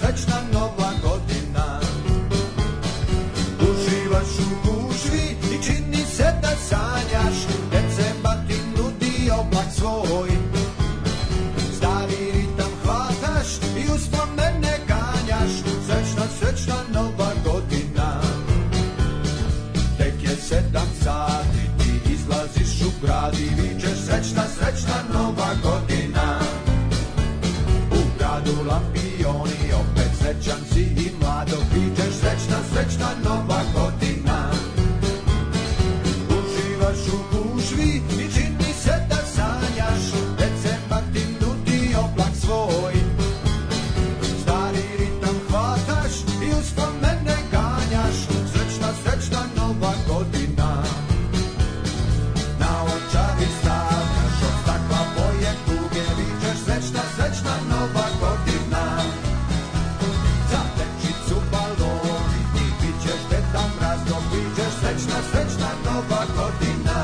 srećna nova godina Uživaš u gužvi i čini se da sanjaš Decembar ti nudi oblak svoj Stari ritam hvataš i uspomene ganjaš Srećna, srećna nova godina Tek je sedam sati, ti izlaziš u grad i vičeš Srećna, srećna nova godina U gradu lampioni, opet srećan si i mlado Vičeš srećna, srećna nova godina Uživaš u gužvi i čini se da sanjaš Decembar ti nudi oblak svoj Stari ritam hvataš i uspomene ganjaš Srećna, srećna nova godina Na očari stavljaš od stakla boje tuge Vičeš srećna, srećna nova godina Za tečicu baloni ti bit ćeš detan razno Bićeš srećna, srećna nova godina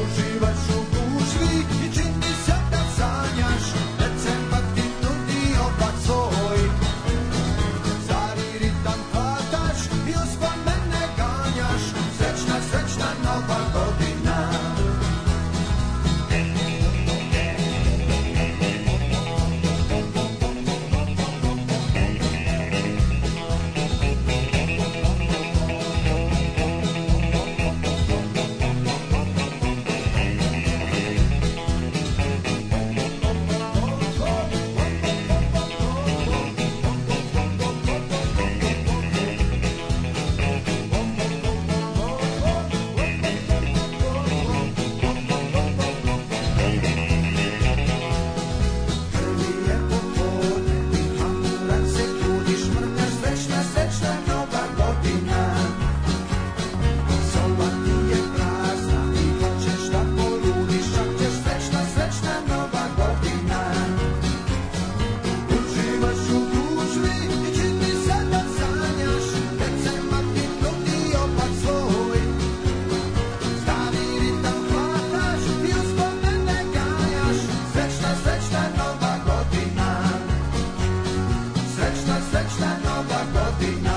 Uživaš u gužvi i čini se da sanjaš Decembar ti nudi oblak svoj Stari ritam hvataš i uspomene ganjaš Srećna, srećna nova godina Krvi je popodne, hamuran se trudiš, mrmljaš srećna, srećna nova godina. Soba ti je prazna i tak hoćeš da poludiš, šak ćeš srećna, srećna nova godina. Uživaš u gužvi i čini se da sanjaš, decembar ti nudi opak svoj. Stari ritam hvataš i uspomene gajaš Srećna, srećna nova godina Srećna, srećna nova godina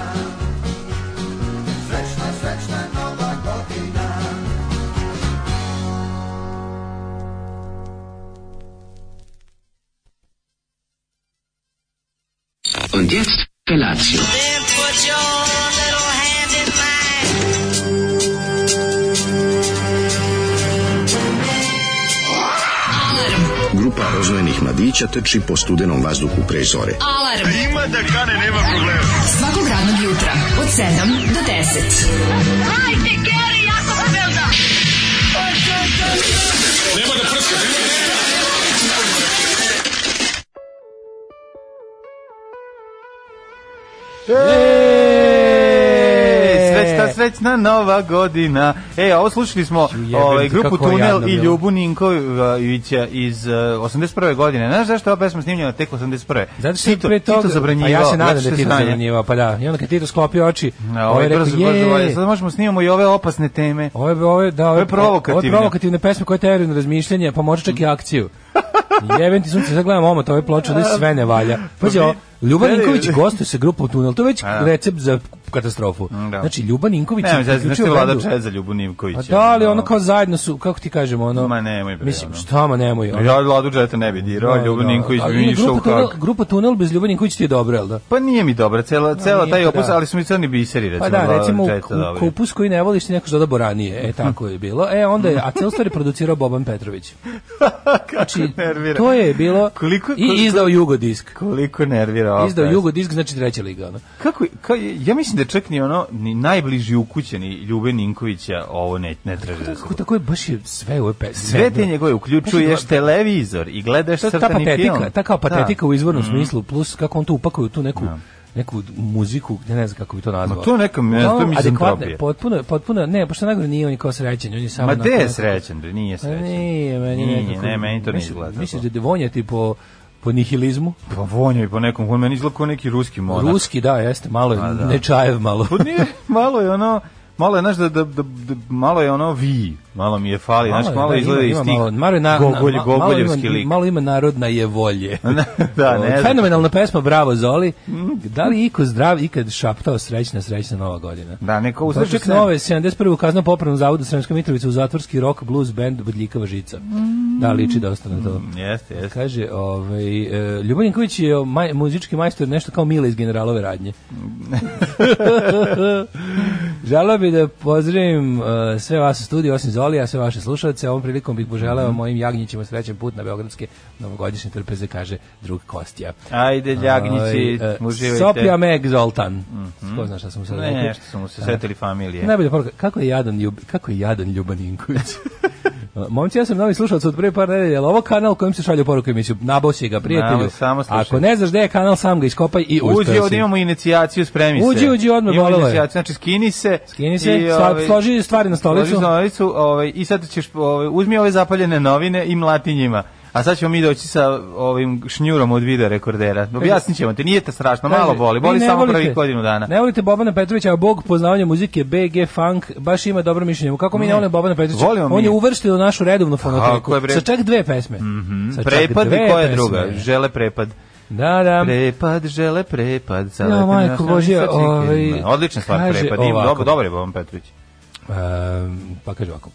Srećna, srećna nova godina Und jetzt Felatio. Then put your little hand in mine. Grupa rozvojenih mladića teči po studenom vazduhu pre zore. Alarm. A ima da kane, nema problema. Svakog radnog jutra, od 7 do 10. Hajde, Geri, jako se velda. E, Srećna, srećna nova godina. E, a ovo slušali smo jebem ti, ovaj, grupu kako je Tunel jadno i bilo. Ljubu Ninkovića iz uh, 81. godine. Znaš zašto je ova pesma snimljena tek 81. Zato što je Tito- pre toga, Tito zabranjivao. pa ja se zato nadam da što je je Tito stanje. zabranjivao, pa da. I onda kad Tito sklopio oči, Na, ovaj rekao, brzo, brzo, je, ovaj, sad možemo snimamo i ove opasne teme. Ove, ove, da, ove, je provokativno. Ove provokativne pesme koje teoriju na razmišljanje, pa možda čak i akciju. Jebem ti sunce, sad gledam omot ove ploče, ovdje sve ne valja. Pazi, ovo, Ljuban Ne, ne, Ninković ne. gostuje sa grupom Tunel, to je već A. recept za katastrofu. Da. Znači, Ljuban Ninković... Nemam je zezati, znaš uključio te vlada bendu. čez za Ljubu Ninkovića. A da, ali ono kao zajedno su, kako ti kažemo, ono... Ma nemoj bre, Mislim, ono. šta ma nemoj, ono... Ja Ladu Džeta ne bi dirao, Da, Ljubu da. Ninković bi Ali mi ima išao u grupa tunel, kak. grupa tunel bez Ljuban Ninković ti je dobro, jel da? Pa nije mi dobra, cela, cela nije, taj pa opus, da. ali su mi crni biseri, recimo. Pa da, Ladu recimo u, Džeta u dobri. kupus koji ne voliš ti neko zada boranije. E, tako je bilo. E, onda je, a celu stvar je producirao Boban Petrović. Kako Znači, nervira. to je bilo Koliko- koliko- i izdao Jugodisk. Koliko nervira ova Izdao pesma. Jugodisk, znači treća liga. Ono. Kako, ka, ja mislim da čak ni ono, ni najbliži ukućeni Ljube Ninkovića ovo ne, ne traže da se... Kako tako je, baš je sve u ove pesme. Sve te njegove, uključuješ televizor i gledaš Znači, ta, ta crtani patetika, film. ta kao patetika Da. Mhm. u izvornom smislu, plus kako on to upakuje u tu neku neku muziku, ne, ne znam kako bi to nazvao. Ma to neka- ne, to Uglavnom, mi je adekvatno, zantropija. Potpuno, potpuno, ne, pošto najgore nije on je kao srećen, on je samo... Ma onako gde je nekako- srećan, bre, nije Pa srećan. Nije, meni Nije, nekako- ne, meni to ne Misliš- izgleda Misliš tako. da je vonjati po, po nihilizmu? Pa vonjaju po nekom, on meni izgleda kao neki ruski monak. Ruski, da, jeste, malo je Pa, da. nečajev malo. Pa nije, malo je ono, malo je, znaš, da, da, da, da, malo je ono vi, malo mi je fali, Malo znaš, je, malo da, izgleda ima- iz ima tih malo- malo je na- na- gogolj, ma- malo ima- gogoljevski lik. Malo ima narodna je volje. da, ne znam. Mm. Fenomenalna pesma, bravo Zoli. Da li iko zdrav ikad šaptao srećna, srećna nova godina? Da, neko uzreče Poček Pa, se. nove, 71. u kaznom popravnom zavodu Sremska Mitrovica u zatvorski rock blues band Bodljikava žica. Da, liči dosta na to. Jeste, jeste. Kaže, ovaj, e, Ljuborinković je maj, muzički majstor nešto kao Mile iz generalove radnje. Želeo bi da pozdravim e, sve vas u studiju, osim Zolija, sve vaše slušalce. Ovom prilikom bih Mhm. poželeo mojim jagnjićima srećen put na Beogradske novogodišnje trpeze, kaže drug Kostija. Ajde, Ljagnjići, Ovaj, e, uživajte. Mhm. Sopja Meg Zoltan. Ko zna šta sam mu sad Ne, rekao? nešto su mu se setili familije. Najbolja poruka, kako je jadan, Ljub, kako je jadan Ljubaninković. Momci, ja sam novi slušalac od prve par nedelja, ali ovo kanal kojim se šalju poruke emisiju, nabao si ga, prijatelju. Nabao, samo slušaj. Ako ne znaš gde je kanal, sam ga iskopaj i Uđi, uspeo ovdje si. imamo inicijaciju, spremi se. Uđi, uđi, odmah, Imamo bolelo je. inicijaciju, znači skini se. Skini se, i, sva- ovaj, složi stvari na stolicu. Složi stolicu, ovaj, i sad ćeš, ovaj, uzmi ove zapaljene novine i mlati njima. A sad ćemo mi doći sa ovim šnjurom od video rekordera. Objasnit ćemo ti, nije to strašno, malo E, Kaže, boli, vi boli ne samo volite- prvih godinu dana. Ne volite Bobana Petrovića, a bog poznavanja muzike BG Funk baš ima dobro mišljenje. Kako mi ne, Ne. volimo Bobana Petrovića? Volimo On mi. je uvršten u našu redovnu Tako je, fonoteku. bre. Sa čak dve pesme. Sa čak Prepad dve i koja je pesme. druga? Žele prepad. Da, da. Prepad, žele prepad. zalete Ja, majko nas na Božja, srčike. ovaj, Odlična stvar, kaže prepad. Im, ovako. dobro, dobro je Boban Petrović. Um, pa kaže ovako.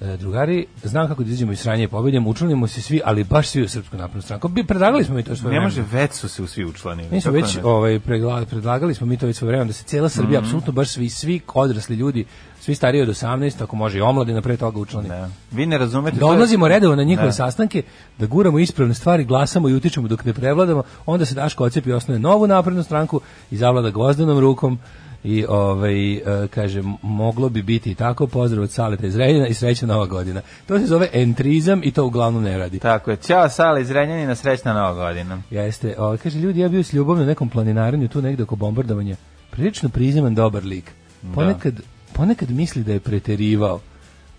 E, Drugari, znam kako da izađemo iz sranja i pobedimo, učlanimo se svi, ali baš svi u Srpsku naprednu stranku. Bi predlagali smo mi to svoje Ne vreme. može, već su se u svi učlanili. Mi smo Kako već ne? Mhm. ovaj pregla- predlagali smo mi to već svoje vreme da se cijela Srbija apsolutno baš svi svi odrasli ljudi, svi stariji od 18, ako može i omladina pre toga učlani. Ne. Vi ne razumete. Da to je- odlazimo redovno na njihove Ne. sastanke, da guramo ispravne stvari, glasamo i utičemo dok ne prevladamo, onda se Daško ocepi i osnuje novu naprednu stranku i zavlada gvozdenom rukom i ovaj, e, kaže, moglo bi biti i tako, pozdrav od Saleta iz Renjina i sreća Nova godina. To se zove entrizam i to uglavnom ne radi. Tako je. Ćao Sala iz Renjanina, srećna nova godina. Jeste, o, kaže, ljudi, ja bio s ljubom na nekom planinarenju tu negde oko bombardovanja, prilično prizeman dobar lik. Ponekad, ponekad misli da je preterivao.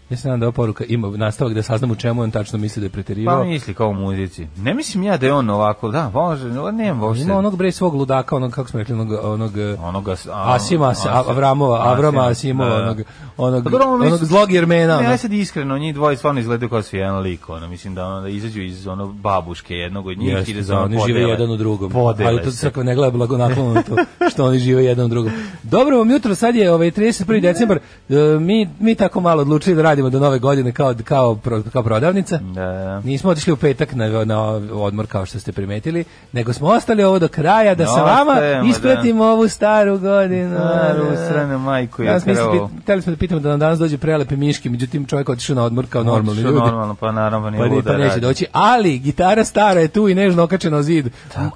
Ja se nadam da ova poruka ima nastavak da saznam u čemu on tačno misli da je preterivao. Pa misli kao u muzici. Ne mislim ja da je on ovako, da, može, no, nema uopšte. Ima onog bre svog ludaka, onog kako smo rekli, onog onog eh, onoga s- a- Asima As- Asim- Avramova, Avrama Asimova, da, da. onog onog Pa dobro, ono onog mislim- zlog Jermena. Ne, ono. ja sad iskreno, njih dvoje stvarno izgledaju kao svi jedan lik, ono, mislim da ono, da izađu iz ono babuške jednog od njih i Jeste, da se da, ono oni podele. žive jedan u drugom. Podele Ali to se. crkva ne gleda blagonaklono na to što oni žive jedan u drugom. Dobro vam jutro, sad je ovaj 31. decembar. E, Mi, mi tako malo odlučili da radimo do nove godine kao, kao, pro- kao prodavnica. Da, da. Nismo otišli u petak na, na odmor kao što ste primetili, nego smo ostali ovo do kraja da sa vama Ostajemo, da. ispratimo ovu staru godinu. Staru sranu majku je Danas mi se krvu. pit- Hteli smo da pitamo da nam danas dođe prelepe miške, međutim čovjek otišao na odmor kao normalni Otišao ljudi. Normalno, pa naravno, nije Pa, ni- luda pa neće radi. doći, ali gitara stara je tu i nežno okačena o zid.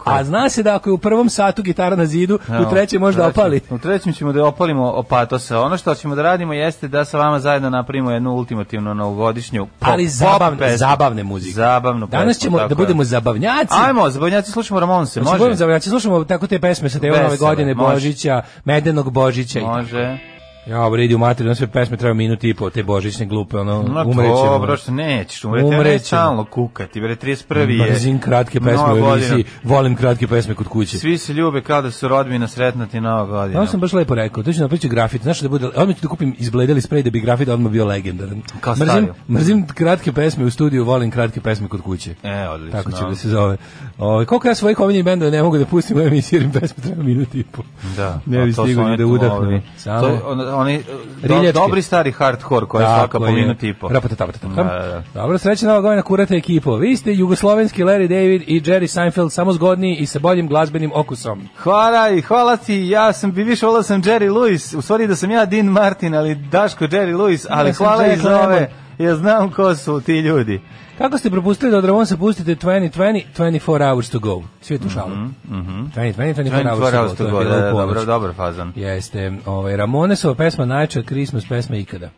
A zna se da ako je u prvom satu gitara na zidu, u Evo, trećem možda trećem- opali. U trećem ćemo da opalimo opatosa. Ono što ćemo da radimo jeste da sa vama zajedno napravimo jednu ultimativnu novogodišnju pop, Ali pop zabavne, pesmu. zabavne muzike. Zabavnu Danas pesmu, ćemo tako da je. budemo zabavnjaci. Ajmo, zabavnjaci slušamo Ramonse, Znači, može? budemo zabavnjaci, slušamo tako te pesme sa te nove Vesele, godine, može. Božića, Medenog Božića. i tako. Može. Ja, bre, idi u materiju, sve pesme traju minut i po, te božićne glupe, ono, No umrećemo. dobro, što nećeš umreti. Ja Umrećemo. neću stalno kukati, bre, 31. je. Mrzim kratke pesme Nova u godina. emisiji, volim kratke pesme kod kuće. Svi se ljube kao da su rodbina sretna ti nova godina. Ja sam baš lepo rekao, to ću napraviti grafit, znaš da bude, odmah ću da kupim izbledeli sprej da bi grafit odmah bio legendaran. Kao mrzim, stavio. mrzim kratke pesme u studiju, volim kratke pesme kod kuće. E, odlično. Tako će da se zove. Ovaj koliko ja svojih omiljenih bendova ne mogu da pustim u emisiji, jer im pesme treba minut i po. Da. Ne bi a to su stigao ni one da tu, udahnem. ovi, Samo- To, on, oni, do, Riljačke. dobri stari hardcore koji je svaka po minutu i po. Rapata, tapata, tapata. Da, da, da. Dobro, srećna nova godina, kurate ekipo. Vi ste jugoslovenski Larry David i Jerry Seinfeld, samo zgodniji i sa boljim glazbenim okusom. Hvala i hvala ti, ja sam bi više volao sam Jerry Lewis, u stvari da sam ja Dean Martin, ali Daško Jerry Lewis, ali Ja sam hvala i Jack za ove, Lemmon. ja znam ko su ti ljudi. Kako ste propustili da od Ramonsa pustite 2020, 24 hours to go? Svi je tu šalu. Mhm, 2020, 24 hours to go. to je bilo u da, ponoć. dobro, dobro fazan. Jeste, ovaj, Ramonesova pesma najča Christmas pesma ikada.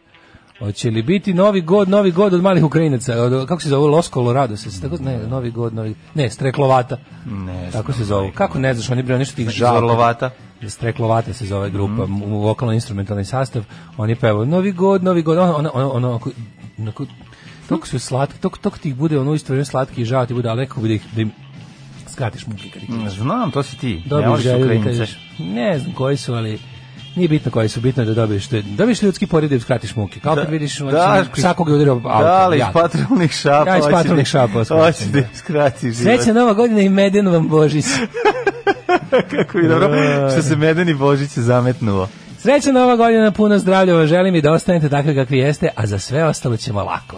Hoće li biti Novi god, Novi god od malih Ukrajinaca, od, kako se zove, Los Colorado se, se tako, ne, Novi god, Novi, ne, Streklovata, Ne tako znam, ovaj, se zove. Novi Kako ne znaš, oni bre nešto tih žalova. Zorlovata. Streklovata se zove grupa, Mhm. mm vokalno-instrumentalni sastav, oni pevaju Novi god, Novi god, ono, ono, ono, ono, onako- onako, toliko su slatki, toliko, toliko ti ih bude ono isto vrijeme slatki i žao ti bude, ali nekako bi da, ih, da im skratiš muke kad ih Znam, to si ti. ne Dobri voliš želju da Ukrajince. kažeš. Ne znam koji su, ali Nije bitno koji su, bitno je da dobiješ, te, dobiješ ljudski pored da im skratiš muke. Kao kad vidiš ono, da, svakog je udario auto. Da, ali iz jak. patrolnih šapa. Ja iz hoće patrolnih da- šapa skratim, Hoće da da. skrati život. Sreća Nova godina i meden vam Božić. Kako je dobro što se Medeni Božić zametnuo. Sreća Nova godina, puno zdravlja vam želim i da ostanete takvi kakvi jeste, a za sve ostalo ćemo lako.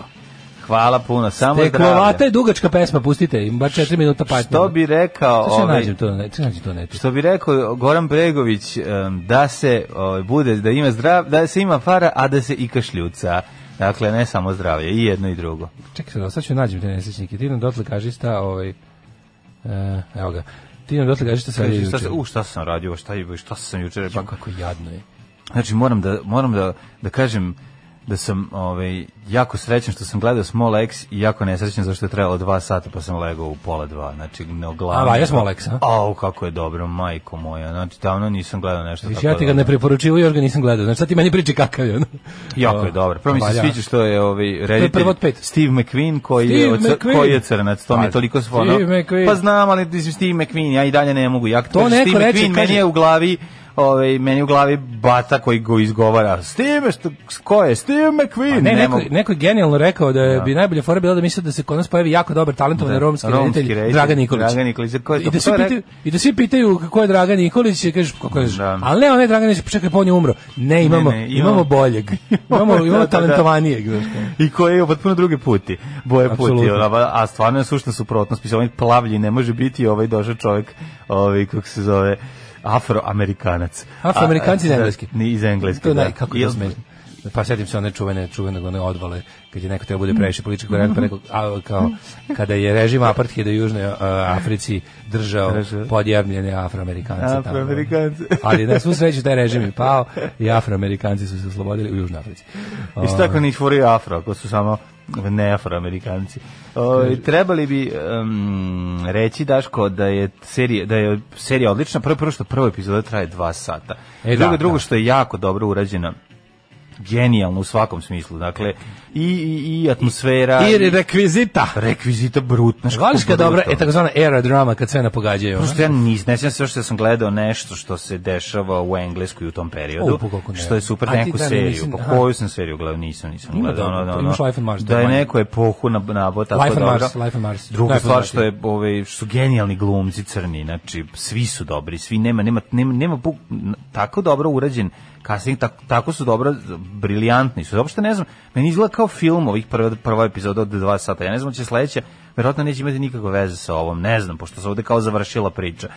Hvala puno, samo Teklovata zdravlje. je dugačka pesma, pustite, im bar 4 minuta patnje. Što bi rekao... Sad ću ja ovaj, nađem to, na- sad ću nađem to na netu. Što bi rekao Goran Bregović em, da se ovaj, bude da ima zdrav, da se ima para, a da se i kašljuca. Dakle ne samo zdravlje, i jedno i drugo. Čekaj sad, sad ću nađem te nesrećnike. Ti nam dotle kaži šta, ovaj, e, evo ga. Ti nam dotle kaži šta sad je Šta se, juče. u šta sam radio, šta je, šta sam juče Pa rekao. kako jadno je. Znači moram da moram da da kažem da sam ovaj jako srećan što sam gledao Small X i jako nesrećan zašto je trebalo dva sata pa sam legao u pola dva. Znači ne A, oglavio. valja smo Aleksa. Au, kako je dobro, majko moja. Znači, davno nisam gledao nešto Viš, tako ja ti ga dobro. ne preporučivo, još ga nisam gledao. Znači, sad ti meni priči kakav je. ono. Jako je dobro. Prvo mi se Valja. sviđa što je ovaj reditelj prvo od pet. Steve McQueen koji je Steve od cr- McQueen. koji je crnac, to mi je Pa, toliko Steve svono. McQueen. Pa znam, ali mislim Steve McQueen, ja i dalje ne mogu. Ja kad To kažem neko Steve reče, McQueen, meni kaže- je u glavi ovaj meni u glavi bata koji go izgovara. Steve što ko je Steve McQueen? Pa Ne, neko, Pa, mogu. neko je genijalno rekao da, bi najbolje fora bila da misle da se kod nas pojavi jako dobar talentovan romski, reditelj Dragan Nikolić. Dragan Nikolić. Ko je I da, Pa to svi rekao? pitaju, I da svi pitaju ko je Dragan Nikolić i kažeš kako je. Da. Ali ne, onaj Dragan Nikolić, pa čekaj, pa on je umro. Ne, imamo, ne, imamo- imamo, boljeg. Imamo, Da, da, imamo da. talentovanijeg. znaš kao. I koji je potpuno druge puti, boje puti, Apsolutno. ono, a stvarno je sušna suprotnost, mislim, ovaj plavlji ne može biti ovaj došao čovjek, ovaj, kako se zove, afroamerikanac. Afroamerikanci iz A, da, Engleske. Ni iz Engleske, To je da. naj, kako je Jel- to smešno. Pa sjetim se one čuvene, čuvenog one odvale, kad je neko treba bude previše politički korektan, pa rekao, a, kao, kada je režim apartheida u Južnoj a, Africi držao Držao. podjavljene Afroamerikance. tamo. Afroamerikance. Ali na svu sreću taj režim je pao i Afroamerikanci su se oslobodili u Južnoj Africi. I Ovaj. šta ako ni furi afro, ako su samo ne afroamerikanci. Ovaj, trebali bi em, reći Daško da je serija da je serija odlična, prvo prvo što prva epizoda traje dva sata. E, drugo da, drugo da. što je jako dobro urađena genijalno u svakom smislu. Dakle i i, i atmosfera I rekvizita. rekvizita brutna. znaš Voliš kako kad dobra, brutalno. e takozvana era drama kad sve napogađaju. ono? Prosto ja nis, ne sjećam se što sam gledao nešto što se dešava u Engleskoj u tom periodu, O, pa kako ne. što je super A ti neku da, ne, seriju. mislim, pa aha. koju sam seriju gledao? Nisam, nisam Ima gledao. dobro, ono, pa ono, imaš Life on Mars, to da je je manje. neku epohu na, na tako Life on dobro. Mars, Life on Mars. Druga Life on stvar Mars što je ovaj su genijalni glumci crni, znači svi su dobri, svi nema nema nema, nema buk, n- tako dobro urađen casting, tako, tako su dobro briljantni su. Uopšte ne znam, meni izgleda kao film ovih prva prva epizoda od 2 sata. Ja ne znam će sledeća verovatno neće imati nikakve veze sa ovom, ne znam, pošto se ovde kao završila priča.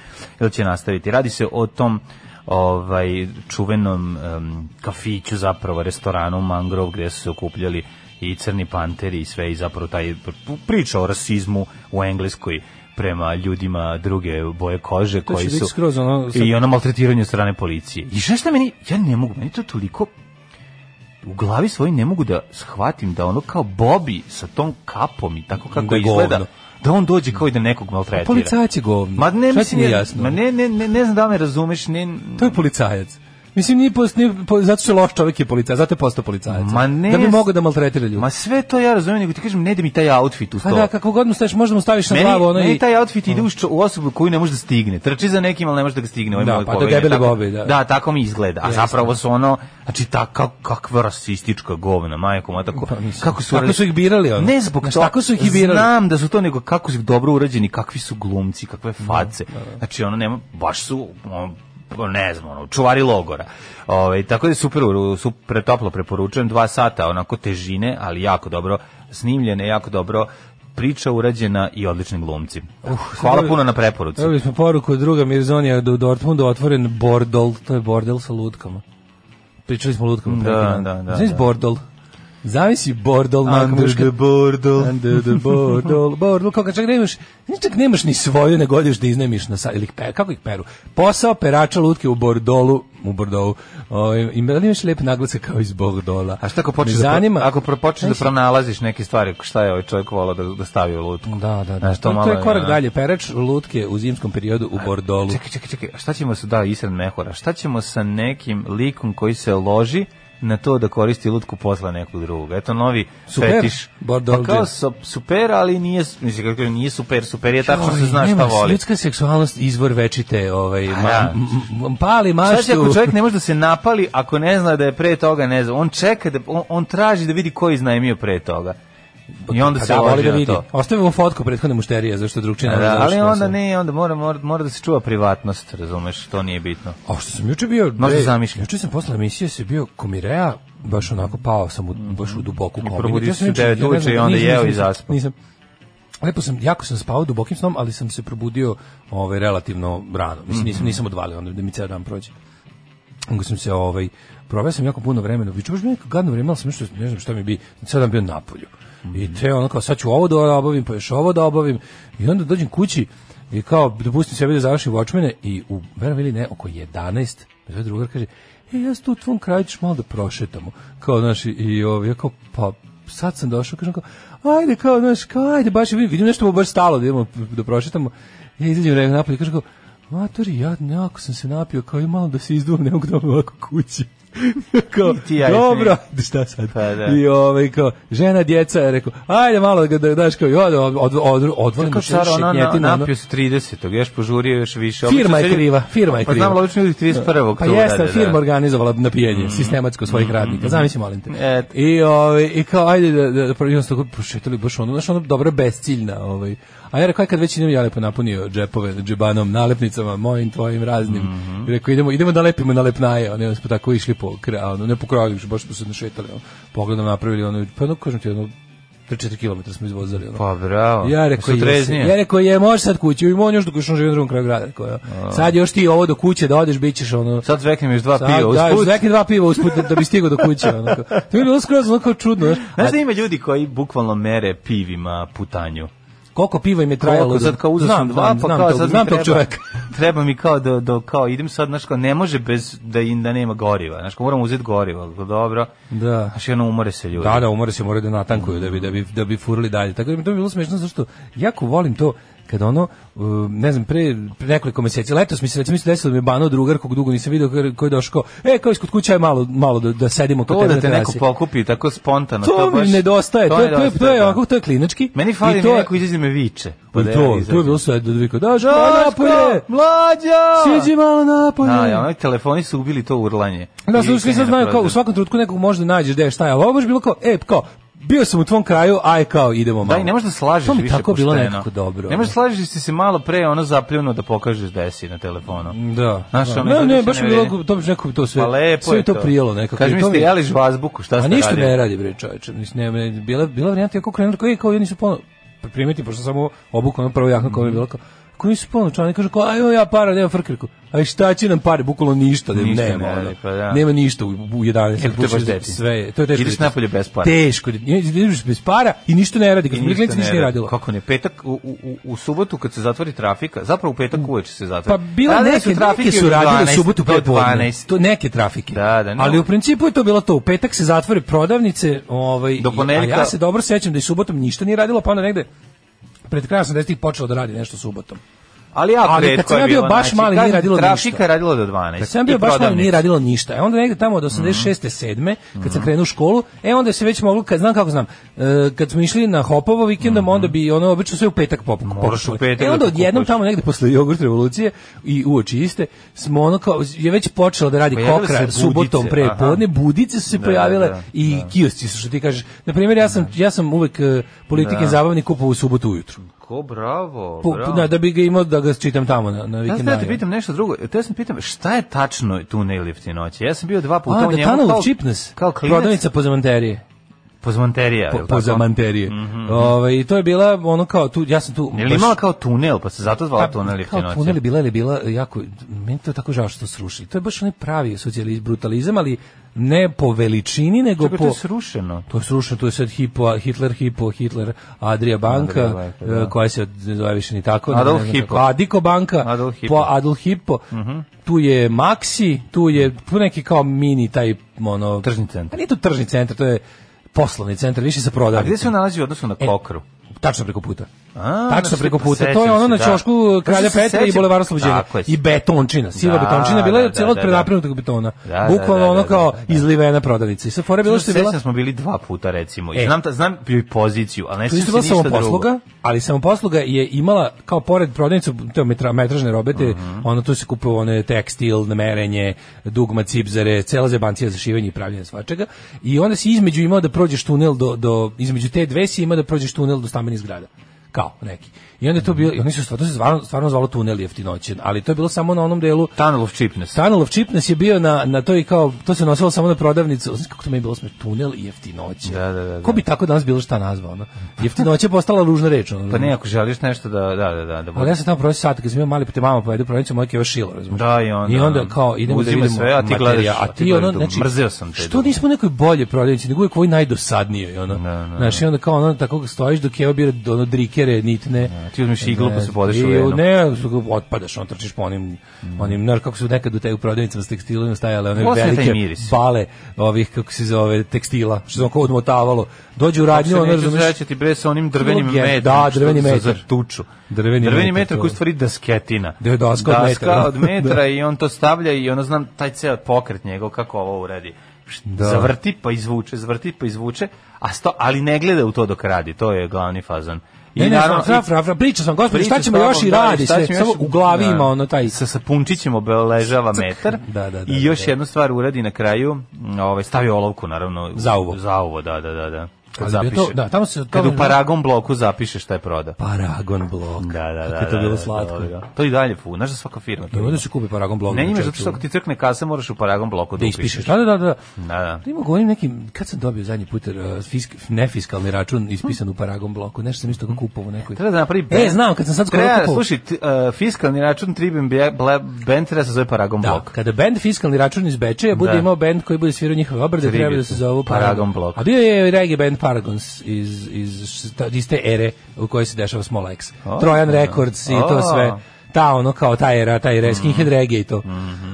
Ili će nastaviti. Radi se o tom ovaj čuvenom em, kafiću zapravo restoranu Mangrove gdje su se okupljali i crni panteri i sve i zapravo taj priča o rasizmu u Engleskoj prema ljudima druge boje kože će koji biti su skroz ono- i ono maltretiranje od strane policije. I šta šta meni, ja ne mogu, meni to toliko u glavi svoj ne mogu da shvatim da ono kao Bobby sa tom kapom i tako kako Da je izgleda, govno. da on dođe kao i da nekog maltretira. Policajac je govno. Ma ne, Šta ti mislim, nije ja- jasno? Ma ne, ne, ne, ne znam da li me razumeš, ne, To je policajac. Mislim, nije, post, nije po- zato što je loš čovjek je policajac, zato je postao policajac. Ma ne, da bi mogao da maltretira ljudi. Ma sve to ja razumijem, nego ti kažem, ne da mi taj outfit u to. Pa da, kako god mu staviš, možda mu staviš na meni, glavu ono meni i... taj outfit ide u, što- u osobu koju ne može da stigne. Trči za nekim, ali ne može da ga stigne. Ovaj Da, moj pa to kolega je debeli tako- Bobby, da. Da, tako mi izgleda. A Jeste. zapravo su ono, znači, ta, kak, kakva rasistička govna, majko, ma tako. Pa mislim, kako su, tako uradili- su ih birali, ono. Ne zbog Znaš, toga. tako su ih i birali. Znam da su to, nego kako su dobro urađeni, kakvi su glumci, kakve face. Znači, ono, nema, baš su, ono, pa ne znam, ono, čuvari logora. Ove, tako da je super, u- super toplo preporučujem, dva sata onako težine, ali jako dobro snimljene, jako dobro priča urađena i odlični glumci. Hvala Uh, sad- puno na preporuci. Dobili smo poruku od druga Mirzonija da u Dortmundu otvoren bordol, to je bordel sa lutkama. Pričali smo o lutkama. pre Da, neki dan. da, da, Znaš da. bordol? Zavisi bordol na Under the bordel. Under the bordol, bordol, kako čak nemaš, čak nemaš ni svoju, nego odeš da iznajmiš na sajt, ili ih pe- kako ih peru? Posao perača lutke u bordolu, u Ovaj, bordolu, o, im, ali imaš lep naglasak kao iz bordola. A šta ako počneš Me da, zanima, ako pro- počneš da Znaš, pronalaziš neke stvari, šta je ovaj čovjek volao da, da stavi u lutku? Da, da, da. Znaš, to To, to malo je je, korak ono. dalje. Perač lutke u zimskom periodu u Bordolu. Čekaj, čekaj, čekaj, a šta ćemo sa, da, Isran Mehora, šta ćemo sa nekim likom koji se loži na to da koristi lutku posla nekog druga. Eto novi Super, fetiš. Bordeaux Pa kao Gel. so- super, ali nije, mislim, kako kažem, nije super, super je tako što Oj, se zna šta nema, voli. Ljudska seksualnost izvor večite, ovaj, ma, da. m- m- m- pali Šta će maštu. ako čovjek ne može da se napali ako ne zna da je pre toga, ne znam, on čeka, da, on, on traži da vidi ko je iznajmio pre toga. I onda Pa se da, voli loži da na vidi. to. Ostavimo fotku prethodne mušterije, zašto drugčije ne može Da, ali završiti onda posao. ne, onda mora, mora, mora da se čuva privatnost, razumeš, to nije bitno. A što sam juče bio, Možda ej, zamišljam. Juče sam posle emisije se bio komireja, baš onako pao sam u, baš u duboku komu. Mhm. probudio si se u devet uveče i onda jeo i zaspao. Nisam. Lepo sam, jako sam spavao dubokim snom, ali sam se probudio ovaj relativno rano. Mhm. Mislim nisam nisam odvalio onda da mi ceo dan prođe. Onda sam se ovaj proveo sam jako puno vremena. Viče baš mi je neko gadno vreme, ali sam nešto ne znam šta mi bi, ceo dan bio napolju. I te ono kao sad ću ovo da obavim, pa još ovo da obavim i onda dođem kući i kao dopustim sebi da završim Watchmene i u verujem ili ne oko 11 me zove drugar kaže E, ja sam tu u tvom kraju ćeš malo da prošetamo. Kao, znaš, i, i ovaj, ja kao, pa, sad sam došao, kažem kao, ajde, kao, znaš, kao, ajde, baš, vidim, vidim nešto mu baš stalo da idemo, da prošetamo. Ja izađem nekako napolje i kažem kao, Matori, ja nekako sam se napio, kao i malo da se izduvam, ne mogu da vam ovako kući. kao, I ti ja, dobro, ajde, šta sad? Pa da. I ovaj, kao, žena, djeca, je rekao, ajde malo da, da daš, kao, i od, od, od, od, odvolim Kako mu car, šetnjetina. ona na, ono. napio se 30. Još požurio još više. Firma Obično je ljudi- kriva, firma je Pa znam, kriva. logično ljudi 31. Pa to jeste, urade, da. Mm. firma organizovala napijenje sistematsko svojih radnika. Zamisli, molim te. Eto. I, ovaj, I kao, ajde, da, da, da, i onda su tako prošetali baš ono, znaš, ono dobro besciljna. Ovaj. A ja rekao, aj kad već idem, ja lepo napunio džepove džebanom, nalepnicama, mojim, tvojim, raznim. Mhm. I rekao, idemo, idemo da lepimo nalepnaje. Ono, i onda smo tako išli po kraju, ono, ne po kraju, baš smo se našetali. Ono, pogledom napravili, ono, pa ono, kažem ti, ono, 3-4 km smo izvozali. Ono. Pa bravo. Ja rekao, Su jesi. treznije. ja rekao je, može sad kući, ima on još dok još on živi na drugom kraju grada. Rekao, ja. Sad još ti ovo do kuće da odeš, bit ćeš ono... Sad zveknem još dva Sad, piva da, usput. neki dva piva usput da, da bi stigao do kuće. Onako. To je bilo skroz onako čudno. Znaš, Znaš da ima ljudi koji bukvalno mere pivima putanju. koliko piva im je trajalo? Koliko, da- sad kao uzeo sam Znam, dva, znam, pa znam kao tog- sad mi znam tog treba- čoveka. Treba mi kao da, da kao idem sad, znaš, kao ne može bez da, im- da nema goriva. Znaš, kao moram uzeti goriva, Kao, dobro. Da. Znaš, jedno umore se ljudi. Da, da, umore se, moraju da natankuju da bi, da bi, da bi furali dalje. Tako da mi to bi bilo smešno, zašto jako volim to kad ono, um, ne znam, pre, pre nekoliko meseci, letos mi se recimo isto desilo da mi je banao drugar kog dugo nisam vidio koji- koji je došao kao, e, kao iskod kuća je malo, malo da, da sedimo kod To tebe da te na neko terasi. pokupi tako spontano. to mi baš- nedostaje, to, je- to, je, to, je nedostaje, da. ovako, to je klinički. Meni I fali to mi je- neko izađe me viče. Pa I da ja to, to je izađem. bilo sve do vika. Da, Daško, Daško, napolje! mlađa! Siđi malo napolje! Da, ja, onaj telefoni su ubili to urlanje. Da, I su svi sad krenja znaju kao u prozor. svakom trenutku nekog možda nađeš gde je šta je, ali ovo je baš bilo kao, e, kao, bio sam u tvom kraju, aj kao, idemo malo. Da, i ne možeš da slažeš To mi više tako pošteno. bilo nekako dobro. Ne možeš da slažeš jer si se malo pre ono zapljuno da pokažeš da jesi na telefonu. Da. Znaš, da. ono, ne, izgleda ne, se baš ne mi bilo, vidi. to bi neko to Mm, sve, Pa lepo sve je to, to. prijelo nekako. Kaži I mi, to ste je- jeli žvazbuku, šta A ste ništa radili? ne radi, bre, čoveče. Mislim, ne, ne, bila, bila varijanta, kako krenuo, kao, e, kao, jedni su ponovno, primeti, pošto sam ovo obuku, ono prvo jakno, kao je bilo, kao, ako nisu ponovno člani, kažu, kao, aj, evo ja para, nema frkrku. A šta će nam pare, bukvalno ništa, da Ništa nema, ne ono. radi, pa da. Nema ništa u, u 11. Kako to je baš bučeš, deti. Sve je, to je teško. Ideš deti. napolje bez para. Teško, deti. ideš bez para i ništa ne radi. Kad I smo bili klinci, ništa ne nije radi. radilo. Kako ne, petak, u, u, u- u subotu kad se zatvori trafika, zapravo u petak uveče se zatvori. Pa bila Radile neke, trafike neke su od radile 12 subotu do pre podne. 12. To neke trafike. Da, da, ne. Ali u principu je to bilo to. U petak se zatvore prodavnice, ovaj, Do i- ponedjeljka- a ja se dobro sećam da i subotom ništa nije radilo, pa onda negde pred krajem 80-ih počelo da radi nešto subotom. Ali ja Ali kad pretko sam ja je bio bilo, baš znači, mali, nije kažem, radilo ništa. Trafika je radila do 12. Kad sam i bio baš malo nije prodavnice. radilo ništa. E onda negde tamo od 86. 7. kad Mhm. sam krenuo u školu, e onda se već moglo, kad znam kako znam, e, kad smo išli na Hopovo vikendom, onda bi ono obično sve u petak pop Mhm. Moraš u petak E da onda to odjednom kupuješ. tamo negde posle jogurt revolucije i uoči iste, smo ono kao, je već počelo da radi Pojavile se kokra budice, subotom pre aha. podne, budice su se Da, pojavile da, i kiosci su što ti kažeš. Na primjer, ja sam, ja sam uvek e, politike Da. zabavni kupovao u subotu ujutru. Ko, bravo, Po- bravo. da, da bi ga imao da ga čitam tamo na, na Ja sam da te vikendaju. pitam nešto drugo. Te sam pitam šta je tačno tu Nailifti noći? Ja sam bio dva puta A, u da njemu. Tunnel kao- of Cheapness, Kao klinac prodavnica pozamanterije. Pozmanterija. po, jel tako? Mhm. po zamanterije. Ovaj, i to je bila ono kao tu ja sam tu Je li baš- imala kao tunel, pa se zato zvala Pa, tunel Lifti Kao noći? tunel je bila, ali je bila jako, meni to je tako žao što su srušili. To je baš onaj pravi socijalizam, brutalizam, ali ne po veličini, nego Čekaj, to po... je srušeno. To je srušeno, to je sad hipo, Hitler, hipo, Hitler, Adria banka, Adria banka, da. eh, koja se zove više ni tako. ne, Adolf ne znam Hipo. kako. Adiko banka, Adolf Mhm. Hipo. po Adolf Hipo, tu je Maxi, tu je tu neki kao mini taj, ono... Tržni A centar. nije to tržni centar, to je poslovni centar, više se prodaje. A gde se on nalazi u odnosu na E, Kokru? Tačno preko puta. A, Tačno na preko sliku, puta. sećam To je ono na se, da. čošku Tačno Kralja se Petra i sećam. Bulevara Oslobođenja. Tako je. I betončina, siva Da, betončina, bila je da, celog da, da. prenaprnutog betona. Da, da, Bukvalno da, ono da, kao da, da. izlivena prodavnica. I sad fora je bilo što je Sećam bila... smo bili dva puta recimo. I E. znam ta, znam joj poziciju, a ne To je sećam isto se bila ništa drugo. samoposluga, ali samoposluga je imala kao pored prodavnicu te metra, metražne robete, Mhm. ono tu se kupuje one tekstil, merenje, dugma, cipzare, cela zebancija za šivanje i pravljenje svačega. I onda si između imao da prođeš tunel do, do između te dve si imao da prođeš tunel do stambenih zgrada. Kao neki. I onda je Mhm. to bilo, i oni su stvarno, to se stvarno, stvarno zvalo tunel jeftinoćen, ali to je bilo samo na onom delu Tunnel of cheapness. Tunnel of Cheapness je bio na, na toj kao, to se nosilo samo na prodavnicu, znaš kako to mi je bilo sme, tunel i jeftinoće. Da, da, da, da. Ko bi tako danas bilo šta nazvao, no? Jeftinoće je postala ružna reč, ono. Pa ne, ako želiš nešto da da da da da. Ali ja sam tamo prošao sat, kad sam bio mali, pa te mama povede u prodavnicu, moj keva šilo, razumiješ? Da, i onda- I onda kao, idemo da Uzima vidimo sve, a ti materijal, gledaš- a ti, ono, gledaš dugo. znači, Mrzeo sam te Što dugo. nismo u nekoj bolje prodavnici, nego uvijek ovoj najdosadnijoj, ono. Da, da, Znaš, i onda kao, ono, tako stojiš dok je bira, ono, drikere, nitne. Ti uzmeš iglu pa se podeš u Mm. i venu. Ne, otpadaš, on trčiš po onim, onim, znaš kako su nekad u te u prodavnicama s tekstilom stajale one Osjeta i velike miris. bale ovih, kako se zove, tekstila, što se on kao odmotavalo. Dođu u Kako se radnju, ono, neću razumeš, srećati bre sa onim drvenim Bilo je- metrom. da, što drveni za- metar. Za tuču. Drveni metar, metar koji to je je. u stvari dasketina. Da je daska od metra, da. od metra i on to stavlja i ono znam taj ceo pokret njegov kako ovo uredi. Da. Zavrti pa izvuče, zavrti pa izvuče, a sto, ali ne gleda u to dok radi, to je glavni fazon. I Ne, ne, naravno- fra, fra, fra, pričao sam, gospodin, Priča šta ćemo s još tobom, i da, radi šta sve, ćemo samo još- u glavi da. ima ono taj... sa sapunčićem obeležava metar Da, da, da, i da, još da. jednu stvar uradi na kraju, m, ovaj stavi olovku naravno u- Zauvo. Zauvo, da, da, da, da. Kad Ali bi zapiše. to- da, tamo se- kad tamo- u Paragon bloku zapiše šta je proda. Paragon blok. Da, da, da. Kako je to da, bilo da, slatko. da, da. To i dalje fu, znaš da svaka firma. to I onda ima. se kupi Paragon blok. Ne na imaš čoveku. zato što ako ti crkne kasa moraš u Paragon bloku ono. da da ispišeš. Da, da, da, da. Da, da. Da ima govorim nekim, kad sam dobio zadnji put uh, fisk, nefiskalni račun ispisan u Paragon bloku, nešto sam isto kupovao u nekoj. Treba da napravi E, znam, kad sam sad skoro Treba, kupovao. Slušaj, t- uh, fiskalni račun Tribune Bia- Bla- Band treba se zove Paragon Da, blok. kada bend fiskalni račun iz Bečeja bude Da. imao bend koji bude svirao njihove obrade, Tribute. treba da se zove Paragon, Paragon Block. A bio je reggae band Paragons iz, iz, šta- iz te ere u kojoj se dešava Small X. O. Trojan Records i to O. sve. Ta ono kao ta era, ta Mhm. era, skinhead reggae i to.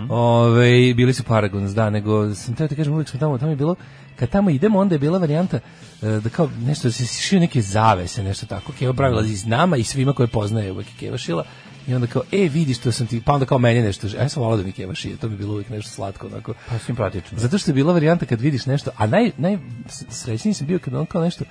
Ove, bili su Paragons, da, nego sam teo ti kažem, uvijek smo tamo, tamo je bilo, kad tamo idemo, onda je bila varijanta e, da kao nešto, da se šio neke zavese, nešto tako. Keva pravila Mhm. iz nama i svima koje poznaje uvijek je Keva šila. I onda kao, e, vidi što sam ti, pa onda kao meni nešto, ž- a ja sam volao da mi Keva šije, to bi bilo uvijek nešto slatko, onako. Pa simpatično. Zato što je bila varijanta kad vidiš nešto, a naj, naj srećniji sam bio kad on kao nešto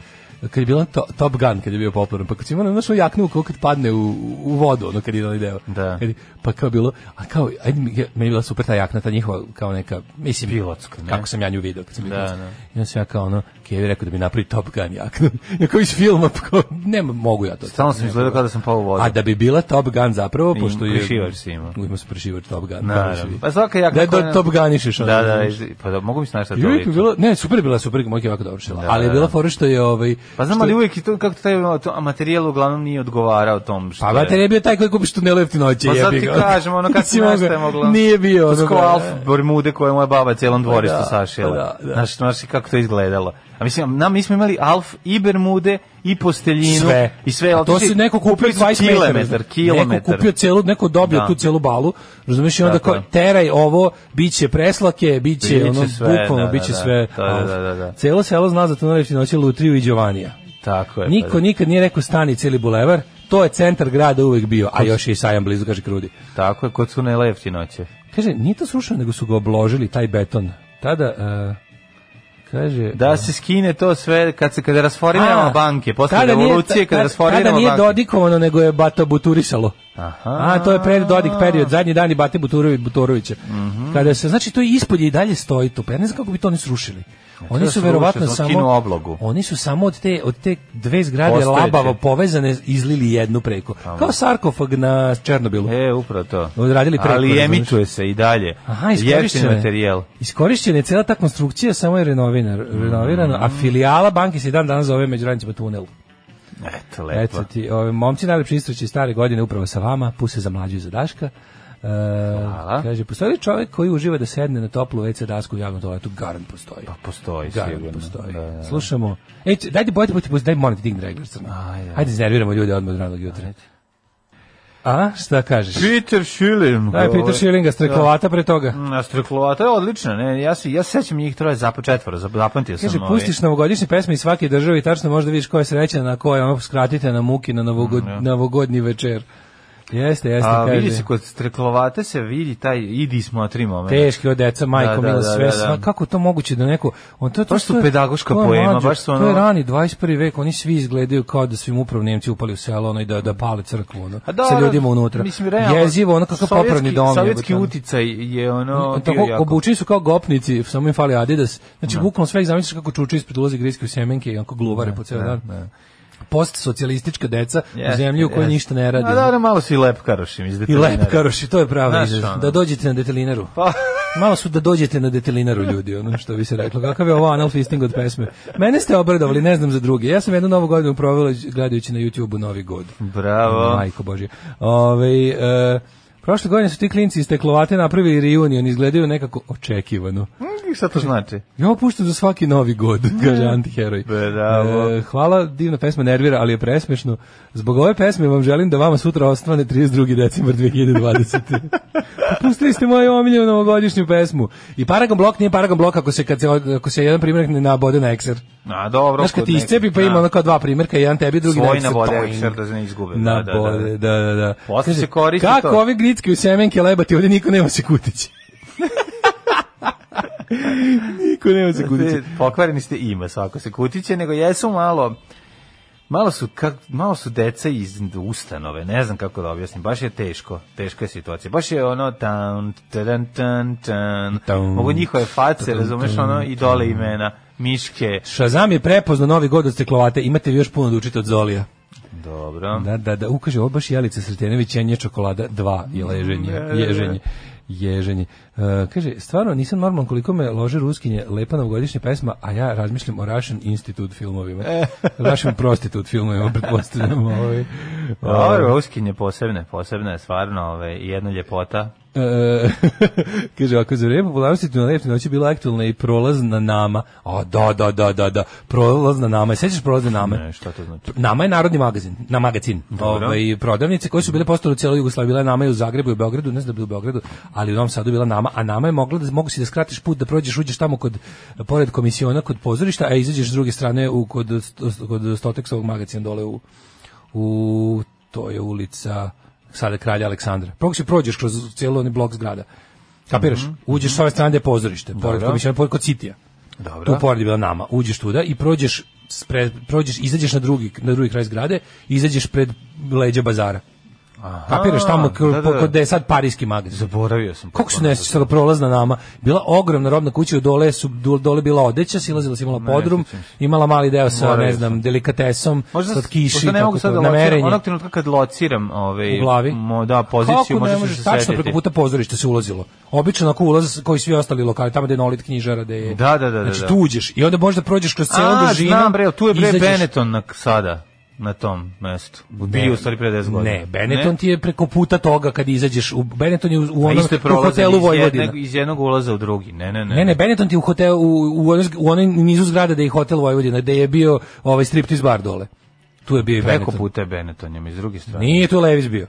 kad je bilo to, Top Gun, kad je bio popularan, pa kad si imao ono što jaknu kao kad padne u, u vodu, ono kad je onaj deo. Da. Kad je- pa kao bilo, a kao, ajde, mi- meni je bila super ta jakna, ta njihova, kao neka, mislim, Pilotska, ne? kako sam ja nju video kad sam bio Da, klinac. da. I onda sam ja kao ono, Kevi rekao da mi napravi Top Gun jaknu, ja kao iz filma, pa kao, nema, mogu ja to. Stalno sam izgledao kao da sam pao u vodu. A da bi bila Top Gun zapravo, I pošto je... prišivač si imao. Imao sam prišivač Top Gun. Naravno. Pa svaka jakna Da je koja- do Top Gunišeš. Da, ono, da, da, znaš. iz- pa da, mogu mi se naći da I to uvijek je liči. bilo, ne, super je bila, super, mojke ovako dobro šila. ali je da, bila da. fora što je ovaj... Pa znam, što- ali uvijek i to, kako taj to, materijal uglavnom nije odgovarao tom što Pa bater je bio taj koji kupiš tunelu jeftinoće, Pa sad jebi ti ga. kažem, ono kako Mislim, se mogao- nastaje moglo. Nije bio. ono, Sko brate. alf bermude koje je moja baba celom dvorištu da, pa sašila. da, da. Znaš, znaš i kako to izgledalo. A mislim, na, mi smo imali alf i bermude i posteljinu. sve. I sve. A ali to otišli- se neko kupio kupili su 20 metara. Kilometar, Neko kilometar. kupio celu, neko dobio Da. tu celu balu. Razumeš i onda Tako kao je. teraj ovo, biće preslake, biće Biće ono sve, bukvalno da, biće da, da. sve. Da, da, da, da, da. Celo selo zna za tunel jeftinoće Lutriju i Đovanija. Tako je. pa Niko da. nikad nije rekao stani cijeli bulevar, to je centar grada uvek bio, a još je i sajam blizu, kaže Krudi. Tako je, kod su najlepši noće. Kaže, nije to srušeno, nego su ga obložili, taj beton. Tada, e, kaže... Da se skine to sve kad se kada rasformiramo A, banke, posle tada nije- revolucije kada tada- Tada rasformiramo nije banke. dodikovano, nego je Bata Buturisalo. Aha. A, to je pred Dodik period, zadnji dani Bate Buturović Buturovića. Mhm. Kada se, znači to je ispod je i dalje stoji to. Pa ja ne znam kako bi to oni srušili. Oni da su sruše, verovatno samo skinu samo oblogu. Oni su samo od te od te dve zgrade Postojeće. labavo povezane izlili jednu preko. Kao sarkofag na Černobilu. E, upravo to. Odradili preko, Ali razumeš? emituje se i dalje. Aha, Jeftin iskorišćena je. materijal. Iskorišćena je cela ta konstrukcija, samo je renovina, renovirana, Mhm. a filijala banke se i dan danas zove Međuranjicima tunel. Eto, Eto lepo. ti, ove, momci najlepši istraći stare godine upravo sa vama, puse za mlađu i za Daška. E, kaže, postoji li čovjek koji uživa da sedne na toplu WC dasku u javnom toaletu? Garant postoji. Pa Postoji sigurno. Garant postoji. Da, da, da. Slušamo. E, č- dajde, bojte, bojte, bojte, daj, molim te, digne regler crno. Ajde, ajde. Ajde, iznerviramo ljude odmah od ranog jutra. A, šta kažeš? Peter Schilling. ovaj, Daj Peter Schillinga, strekovata pre toga. Na streklota je odlična, ne? Ja se ja se sećam njih troje zapo četvoro, zap- zapamtio sam. Kaže, ovaj. pustiš novogodišnje pesme iz svake države i tačno možda vidiš ko je srećan, a ko je ono, skratite na muki na novogod, novogodni večer. Jeste, jeste, Mm, A kaže. vidi se kod streklovate se vidi taj idi smotri moment. Teški od deca, majko, Pa Da, da, mila, da, sve, da, da. sva, kako to moguće da neko... On, to, to, Baš su to je- pedagoška to je poema, mlađo, baš su To je ono- rani 21. vek, oni svi izgledaju kao da su im upravo Nemci upali u selo, ono, i da, da pale crkvu, ono, A da, sa ono, ljudima unutra. Mislim, realno, Jezivo, ono, kakav sovjetski- popravni dom. Sovjetski jebote, ono. uticaj je ono... bio tako jako. obučeni su kao gopnici, samo im fali Adidas. Znači bukvalno sve ih zamisliš kako čuče ispred ulazi griske u sjemenke i onako gluvare po ceo dan. Postsocijalistička deca u Jeste, zemlji u kojoj jeste. ništa ne radi. ono. A da, da, malo si i lepkarošim iz I detelinara. lep karoši, to je prava Znaš, izraz. ono. Da dođete na detelinaru. Pa, Malo su da dođete na detelinaru ljudi, ono što bi se reklo. Kakav je ovo anal fisting od pesme? Mene ste obradovali, ne znam za druge. Ja sam jednu novu godinu provela gledajući na YouTubeu Novi god. bravo. Majko Božje. Ove, e, prošle godine su ti klinci iz Teklovate napravili reunion, izgledaju nekako očekivano. Mm, Šta to znači? Ja opuštam za svaki novi god, kaže antiheroj. Bravo. E, hvala, divna pesma nervira, ali je presmešno. Zbog ove pesme vam želim da vama sutra ostane 32. decembar 2020. Pustili ste moju omiljenu novogodišnju pesmu. I Paragon blok nije Paragon blok ako se, kad se, ako se jedan primjerak ne nabode na ekser. A, dobro. Znaš kad kod ti nekih, iscepi pa da. ima ono kao dva primjerka, jedan tebi, drugi Svoj na ekser. nabode Toing. ekser da se ne izgube, da, Na da, da. bode, da, da, da. Posle Kaže, se koristi Kako to. ove gritske u semenke lebati, ovdje niko nema se kutići. niko nema se kutići. Te- Pokvareni ste ima svako se kutiće, nego jesu malo... Malo su, kak, malo su deca iz ustanove, ne znam kako da objasnim, baš je teško, teška je situacija. Baš je ono, tan, tan, tan, tan, Tan. mogu njihove face, razumeš, ono, i dole imena, miške, Šazam je prepoznao novi god od steklovate, imate vi još puno da učite od Zolija. dobro. Da, da, da, ukaže, ovo baš Jelica Sretenović, jenje čokolada, dva je leženje, ježenje. Ježenje. E, kaže, stvarno nisam normalan koliko me lože ruskinje lepa novogodišnja pesma, a ja razmišljam o Russian Institute filmovima. Russian Prostitute filmovima, pretpostavljam. Ovaj. Dobro, ruskinje posebne, posebna je stvarno ove, i jedna ljepota. E, kaže, ako za vreme popularnosti tu na lepne noći bila aktualna i prolaz na nama. A, da, da, da, da, da, prolaz na nama. Sećaš prolaz na nama? Ne, šta to znači? Nama je narodni magazin, na magazin. Ovaj prodavnice koje su bile postale u celoj Jugoslaviji, bila je nama i u Zagrebu i u Beogradu, ne znam da bi u Beogradu, ali u Novom Sadu bila nama, a nama je mogla da mogu si da skratiš put da prođeš uđeš tamo kod pored komisiona kod pozorišta, a izađeš s druge strane u kod sto- kod Stoteksovog magazina dole u u to je ulica sada kralja Aleksandra. Prvo si prođeš kroz cijelo onaj blok zgrada. Kapiraš? Uđeš s ove strane gde je pozorište, pored komisiona, pored kod Citija. Dobro. Tu pored je bila nama. Uđeš tuda i prođeš spre, prođeš izađeš na drugi na drugi kraj zgrade, i izađeš pred leđa bazara. Kapiraš tamo kod da, da, da. kod da je sad parijski magazin. Zaboravio sam. Kako se ne sjećaš prolazna nama? Bila ogromna robna kuća, u dole su du- dole bila odeća, silazila se imala podrum, sjećam se. imala mali deo sa Morao ne sam. znam delikatesom, Možda sad kiši, pošto ne kako mogu to, sad da ono na lociram, merenje. onog trenutka kad lociram ovaj, U glavi? mo- da, poziciju, Kako ne možda ću možeš, se tačno setiti. preko puta pozorišta se ulazilo. Obično ako ulaz koji svi ostali lokali, tamo gde je nolit knjižara, gde je... Da, da, da, da, Znači da. tu uđeš i onda možda prođeš kroz celu A, dužinu. znam bre, tu je bre izađeš- Benetton na, sada, na tom mestu. Bio u stvari pre 10 godina. Ne, Benetton ti je preko puta toga kad izađeš u Benetton je u, u A onom isto je u prolazan hotelu iz Vojvodina. jednog- Iz jednog ulaza u drugi, ne, ne, ne. Ne, ne, Benetton ti je u hotel u, u, onoj zg- u onoj nizu zgrada da je hotel Vojvodina, gde je bio ovaj striptease bar dole. Tu je bio i Preko Benetton. puta je Benetton, je mi s druge strane. Nije tu Levis bio.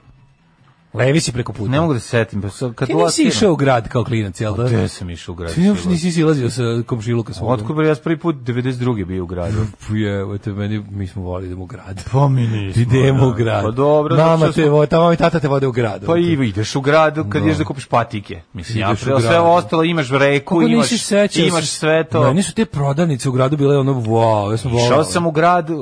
Levis je preko puta. Ne Pa mogu da se setim, pa sad kad Ti nisi lociram- išao u grad kao klinac, jel da? Gde sam išao u grad? Ti uopšte nisi silazio sa komšiluka svojom. Otkud bre, ja sam prvi put 92. bio u gradu. Puje, te meni, mi smo volili da idemo u grad. Pa mi nismo. Idemo da. u grad. Pa dobro. zato Mama što te, smo- vo, ta mama i tata te vode u grad. Pa i ideš u gradu kad Da. ideš da kupiš patike. Mislim, ja Ideš u pre, sve grad. ovo ostalo imaš reku, Kako imaš, nisi sećao? imaš se- sve to. Meni su te prodavnice u gradu bile ono, wow, ja sam volao. Išao sam u grad, uh,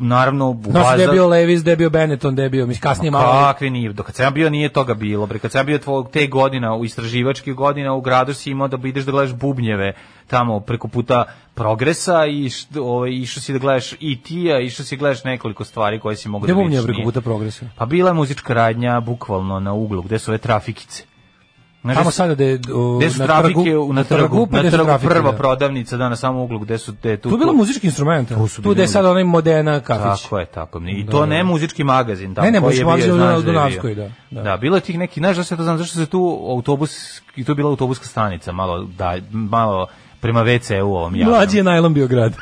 naravno u Znaš gde je Bazar. bio Levis, gde je bio Benetton, gde je bio, mislim, kasnije malo. Kakvi nije, dok kad sam ja bio nije toga bilo, bre, kad sam ja bio tvog, te godina, u istraživačkih godina u gradu si imao da bi ideš da gledaš bubnjeve tamo preko puta progresa i št- ovaj, išao si da gledaš IT-a, išao si da gledaš nekoliko stvari koje si mogu Gde da bom vidiš. nije preko nije. puta progresa? Pa bila je muzička radnja bukvalno na uglu, gde su ove trafikice. Znaš, Tamo gde su- sada da je o, gde su trafike u- na trgu, pa na gde su trgu trafike, prva da. prodavnica da na samom uglu gde su te tu. Tu je bilo muzički instrument. Tu su Tu bili gde je sad onaj Modena kafić. Tako je, tako. I to ne muzički magazin. Tamo, Ne, ne, koji muzički je bio, magazin znaš na da je bio. Dunavskoj, da, da. Da, bilo je tih neki, znaš da se to znam, zašto se tu autobus, i to je bila autobuska stanica, malo, da, malo prema WC u ovom javnom. Mlađi je najlon bio grad.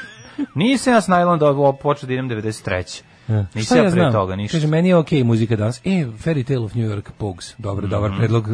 Nisam ja s najlom da ovo počeo da idem 93. E. Ja. Nisam ja pre toga ništa. Kaže, meni je okej muzika danas. E, Fairy Tale of New York, Pogues. Dobar, Mhm. dobar predlog,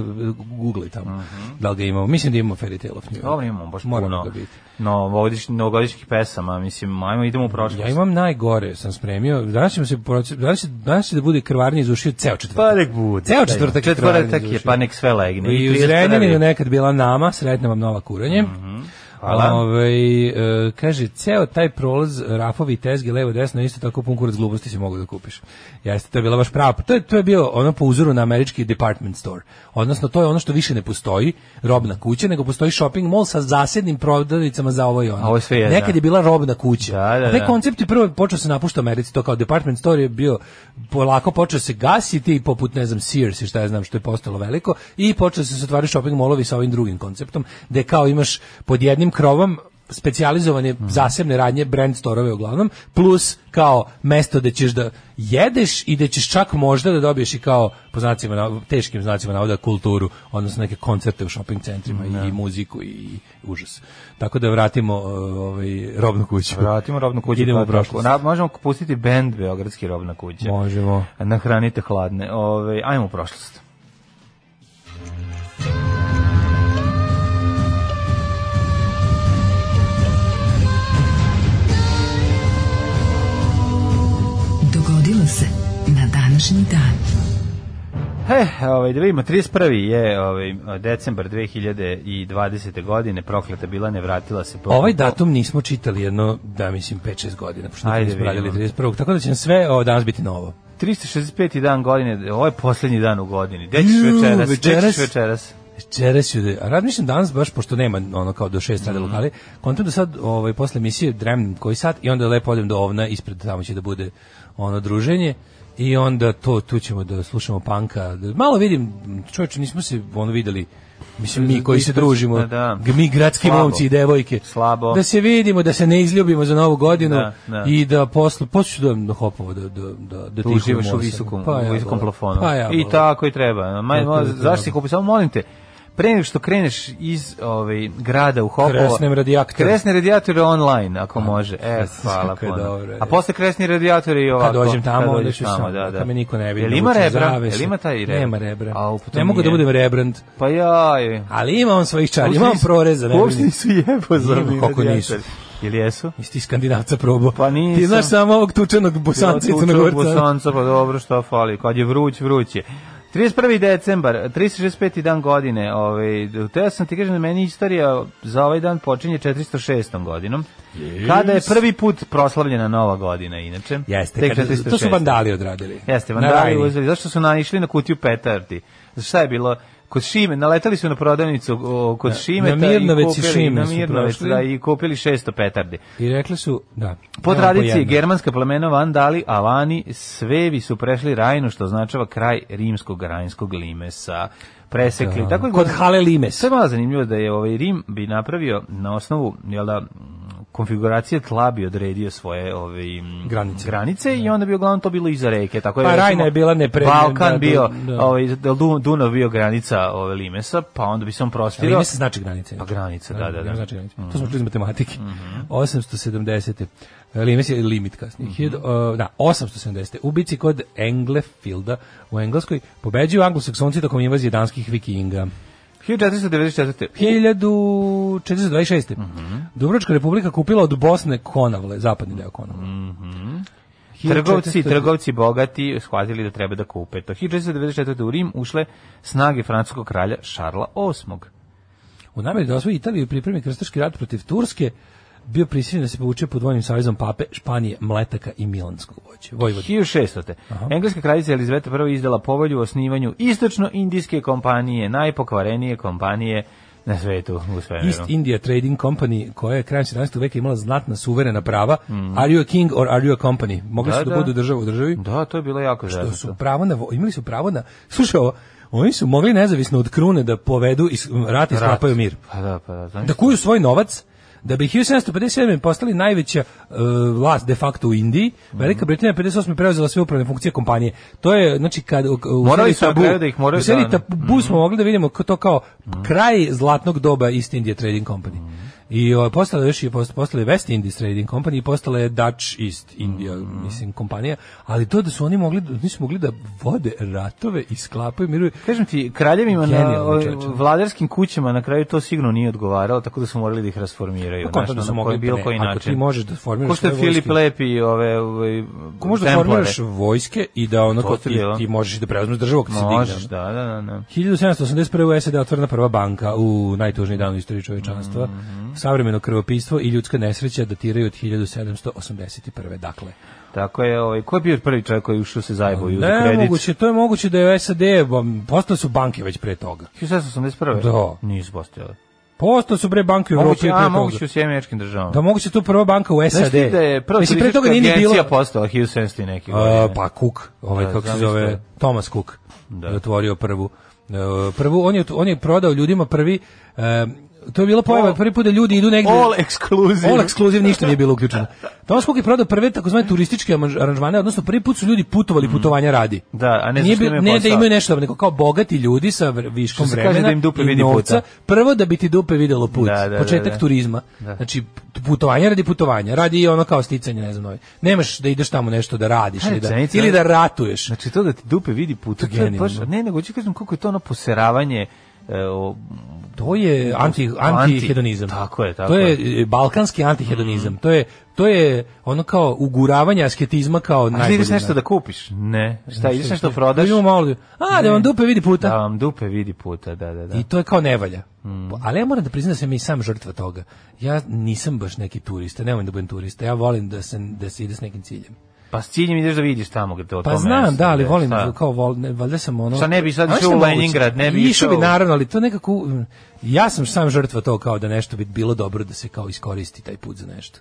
googlej tamo. Da li ga imamo? Mislim da imamo Fairy Tale of New York. Dobro, imamo baš Moramo puno ga biti. novogodišnjih, novogodišnjih pesama, mislim, ajmo idemo u prošlost. Ja imam najgore, sam spremio. Danas ćemo se proce- danas će, danas će da bude krvarnje iz ušiju ceo četvrtak. Pa nek bude. Ceo četvrtak, je krvarnje Četvrtak iz je, ušiju. pa nek sve legne. I u trideset Zrenjaninu prvi. nekad bila nama, sretna vam nova kuranje. Mhm, Hvala. Ovaj, e, kaže, ceo taj prolaz rafovi i tezge levo desno, isto tako pun kurac gluposti si mogao da kupiš. Jeste, to je bila baš prava. To je, to je bio ono po uzoru na američki department store. Odnosno, to je ono što više ne postoji, robna kuća, nego postoji shopping mall sa zasjednim prodavnicama za ovo i ono. A ovo sve je, Nekad da. je bila robna kuća. Da, da, A taj da. koncept je prvo počeo se napušta u Americi, to kao department store je bio polako počeo se gasiti poput ne znam Sears i šta ja znam što je postalo veliko i počeo se se otvaraju shopping molovi sa ovim drugim konceptom gde kao imaš pod jednim krovom specijalizovane zasebne radnje, brand storove uglavnom, plus kao mesto da ćeš da jedeš i da ćeš čak možda da dobiješ i kao po znacima, nav- teškim znacima navoda kulturu, odnosno neke koncerte u shopping centrima i muziku i užas. Tako da vratimo e, ovaj, robnu kuću. Vratimo robnu kuću. Idemo pa u prošlost. tako. Na- možemo pustiti bend Beogradski robna kuća. Možemo. Nahranite hladne. Ove, ajmo u prošlost. Dogodilo se na današnji dan. He, ovaj, da vidimo, 31. je ovaj, decembar 2020. godine, prokleta bila, ne vratila se. Po... Ovaj datum nismo čitali jedno, da mislim, 5-6 godina, pošto Ajde, Ajde, nismo radili vidimo. 31. Tako da će nam sve o, danas biti novo. 365. dan godine, ovo je poslednji dan u godini. Gde ćeš Ju, večeras? Gde ćeš večeras? večeras? Večeras ću da, a razmišljam danas baš, pošto nema ono kao do 6 Mhm. sada lokali, kontam da sad ovaj, posle emisije dremnem koji sat i onda lepo odem do ovna, ispred tamo će da bude ono druženje i onda to, tu ćemo da slušamo panka. Malo vidim, čovječe, nismo se ono videli Mislim, mi koji se Ispred- družimo, da, da. g- mi gradski Slabo. momci i devojke. Slabo. Da se vidimo, da se ne izljubimo za novu godinu Da, da. i da posle, posle ću da idem do Hopova, da, da, da, da Tu tihujem uživaš u osam. visokom, Pa ja, u visokom volim. plafonu. Pa ja, I volim. tako i treba. ono. Ma, Tako ma, i treba. zašto si kupio? Samo molim te, pre nego što kreneš iz ovaj, grada u Hopovo... Kresnem radijator. Kresni radijator je online, ako može. E, kako hvala je puno. dobro, je. A posle kresni radijator je i ovako. Kad dođem tamo, Pa Kad onda dođeš ću samo, da, da. me niko ne vidi. Jel ima vučem rebra? zavese. Jel ima taj rebra? Nema rebra. A, ne mogu da budem rebrand, Pa jaj. ali ima on svojih čari, Uopšte ima on nisu- proreza. Ne Uopšte vidim. nisu jebo za Ima, kako nisu. Jel jesu? Jesi ti skandinavca probao? Pa nisam. Ti znaš samo ovog tučenog bosanca i Tučnog crnogorca. Bosanca, pa dobro, šta fali. Kad je vruć, vruć je. 31. decembar, 365. dan godine, ovaj, teo sam ti kažem da meni istorija za ovaj dan počinje 406. godinom, kada je prvi put proslavljena nova godina, inače. Jeste, Tek kaže, 406.. to su vandali odradili. Jeste, Na vandali Rajni. uzeli. Zašto su naišli na kutiju petardi? Zašto šta je bilo? Kod Šime, naletali su na prodavnicu o, kod Šime Mirnovec i Šime na su Mirnovec, prošli. da, i kupili 600 petardi. I rekli su, da. Po evo tradiciji jedno. germanska plemena Vandali, Alani, svevi su prešli Rajnu, što označava kraj rimskog rajnskog limesa. Presekli. Tako je Kod Hale Limes. sve malo zanimljivo da je ovaj Rim bi napravio na osnovu jel da, m, konfiguracije tla bi odredio svoje ove Granice. i onda bi uglavnom to bilo iza reke tako je Pa recimo, Rajna je bila nepre- Balkan da, bio da. ovaj da Du- Dunav bio granica ove Limesa pa onda bi se on prostirao Limes znači granice. Pa granica, da, da, Mhm. da. Znači granice. To smo čuli iz matematike. 870. Limes je limit kasnije. Mhm. Hiljadu- e, da, 870. Ubici kod Englefielda u Engleskoj pobeđuju anglosaksonci tokom invazije danskih vikinga. 1494 1426. Mhm. Dubrovačka republika kupila od Bosne Konavle, zapadni deo Konavle. Mhm. Trgovci, 1400 trgovci bogati shvatili da treba da kupe to. 1494. u Rim ušle snage francuskog kralja Šarla VIII. U namjeri da osvoji Italiju i pripremi krstaški rat protiv Turske, bio prisiljen da se povuče pod vojnim savezom pape Španije, Mletaka i Milanskog vođe. Vojvode. 1600. Engleska kraljica Elizabeta I izdala povolju o osnivanju istočno-indijske kompanije, najpokvarenije kompanije na svetu u svemiru. East India Trading Company, koja je krajem 17. veka imala znatna suverena prava, are you a king or are you a company? Mogli Mhm. Da, su da, da. budu država u državi. Da, to je bilo jako To zajedno. su pravo na, vo- imali su pravo na, slušaj ovo, oni su mogli nezavisno od krune da povedu i s- rat i sklapaju mir. Pa da, pa da. znaš. da kuju svoj novac da bi 1757. postali najveća e, vlast de facto u Indiji, Velika Britanija je 58. preuzela sve upravne funkcije kompanije. To je, znači, kad u, u Morali seriji su na tabu, kraju da ih moraju u seriji da- tabu smo mogli da vidimo ko- to kao kraj zlatnog doba East India Trading Company. I o, postala je još je post- postala je West Indies Trading Company i postala je Dutch East India mislim kompanija, ali to da su oni mogli da- nisu mogli da vode ratove i sklapaju mirove. Kažem ti, kraljevima na Genijalno, ovim čoveče. vladarskim kućama na kraju to sigurno nije odgovaralo, tako da su morali da ih rasformiraju. Pa kontra znaš, da su ono, mogli, koji- bilo pa ne, koji ako način. ti možeš da formiraš Ko što je svoje Filip vojske. Lepi i ove, ove, Ako možeš da templare. formiraš vojske i da ono To ko ti ti, bilo. ti možeš i da preuzmeš državu ako ti se digne. Možeš, ono. da, da, da. da. 1781. u SED otvorena prva banka u najtužniji dan u istoriji čovečanstva. Mhm. Savremeno krvopistvo i ljudska nesreća datiraju od 1781. Dakle, Tako je, ovaj, ko je bio prvi čovjek koji je ušao se zajebao i uzeo ne, kredit? moguće, to je moguće da je u SAD, bom, postale su banke već pre toga. 1781. Da. Nisu postojale. Postale su bre banke u Evropi Moguće, pre a, toga. moguće u Sjemeničkim državama. Da moguće tu prva banka u SAD. Znaš ti da je prva Mislim, pre toga nije turistička ni bilo. agencija postala 1700 i neke godine. A, pa Cook, ovaj Da, kako se zamisli. zove, Thomas Cook. Da. Da. Je otvorio prvu. E, prvu on je on je prodao ljudima prvi e, to je bilo pojava All- prvi put da ljudi idu negde All exclusive. All exclusive, ništa nije bilo uključeno. Thomas Cook je prodao prve takozvane turističke aranž- aranžmane, odnosno prvi put su ljudi putovali putovanja radi. Mm. Da, a ne Nije zato što bil- imaju ne da posao. imaju nešto, nego kao bogati ljudi sa vr- viškom Što se kaže vremena da im dupe i vidi novca. puta. Prvo da bi ti dupe videlo put, Da, da, da, početak da. turizma. Znači putovanje radi putovanja, radi i ono kao sticanje, ne znam, novi. nemaš da ideš tamo nešto da radiš Kaj, ili da, rečenica? ili da ratuješ. Znači to da ti dupe vidi put, to je baš, genijalno. ne, nego ću kažem koliko je to ono poseravanje e, o, To je anti Anti. antihedonizam. Tako je, Mm. tako To je e, balkanski antihedonizam. To je to je ono kao uguravanje asketizma kao A ti ideš najbolji nešto način. da kupiš? Ne. Šta, ideš nešto da prodaš? Idemo malo. A, da vam dupe vidi puta. Da Mm. vam dupe vidi puta, da, da, da. I to je kao nevalja. Ali ja moram da priznam da sam i sam žrtva toga. Ja nisam baš neki turista, ne volim da budem turista. Ja volim da se da se ide s nekim ciljem. Pa s ciljem ideš da vidiš tamo gde to Pa to znam, mesto, da, ali gde, volim šta? kao vol, ne, valjda sam ono. Šta ne bi sad Znaš išao šta u moguće? Leningrad, ne bi išao bi išao- naravno, ali to nekako mm, ja sam sam žrtva to kao da nešto bi bilo dobro da se kao iskoristi taj put za nešto.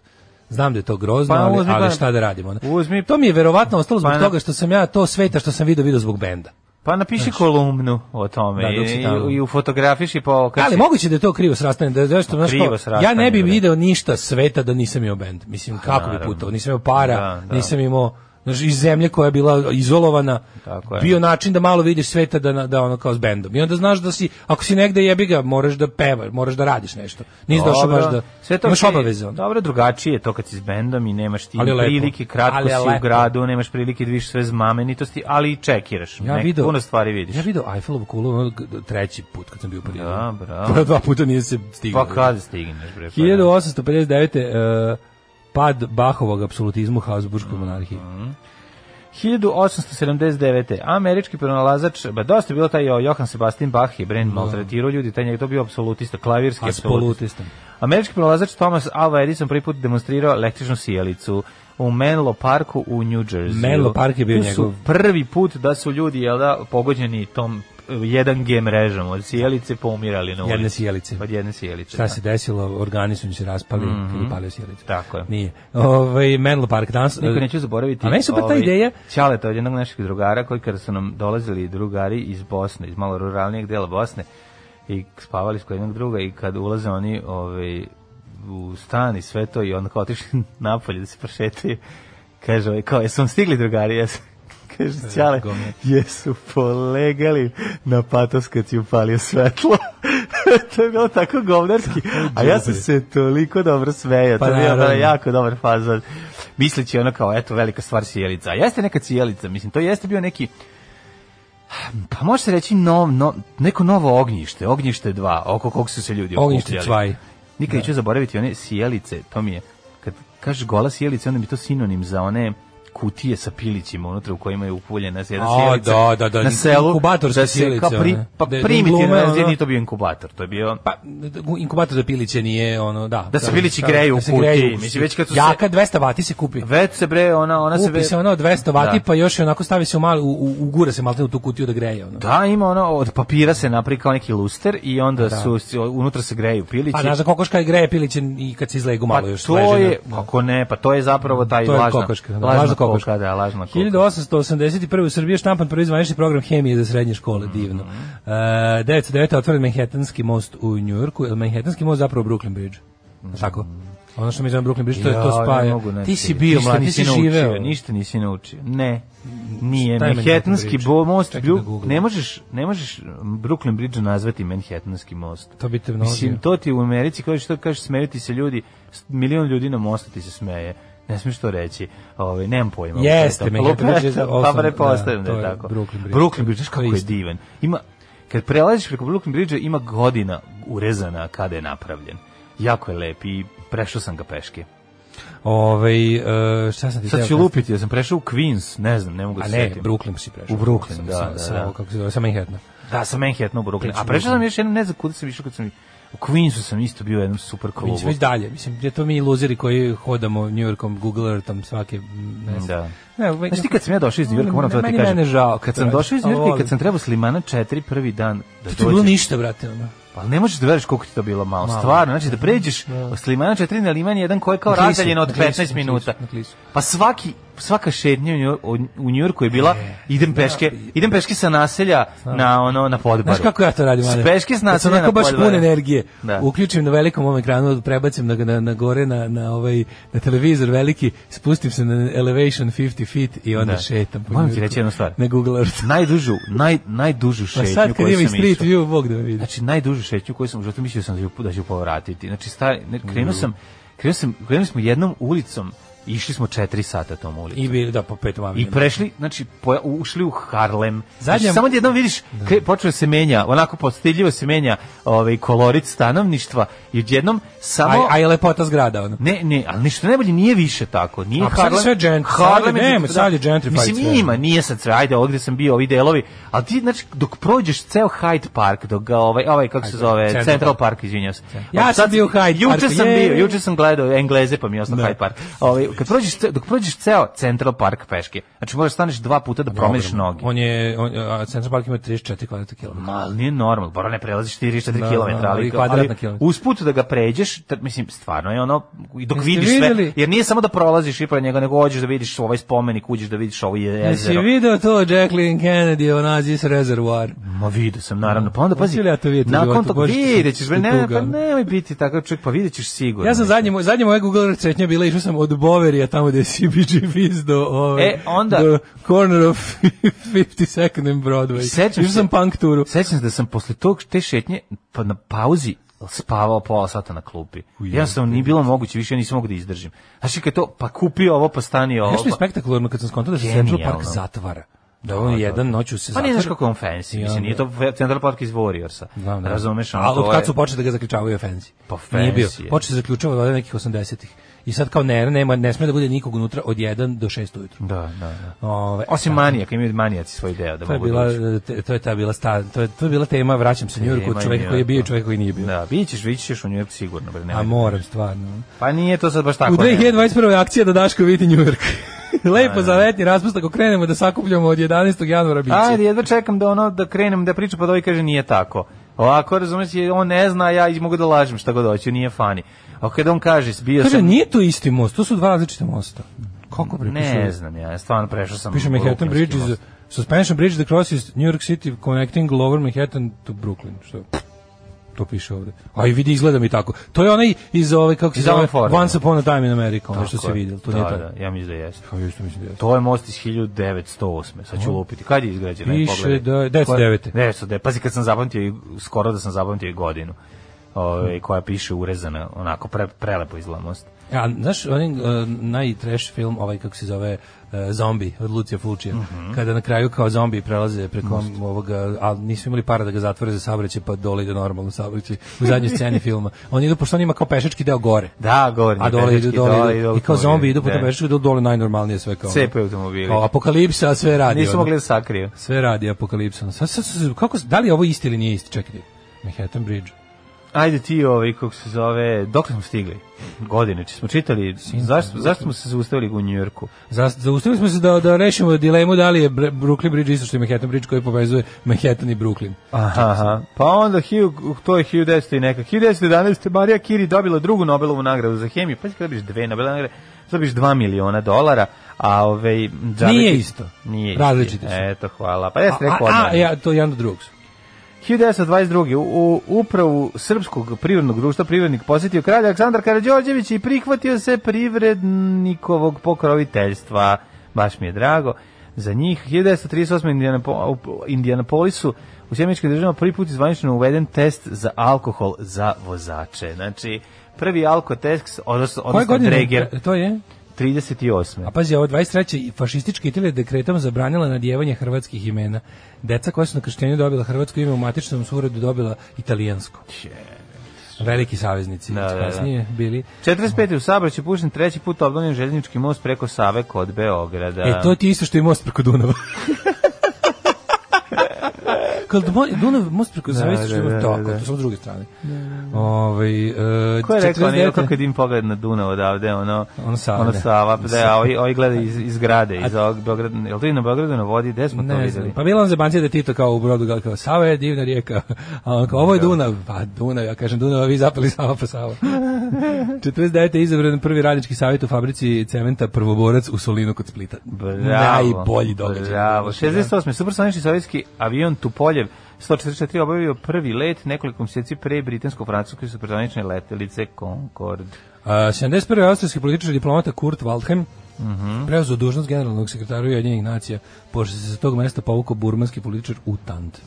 Znam da je to grozno, Pa ali, uzmi ali pa- šta da radimo. ono. uzmi- to mi je verovatno ostalo zbog Pa na- toga što sam ja to sveta što sam video video zbog benda. Pa napiši kolumnu o tome Da, dok si tamo. i, pa i, i fotografiš i po... Ali moguće da je to krivo srastanje, da da što znaš Krivo kao, ja srastanje, ne bi bre. video ništa sveta da nisam imao bend. Mislim kako bi naravno. putovao, nisam imao para, Da, da. nisam imao znaš, iz zemlje koja je bila izolovana. Tako je. Bio način da malo vidiš sveta da na- da ono kao s bendom. I onda znaš da si ako si negde jebi ga, moraš da pevaš, moraš da radiš nešto. Nisi došao baš da imaš ti- obaveze. ono. Dobro, drugačije je to kad si s bendom i nemaš ti Ali je lepo. prilike, kratko Ali je si u lepo. gradu, nemaš prilike da vidiš sve znamenitosti, ali i čekiraš. Ja Nek- video, Puno stvari vidiš. Ja video Eiffelovu kulu ono, g- treći put kad sam bio u Parizu. Da, bravo. Prva dva puta nije se stigao. Pa kada stigneš, bre? pa da. 1859. Uh, pad Bahovog apsolutizmu Habsburgskoj monarhiji. 1879. Američki pronalazač, ba dosta je bilo taj o, Johann Sebastian Bach je brain maltretirao ljudi, taj njega to bio apsolutista, Pa klavirski Apsolutista. apsolutista. Američki pronalazač Thomas Alva Edison prvi put demonstrirao električnu sjelicu u Menlo Parku u New Jersey. Menlo Park je bio Tu su njegov- prvi put da su ljudi jel da, pogođeni tom e, 1G mrežom od sjelice poumirali na ulici. Jedne sjelice. Od jedne sjelice. Šta Pa da. Mhm. se desilo, organi su im se raspali kad je palio sjelicu. Tako je. Nije. Ovaj Menlo Park danas... Niko neću zaboraviti. A meni je super ta ovaj, ideja. Ćaleta od jednog naših drugara koji kada su nam dolazili drugari iz Bosne, iz malo ruralnijeg dela Bosne i spavali s kod jednog druga i kad ulaze oni ovaj, u stan i sve to i onda kao otišli napolje da se prošetaju. Kaže, ovaj, kao, jesu vam stigli drugari? Jesu. Kaže, Ćale, E, gomila. jesu polegali na patos kad si upalio svetlo. to je bilo tako govnarski. A ja sam se toliko dobro smejao. Pa to je bio naravno. ja jako dobar fazon. Misleći ono kao, eto, velika stvar sjelica. A jeste neka sjelica, mislim, to jeste bio neki pa može se reći nov, no, neko novo ognjište, ognjište 2, oko kog su se ljudi Ognjište okupljali. cvaj. Nikad neću zaboraviti one sjelice, to mi je, kad kažeš gola sjelica, onda mi je to sinonim za one kutije sa pilićima unutra u kojima je upuljena jedna A, sjelica da, da, da, na selu. inkubatorske da se sjelice, Kao pri, one. pa Da- da primitivno, glume, da, ono. nije to bio inkubator, to je bio... Pa, inkubator za piliće nije ono, da. Da se pilići greju u se kutiji, greju u mislim, već kad su se- Jaka 200 vati se kupi. Već se bre, ona, ona se... Kupi ve- se ono od 200 vati, Da. pa još je onako stavi se u malu, u, u- ugura se malte u tu kutiju da greje. Ono. Da, ima ono, od papira se napravi kao neki luster i onda su, unutra se greju pilići. Pa znaš da kokoška greje piliće i kad se izlegu malo Pa još to leži na- je, kako ne, pa to je zapravo taj To je lažna, kokoška, da, lažna, lažna kokoška. kokoška. da, lažna kokoška. 1881. u Srbiji je štampan prvi zvanični program hemije za srednje škole, Mhm. divno. Uh, 909. je otvoren Manhattanski most u Njujorku, je li Manhattanski most zapravo Brooklyn Bridge? Tako? Ono što mi zovem Brooklyn Bridge, to je Mhm. Ja, to ne spaja. mogu, znači, Ti si bio ništa mlad, ti nisi si naučio, živeo. Ništa nisi naučio. Ne. Nije Šta je Manhattanski Manhattan bo- Bridge? most, Čekaj da Bru- googlam. ne možeš, ne možeš Brooklyn Bridge nazvati Manhattanski most. To bi te množio. Mislim, to ti u Americi, kao što kažeš, smeju ti se ljudi, s- milion ljudi na mostu ti se smeje. Ne smiješ to reći. Ovaj nemam pojma. Jeste, Lupetam, Manhattan Bridge je znači lupetam, osam- Pa prepostavljam da, da, je to je tako. Brooklyn Bridge. Brooklyn Bridge, znaš To je kako je isto. divan. Ima, kad prelaziš preko Brooklyn Bridge ima godina urezana kada je napravljen. Jako je lep i prešao sam ga peške. Ovaj, e, šta sam ti Sad teo ću kažem? lupiti, ja sam prešao u Queens, ne znam, ne mogu da A se ne, setim. Brooklyn si prešao. U Brooklyn, Sa- da, sa- da, sa- da. ovo, kako se zove, sa Manhattana. Da, sa Manhattana u Brooklyn. Pričam A prešao sam Brooklyn. još jednom, ne znam kuda sam išao, kad sam... U Queensu sam isto bio u jednom super klubu. Mislim, već dalje, mislim, je to mi iluziri koji hodamo New Yorkom, Google Earthom svake, mm, ne znam. Da. Ne, ovaj- Znaš ti kad sam ja došao iz Njujorka, moram to da ti Meni- kažem. mene žao Kad kad sam radiš, došao iz ali Njujorka i volim. kad sam trebao s Limana 4 prvi dan da To je bilo dođem. ništa, brate, ono. Pa ne možeš da veriš koliko ti to bilo malo. Stvarno, znači da pređeš s Limana 4 na Liman 1 koji je kao Na klisu, razdaljeno od na klisu, 15 na klisu, minuta. na klisu. Pa svaki svaka šetnja u Njujor- u- u Njujorku je bila E, idem peške, idem peške sa naselja na ono na podbaru. Znaš kako ja to radim, S Ana? Peške s Kad sam naselja na onako baš podbaru. pun energije. Da. Uključim na velikom ovom ekranu, prebacim na, na, na gore, na, na, ovaj, na televizor veliki, spustim se na elevation 50 feet i onda Da. šetam. po Moram ti Njujorku. reći jednu stvar. Na Google Earth. Najdužu, naj, najdužu šetnju Pa koju sam sad kad ima i street išao. view, Bog da me vidi. Znači najdužu šetnju koju sam u životu mislio sam da ću, da ću povratiti. Znači sta, ne, Mhm. krenuo sam, krenuo sam, krenuli smo jednom ulicom, išli smo 4 sata tom ulicom. I bi, da, po petom I avenijom. prešli, znači poja- ušli u Harlem. Zadnja- Znači, samo jednom vidiš, kre, počeo se menja, onako postiljivo se menja ovaj kolorit stanovništva i odjednom samo Aj, aj lepota zgrada, ono. Ne, ne, ali ništa najbolje nije više tako. Nije A pa sad je sve gent- sad je- nema, sad je gentrified Mislim, sve. ima, nije sad sve, ajde, ovdje sam bio, ovi delovi, ali ti, znači, dok prođeš ceo Hyde Park, dok ga, ovaj, ovaj, kako se Hyde zove, Park, Central, Central Park, izvinjam se. Ja Ali sam sad- bio u Hyde juče Parku, Sam jej. bio, juče sam gledao Engleze, pa mi je ostao Hyde Park. Ovaj, kad prođeš, ce- dok prođeš ceo Central Park peške, znači, možeš staneš dva puta da promeniš noge. On je, on, a Central Park ima 34 kvadratna kilometra. Ma, ali nije normalno, bar ne prelaziš 4 Da, 4 km, da, ali, ali kao- ali, kvadratna kilometra. usput da ga pređeš, t- mislim, stvarno je ono, i dok Jeste vidiš sve, vidjeli? jer nije samo da prolaziš i pored njega, nego hođeš da vidiš ovaj spomenik, uđeš da vidiš ovo Jesi jezero. video to Jacqueline Kennedy, ona Aziz Reservoir? Ma vidio sam, naravno, pa onda pazi, Hoću li ja to vidjeti u nakon životu? toga Bože, što- vidjet ćeš, što bre, ne, tuga, pa ono. nemoj biti takav čovjek, pa vidjet ćeš sigurno. Ja sam zadnje, moj- zadnje moje Google Earth sretnje bila, išao sam od Boverija, tamo gde je CBG Fizz do, ove, E, onda- do corner of 52nd and Broadway. Sećam Išao sam se- punk turu. Sećam se da sam posle tog te šetnje pa na pauzi spavao pola sata na klupi. Ja sam nije bilo moguće, više ja nisam mogu da izdržim. Znači kad to, pa kupi ovo, pa stani ovo. Znaš što je pa- spektakularno kad sam skontao da se Central Park Genijalno. zatvara? Da on jedan noću se Pa zatvara. ne znaš kako je on fancy, mislim, nije to Central Park iz Warriorsa. Znam, da. Razumeš, ono, A to od kad je- su počeli da ga zakričavaju ofenzi? Pa Nije bio. fancy je. Počeli se zaključava od nekih 80-ih. I sad kao ne, nema, ne sme da bude nikog unutra od 1 do 6 ujutru. Da, da, da. Ove, Osim manijaca, imaju manijaci svoj deo da To je mogu bila doći. te- to je ta bila sta, to je to je bila tema vraćam se Nema Njujorku, čovjek koji je bio, Njujorka. i čovjek koji nije bio. Da, vidit ćeš, vidit ćeš u New York sigurno. Bre, nema. A moram stvarno. Pa nije to sad baš tako. U ne. 2021. je akcija da Daško vidi Njujork. Lepo za letnji raspust ako krenemo da sakupljamo od 11. januara biće. Ajde, jedva čekam da ono, da krenem da pričam, pa da ovaj kaže nije tako. Ovako, razumeš, je, on ne zna, ja i mogu da lažem šta god hoću, nije fani. A kada on kaže, bio Kaže, sam... nije to isti most, to su dva različita mosta. Kako prepisuju? Ne znam ja, stvarno prešao sam... Piše Manhattan Brooklynski Bridge is most. suspension bridge that crosses New York City connecting Lower Manhattan to Brooklyn. Što? To piše ovde. A i vidi izgleda mi tako. To je onaj iz ove kako se Iz zove Alan Forda. Once Upon a Time in America, ono što Tako se je. videlo. To da, nije to. da, ja mislim da jeste. Pa još to mislim da je. To je most iz 1908. Sad ću lupiti. Kad je izgrađen? Ajde, Piše pogledaj. da je 909.. 909. Pazi, kad sam zapamtio, i- skoro da sam zapamtio i godinu. Hm. Ove, koja piše urezana, onako pre, prelepo izgleda most. E, A znaš, onaj uh, najtrash film, ovaj kako se zove uh, Zombi od Lucija Fulčija, Mhm. kada na kraju kao zombi prelaze preko ovoga, ali nisu imali para da ga zatvore za saobraćaj, pa dole ide normalno saobraćaj u zadnjoj sceni filma. On idu, pošto on ima kao pešački deo gore. Da, govorim. A dole idu, dole idu. I kao zombi idu po Da. tebe, što dole, dole najnormalnije sve kao. ono. Cepe automobili. Kao apokalipsa, a sve radi. Nisu ono. mogli da sakriju. Sve radi apokalipsa. ono. Sad, sad, su se- kako, da li je ovo isti ili nije isti? Čekajte. Manhattan Bridge. Ajde ti ovaj, kako se zove, dok smo stigli? Godine, či smo čitali, zašto, zašto smo se zaustavili u Njujorku? Za- Zaustavili smo se da, da rešimo dilemu da li je Bre- Brooklyn Bridge isto što je Manhattan Bridge koji povezuje Manhattan i Brooklyn. Aha, aha. Pa onda, Hugh, to je 1900 i neka. 1911. Marija Kiri dobila drugu Nobelovu nagradu za hemiju. Pa kada biš dve Nobelove nagrade, dobiš 2 miliona dolara, a ovaj... Džabeti- Nije isto. Nije Različiti su. Eto, hvala. Pa ja sam A, rekao a, odmah. ja, to je jedan do drugog su. 1922. U upravu Srpskog privrednog društva privrednik posjetio kralj Aleksandar Karađorđević i prihvatio se privrednikovog pokroviteljstva. Baš mi je drago. Za njih 1938. Indianapo- u Indianapolisu u Sjemičkoj državama prvi put izvanično uveden test za alkohol za vozače. Znači, prvi alkotest, odnosno, Koje odnosno godine? Dreger, To je? 38. A pa- pazi, ovo 23. i fašistička Italija je dekretom zabranila nadjevanje hrvatskih imena. Deca koja su na krštenju dobila hrvatsko ime u matičnom surodu dobila italijansko. Veliki saveznici Da, da, da. kasnije bili. 45. u Sabraću pušten treći put obdonjen željeznički most preko Save kod Beograda. E, to ti je isto što i most preko Dunava. Kad Dumo- Dunav most preko da, da, da, da, tako, da, da. to samo s druge strane. Ovaj e, Ko je rekao ono 49. kako kad im pogled na Dunav odavde, ono, Ono Sava, ono da. Sava, pa da, a ovi, ovi gleda iz, iz grade, iz ovog Beograda, jel to i na Beogradu na vodi, gde smo to Ne znam. videli? Pa bila vam zebancija da je Tito kao u brodu, gal- kao Sava je divna rijeka, a on kao ovo je Dunav, pa Dunav, ja kažem Dunav, a vi zapali Sava pa Sava. 49. je izabran prvi radnički savjet u fabrici cementa Prvoborac u Solinu kod Splita. pa Najbolji događaj. Znači, Bravo. 68. Supersonični sovjetski avion Tupoljev 144 obavio prvi let nekoliko mjeseci pre britansko-francuske supersonične letelice Concorde. A, 71. austrijski političar i diplomata Kurt Waldheim preuzeo dužnost generalnog sekretara Ujedinjenih nacija, pošto se sa tog mesta povukao burmanski političar u Tant.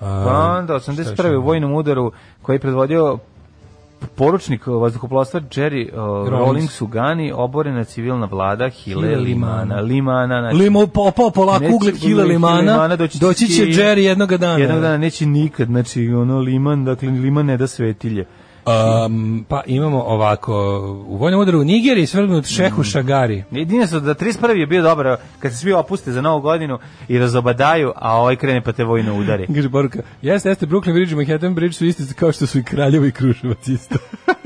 Pa onda 81. u vojnom udaru koji je predvodio poručnik vazduhoplovstva Jerry uh, Rawlings. Rawlings u Gani, oborena civilna vlada Hile Hile Limana. Limana. Limana, znači, Limo popao neće- polako ugled Hila Limana, doći doći će ti- Jerry jednoga dana. Jednog dana neće nikad, znači ono Liman, dakle Liman ne da svetilje. Um, pa imamo ovako, u vojnom udaru u Nigeriji svrgnut Šehu Šagari. Jedine su da 31. je bio dobro kad se svi opuste za novu godinu i razobadaju, a ovaj krene pa te vojno udari. Kaže poruka, jeste, jeste, Brooklyn Bridge i Manhattan Bridge su isti kao što su i Kraljevo i Kruševac isto.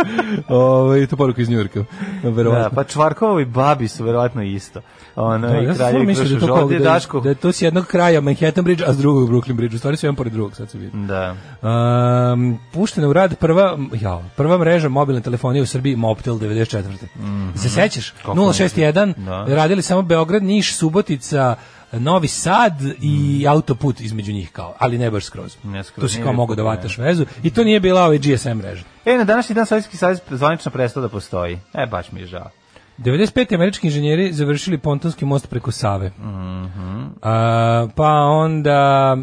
Ove, to poruka iz Njurka, verovatno. Da, pa Čvarkovovi babi su verovatno isto. Ono, Da, i ja sam kraljevi stvarno mislio da je Kruševac. to kao Ovdje da, je je- Daško. da je to s jednog kraja Manhattan Bridge, a s drugog Brooklyn Bridge. U stvari su jedan pored drugog, sad se vidi. Da. Um, puštena u rad prva, jao, prva mreža mobilne telefonije u Srbiji, Mobtel 94. Se sećaš? Kako 061, Mhm. Da. radili samo Beograd, Niš, Subotica, Novi Sad i autoput između njih kao, ali ne baš skroz. Mhm. Ne skroz, tu si nije kao bio mogao da problem. vataš vezu i to nije bila ovaj GSM mreža. E, na današnji dan Sovjetski savez zvanično prestao da postoji. E, baš mi je žao. 95. američki inženjeri završili pontonski most preko Save. A, pa onda,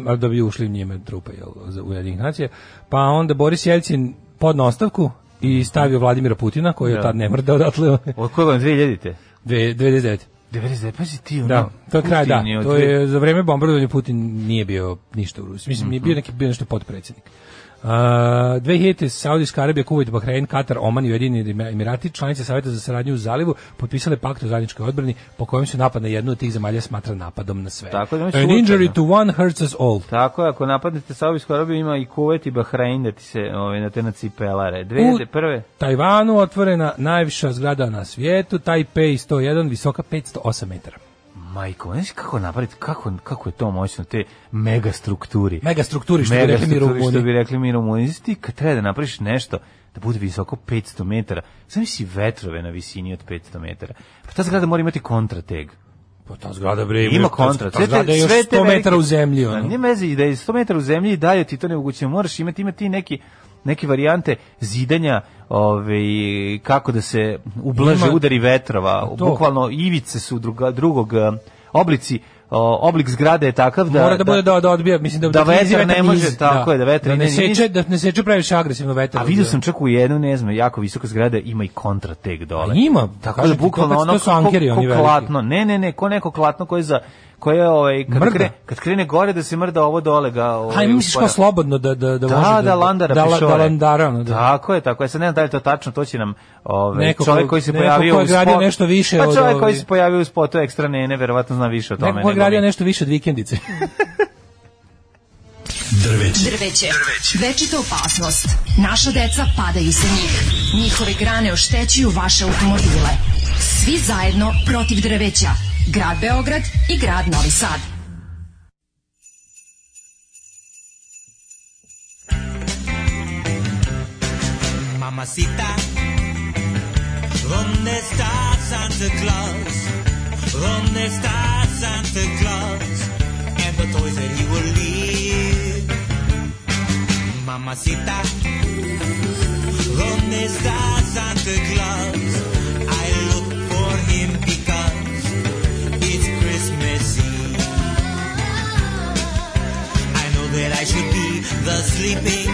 a da bi ušli njime trupe jel, za Ujedinih nacija, pa onda Boris Jelcin podno ostavku i stavio Vladimira Putina, koji je tad ne mrda odatle, Od koje godine 2000-te? dve- 99. 99, pa si ti ono... Da, to je kraj, da. Putin od To dve- je za vreme bombardovanja Putin nije bio ništa u Rusiji. Mislim, Mhm. je bio neki bio nešto potpredsjednik. Uh, 2000. Saudijska Arabija, Kuvajt, Bahrein, Katar, Oman i Ujedinjeni Emirati, članice Saveta za saradnju u zalivu, potpisale pakt o zajedničkoj odbrani po kojem se napad na jednu od tih zemalja smatra napadom na sve. Tako da imaš An slučajno. injury to one hurts us all. Tako je, ako napadnete Saudijsku Arabiju, ima i Kuvet i Bahrein da ti se ove, na te na cipelare. 2001. Tajvanu otvorena najviša zgrada na svijetu, Taipei 101, visoka 508 metara. Majko, znaš kako napraviti, kako, kako je to moćno, te mega strukturi. Megastrukturi, što bi Mega rekli mi strukturi, Rumuni. Što bi rekli mi Rumuni. Znaš ti kad treba da napraviš nešto da bude visoko 500 metara, sam si vetrove na visini od 500 metara. Pa ta zgrada mora imati kontrateg. Pa ta zgrada bre, Ima ta- kontra. Ta zgrada je još sve te 100 velike- metara u zemlji. Ma, Ono. Nema veze i da je 100 metara u zemlji i dalje ti to ne moguće. Moraš imati, imati i neki neke varijante zidanja ove, i kako da se ublaže Ima- udari vetrova. To. Bukvalno ivice su druga, drugog eh, oblici o, oblik zgrade je takav da mora da, bude da da odbija mislim da da klizi vetar ne može, tako je, da vetar ne ide niz. seče da ne seče previše agresivno vetar A odbija. vidio sam čak u jednu, ne znam, jako visoka zgrada ima i kontrateg dole. A ima, tako da kažem ti, bukvalno to opet ono to su ankeri, oni veliki. klatno. Ne, ne, ne, ko neko klatno koje za koje ovaj kad Mrda. krene, kad krene gore da se mrda ovo dole ga ovaj. Aj, misliš kao uspara. slobodno da da da Da, može da, landara da, la- pišore. da landara ono, da. Tako je, tako je. Sad ne znam da li je to tačno, to će nam ovaj, Neko ko- čovjek koji se neko pojavio ko je u gradio spot- nešto više pa od čovjek koji ovih. se pojavio u spotu ekstra nene, verovatno zna više o tome. Neko ko je nego gradio mi. nešto više od vikendice. Drveće. Večita opasnost. Naša deca padaju sa njih. Njihove grane oštećuju vaše automobile. Svi zajedno protiv drveća. Grad Beograd i grad Novi Sad. Mamacita, ¿dónde está Santa Claus? ¿Dónde está Santa Claus? And the toys that he will leave. mamacita. ¿Dónde está Santa Claus? I look for him because it's Christmas Eve. I know that I should be the sleeping,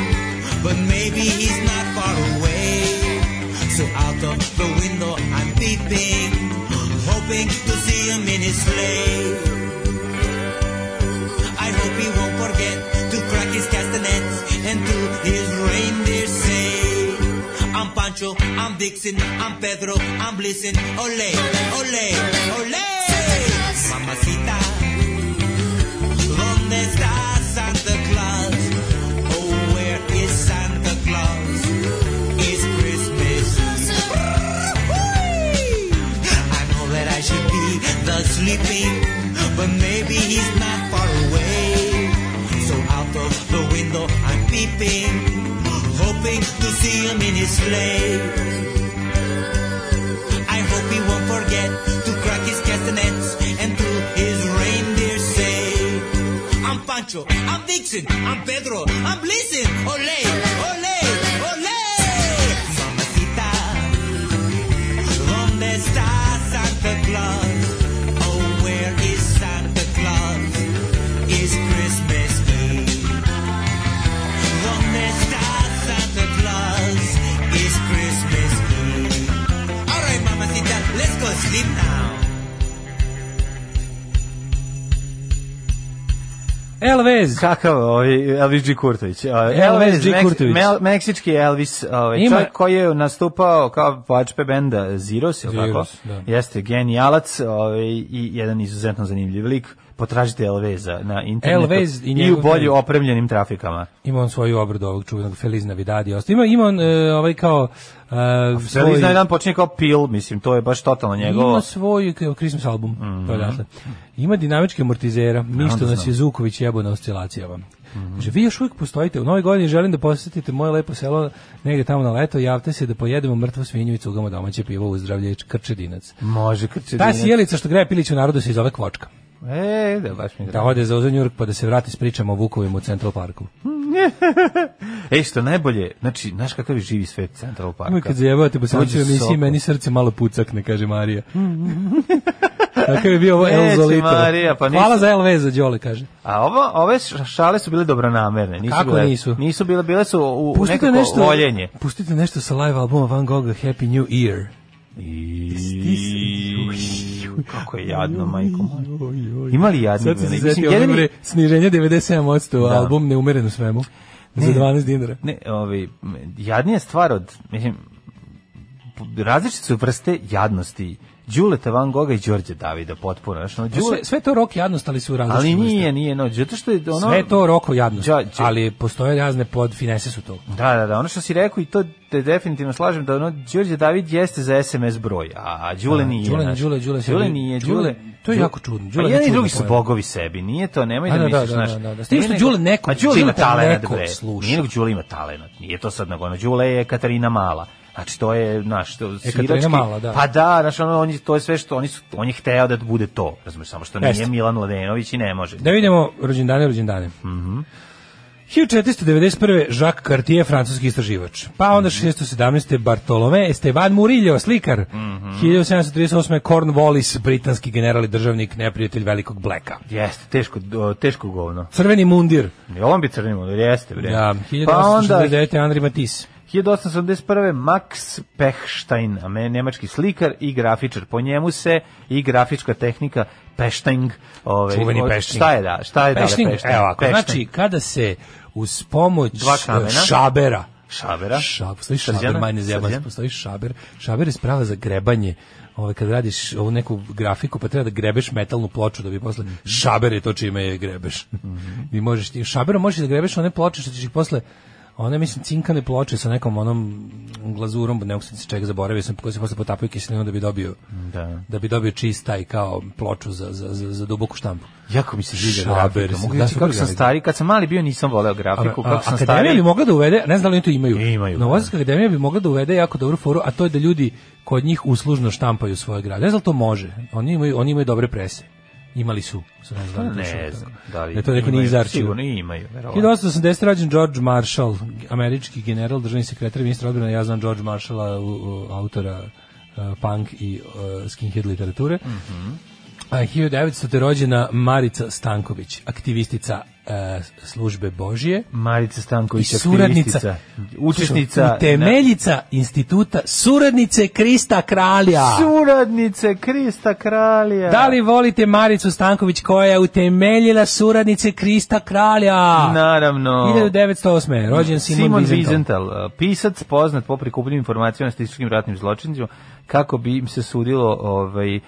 but maybe he's not far away. So out of the window I'm peeping, hoping to see him in his sleigh. I hope he won't forget to crack his castanets and to his reindeer say, I'm Pancho, I'm Dixon, I'm Pedro, I'm Blissin, ole, ole, ole. Mamacita, ¿dónde está Santa Claus? Oh, where is Santa Claus? It's Christmas I know that I should be the sleeping, but maybe he's not far away. So out of the window I'm peeping, hoping to see him in his sleigh. I hope he won't forget to crack his castanets and to his reindeer say, I'm Pancho, I'm Dixon, I'm Pedro, I'm Blitzen, ole, ole, ole, mamacita. ¿Dónde está Santa Claus? Oh, where is Santa Claus? It's Christmas Eve. ¿Dónde está Santa Claus? It's Christmas Eve. All right, mamacita, let's go sleep now. Elvez! Kakav ovaj Elvis G. Kurtović. Ovaj, Elvis G. Meks- Kurtović. Mel- meksički Elvis, ovaj, Ima- čovjek koji je nastupao kao pačpe benda Ziros, ili tako? Zeros, da. Jeste genijalac ovaj, i jedan izuzetno zanimljiv lik. Potražite Elveza na internetu Elvez i i u njegov bolje band. opremljenim trafikama. Ima on svoju obradu ovog čuvenog Feliz Navidad i ostalo. Ima, ima on e, ovaj kao... E, svoj- Elvis na jedan počinje kao pil, mislim, to je baš totalno njegovo. Mhm. Ima svoj k- Christmas album, to je odatle. Ima dinamičke amortizera, ništa nas je Zuković jebo na oscilacijama. Mhm. Kaže, vi još uvijek postojite, u novoj godini želim da posjetite moje lepo selo negde tamo na leto, javte se da pojedemo mrtvo svinju i cugamo domaće pivo uzdravlje i krčedinac. Može krče. Ta sjelica što greje pilić u narodu se zove kvočka. E, da baš mi je Da drago. ode za uzan Jurk pa da se vrati s pričama o Vukovima u Central Parku. Ej, E, što najbolje, znači, znaš kakav je živi svet Central Parka? Uvijek kad zajebavate bosanci u Dođe emisiji, Sokol. meni srce malo pucakne, kaže Marija. Tako je bio ovo Neće, El Zolito. Marija, pa nisu- Hvala za LV za Đole, kaže. A ovo, ove š- šale su bile dobronamerne. Nisu Kako bile, nisu? Nisu bile, bile su u u Pustite nekako nešto, voljenje. Pustite nešto sa live albuma Van Gogha Happy New Year. I... Kako je jadno, majko moja. Ima li jadni Sad sam se bili? Hm, Mislim, zetio jedan ono je- bre, sniženje 97%, Da. album neumeren u svemu. Ne. Za 12 dinara. Ne, ovaj, jadnija stvar od, mislim, p- različite su vrste jadnosti. Đuleta Van Goga i Đorđe Davida potpuno. Znači, ono, Đule, Sve, sve to rok jadnost, ali su različite. ali vrste. nije, nije, no, zato što je ono... Sve je to roko jadnost, Đa- Đa- ali postoje razne pod finese su to. Da, da, da, ono što si rekao i to te definitivno slažem da ono Đorđe David jeste za SMS broj, a Đule Da, nije. Đule ne, znaš. Đule, Đule se- Đule nije, Đule- Đule. to je Đu- jako čudno, Đule Pa je jedan i čudno drugi su pojam. bogovi sebi, nije to, nemoj da, A, da, da, misliš, da, znaš. da, da. S tim što Nije nego- Đule neko- Ma Đule ima Đule te talenat, neko bre. sluša. Nije nego Đule ima talenat, nije to sad nego ono, Đule je Katarina Mala. Znači to je naš to E, Katarina svirački- Mala, da. Pa da, znači ono on je- to je sve što oni su on je hteo da bude to, razumeš, samo što nije Jeste. Milan Mladenović i ne može. Da vidimo rođendane, rođendane. Mhm. 1491. Jacques Cartier, francuski istraživač. Pa onda Mhm. 617. Bartolome Esteban Murillo, slikar. Mhm. 1738. Cornwallis, britanski general i državnik, neprijatelj velikog bleka. Jeste, teško, teško govno. Crveni mundir. I on bi crni mundur, jeste bre. Da, pa onda 1869. Andri Matisse. 1881. Max Pechstein, ame- nemački slikar i grafičar. Po njemu se i grafička tehnika Pechting, ovaj Čuveni od- Pechting. Šta je da? Šta je E, da? Pešting, Pechting? evo ovako, Pechting. znači kada se uz pomoć Dva kamena. eh, šabera šabera. Šab, postoji Srđana? šaber, manje Srđan? zeban, postoji šaber. Šaber je sprava za grebanje. Ovaj kad radiš ovu neku grafiku, pa treba da grebeš metalnu ploču da bi posle Mhm. šaber je to čime je grebeš. I možeš ti šaberom možeš da grebeš one ploče što ćeš ih posle one mislim cinkane ploče sa nekom onom glazurom, ne mogu se sjetiti čega zaboravio sam, koji se posle potapaju kiselinom da bi dobio Da. da bi dobio čist taj kao ploču za, za, za, za duboku štampu. Jako mi se žiga Šaber, grafika. Mogu da, reći super kako sam grafika. stari, kad sam mali bio nisam voleo grafiku, A- a- kako sam akademija stari. bi mogla da uvede, ne znam da li oni to imaju. Imaju, Novosadska akademija bi mogla da uvede jako dobru foru, a to je da ljudi kod njih uslužno štampaju svoje grade. Ne znam da li to može. Oni imaju, oni imaju dobre prese. Imali su, su ne znam, da li je to Pa Ne šutano. znam, da li Da to neko imaju, nije iz arhiva. Sigurno imaju, verovatno. 1880. rađen George Marshall, američki general, državni sekretar i ministar odbrane. Ja znam George Marshalla, u- u- autora uh, punk i uh, skinhead literature. Mm Mhm. A 1900. je rođena Marica Stanković, aktivistica uh, službe Božije. Marica I Stanković, suradnica, aktivistica, učesnica, temeljica instituta suradnice Krista Kralja. na- suradnice Krista Kralja. Da li volite Maricu Stanković koja je utemeljila suradnice Krista Kralja? Naravno. 1908. Rođen Simon, Simon Wiesenthal. Wiesenthal, e, pisac poznat po prikupljanju informacija o statističkim ratnim zločincima, kako bi im se sudilo ovaj uh,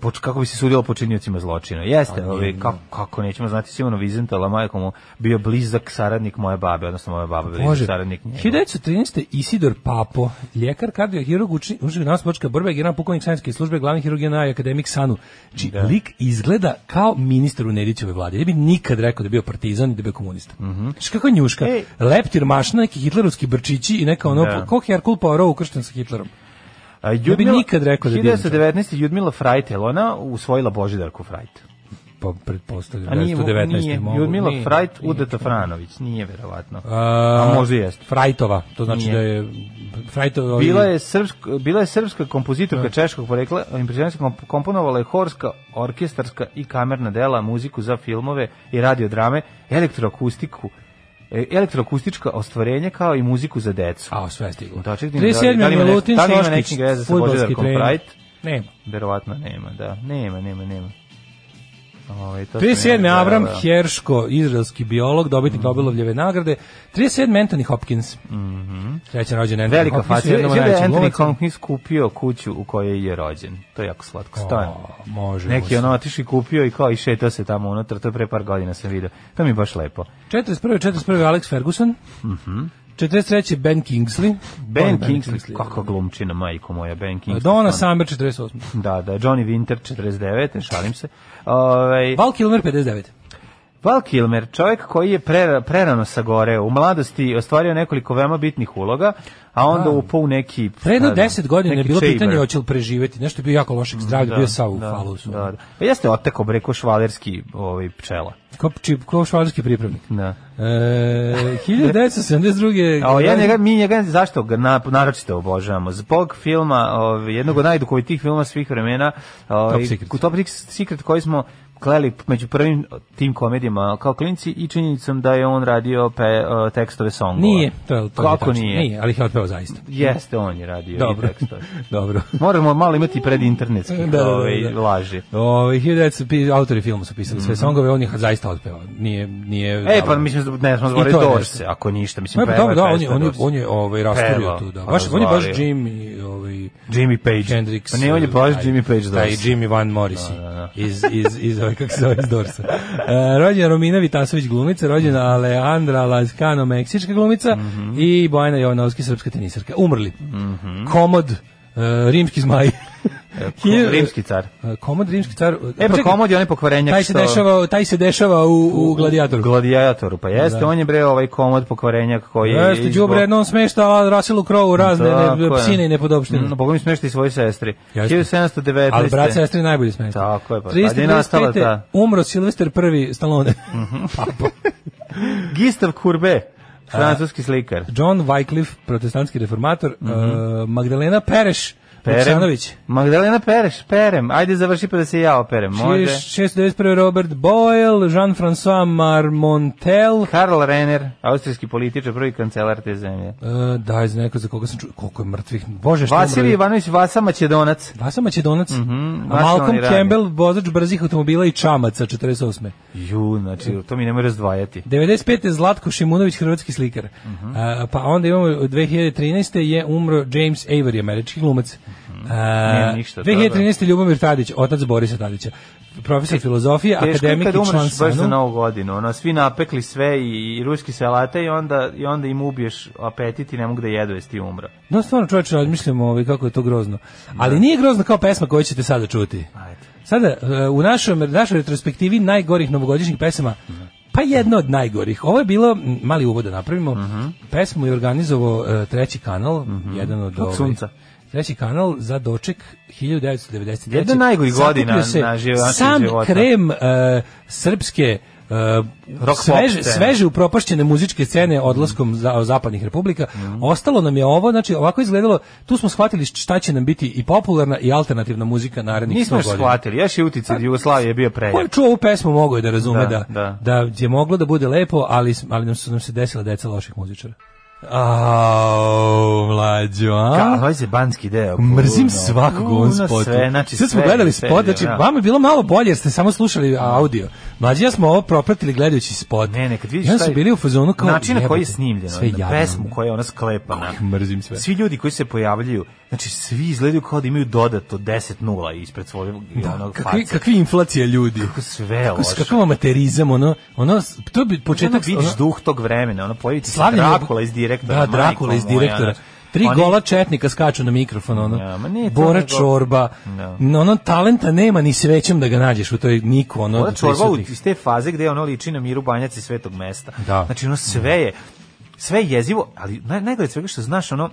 poč- kako bi se sudilo počinjocima zločina. Jeste, Pa, ovaj, kako, kako nećemo znati Simona Wiesenthala, majko mu bio blizak saradnik moje babe, odnosno moja Pa baba blizak Može. saradnik njega. 1913. Isidor Papo, ljekar, kardiohirurg, uči- učitelj nas bočka borba, i general pukovnik sanjske službe, glavni hirurg na akademik Sanu. Či lik izgleda kao ministar u Nedićevoj vladi. Ne bi nikad rekao da je bio partizan i da je bio komunista. Mhm. kako je njuška? Ej. Leptir mašna, neki hitlerovski brčići i neka ono, Da. ko Herkul Poirot ukršten sa Hitlerom. A, Ljudmila- bi nikad rekao da je bio 1919. Ljudmila Frajtel, ona usvojila Božidarku Frajt. Pa, pretpostavljam, A nije, 1919. nije, mogu- Ljudmila nije, Frajt, nije. Udeta Franović, nije verovatno. A, A možda i jeste. Frajtova, to znači Nije. da je Frajtova... Bila je srpska, bila je srpska kompozitorka češkog porekla, impresionistska komp- komponovala je horska, orkestarska i kamerna dela, muziku za filmove i radiodrame, elektroakustiku, e, elektroakustička ostvarenja kao i muziku za decu. A, sve je stiglo. Da, čekaj, da li- 37. da li ima ne- Milutin da li ima Šoškić, nečeg veze sa fudbalski Božidarkom trener. Frajt? Nema. Verovatno nema, da. Nema, nema, nema. Ovaj to sam ja 37. Avram zaboravio. Herško, izraelski biolog, dobitnik Mhm. Nobelovljeve nagrade. 37. Anthony Hopkins. Mm Treća rođen Anthony Mhm. Velika Hopkins. faca. Sve da je jednom od najvećih Anthony glumaca. Hopkins kupio kuću u kojoj je rođen. To je jako slatko. Stojano. O, Može. Neki može. ono otiši kupio i kao i šetao se tamo unutra, to je pre par godina sam video. To mi je baš lepo. 41. 41. Alex Ferguson. 43. Ben Kingsley. Mhm. Ben Volim Kingsley, kako glumčina, majko moja, Ben E, Kingsley. Donna stvarno. Summer, 48. Da, da, Johnny Winter, 49, šalim se. Ovaj, Val Kilmer, 59. Val Kilmer, čovjek koji je prera- prerano sagoreo, u mladosti ostvario nekoliko veoma bitnih uloga, a onda upao u neki... Pre jedno ne znam, 10 godina je neki bilo chamber. pitanje hoće li preživeti. Nešto je bio jako lošeg zdravlja, bio ono. je sav u da, falusu. Da, da. Pa jeste oteko breko švalerski ovaj, pčela. Ko, či, ko švajcarski pripravnik. Da. E, 1972. A ja njega, mi njega, zašto ga na, naročito obožavamo? Zbog filma, ovaj, jednog od najduhovitijih filma svih vremena, ovaj, Top Secret. ku- Top Secret koji smo kleli među prvim tim komedijama kao klinci i činjenicom da je on radio pe, uh, tekstove songova. Nije, Ovaj, to je to. je Kako tačno. nije? Nije, ali ih je otpeo zaista. Jeste, on je radio Dobro. i tekstove. Dobro. Moramo malo imati pred internetskih Da, da, da, ovaj, da. laži. Ove, 1900, autori filmu su pisali sve songove, on ih zaista otpeo. Nije, nije... Mhm. E, pa mislim, ne smo I zvorili to je Dorse, nešto. ako ništa. Mislim, Ma, pa peva dobro, da, on je, često on je, Dorse. on je ovaj, rasturio Pevao, tu, da. pa Baš, on je baš razvalio. Jim i ovaj, Jimmy Page. Hendrix. Pa ne, on je eh, baš taj- Jimmy Page Taj Dorse. Jimmy Van Morrissey iz, iz, iz, ove, kako se zove, iz Dorsa. E, rođena Romina Vitasović glumica, rođena Mhm. Alejandra Lazcano, meksička glumica i Bojana Jovanovski, srpska tenisarka. Umrli. Mhm. Komod, e, rimski zmaj. Hilj- E, Rimski car. E, Komod, rimski car. E pa čekaj, komod je onaj pokvarenjak Taj se dešava, taj se dešava u, u Gladijatoru. Gladijatoru, pa jeste, Da. on je bre ovaj komod pokvarenjak koji je... Jeste, Đubre, no on smešta Russell Crowe u razne ne, e, Tako je. psine i nepodopštine. Mm, Boga mi smešta i svoje sestri. Jeste. 1719. Ali brat sestri najbolji smešta. Tako je, pa tad je nastala ta. Umro Silvester prvi Stallone. Papa. Gistav Kurbe, francuski slikar. John Wycliffe, protestantski reformator. e, Magdalena Pereš, Mhm. Perem. Vuksanović. Magdalena Pereš, perem. Ajde završi pa da se i ja operem. Može. 691. Robert Boyle, Jean-François Marmontel. uh, Karl Renner, austrijski političar, prvi kancelar te zemlje. E, da, iz neko za koga sam čuo, koliko je mrtvih. Bože, što je Vasilij umrlo. Ivanović Vasa Macedonac. Vasa Macedonac, mm Mhm, a baš Malcolm oni rani. Campbell, vozač brzih automobila i čamaca, 48. Ju, znači, to mi nemoj razdvajati. 95. je Zlatko Šimunović, hrvatski slikar. Mhm. A, pa onda imamo 2013. je umro James Avery, američki glumac. A, Nije Mhm. ništa od toga. 2013. Ljubomir Tadić, otac Borisa Tadića. Profesor filozofije, E, Teško je akademik kad i član umreš baš za SANU. novu godinu. Ono, svi napekli sve i, i ruski salate i onda, i onda im ubiješ apetit i ne mogu da jedu jesi ti umro. No, stvarno čovječe, razmišljamo ovaj, kako je to grozno. Ali nije grozno kao pesma koju ćete sada čuti. Ajde. Sada, e, u našoj, našoj retrospektivi najgorih novogodišnjih pesama, pa jedna od najgorih. Ovo je bilo, m, mali uvod da napravimo, pesmu je organizovao e, treći kanal, jedan od... Mhm. Od ovaj, sunca. Treći kanal za doček 1993. Jedna od najgorih Sakupio godina se na živ- našeg Sam života. krem e, srpske e, Rock pop sveže, scene. sveže upropašćene muzičke scene odlaskom za, zapadnih republika. Mhm. Ostalo nam je ovo, znači ovako je izgledalo, tu smo shvatili šta će nam biti i popularna i alternativna muzika narednih 100 Nismo još godina. Pa, shvatili, još je uticaj Jugoslavije bio Ko je prejak. čuo ovu pesmu mogao je da razume da, Da, da, da. je moglo da bude lepo, ali, ali nam su nam se desila deca loših muzičara. Au, mlađo, a? Ka- Ovaj se banski deo. pa, Mrzim puno. svakog u Puno ovom spotu. Sve, znači, Sad smo sve, gledali sve spot, ide, znači da. vama je bilo malo bolje jer ste samo slušali audio. Mlađi ja smo ovo propratili gledajući spot. Ne, ne, kad vidiš I onda šta su je- bili u fazonu kao... način na koji je jebote, snimljeno, sve na jadno. Ah, pesmu koja je ona sklepana. Mrzim sve. Svi ljudi koji se pojavljuju, znači svi izgledaju kao da imaju dodato 10 nula ispred svojeg da, Da, onog kakvi, ono, faca. kakvi inflacija ljudi. Kako sve Kako, loše. kakav amaterizam, ono, ono, to bi Ono početak... vidiš ono- duh tog vremena, ono pojavi ti se Slavljeni Drakula iz direktora. Da, majko Drakula iz moja, direktora. znači, Tri oni- gola četnika skaču na mikrofon, ono. Ja, ma nije to Bora nego- Čorba. Da. No, Ono, talenta nema ni svećem da ga nađeš u toj niku, ono. Ona od čorba u- prisutnih. iz te faze gde ono liči na miru banjaci svetog mesta. Da. Znači ono sve je, sve je jezivo, ali naj, najgore od svega što znaš ono,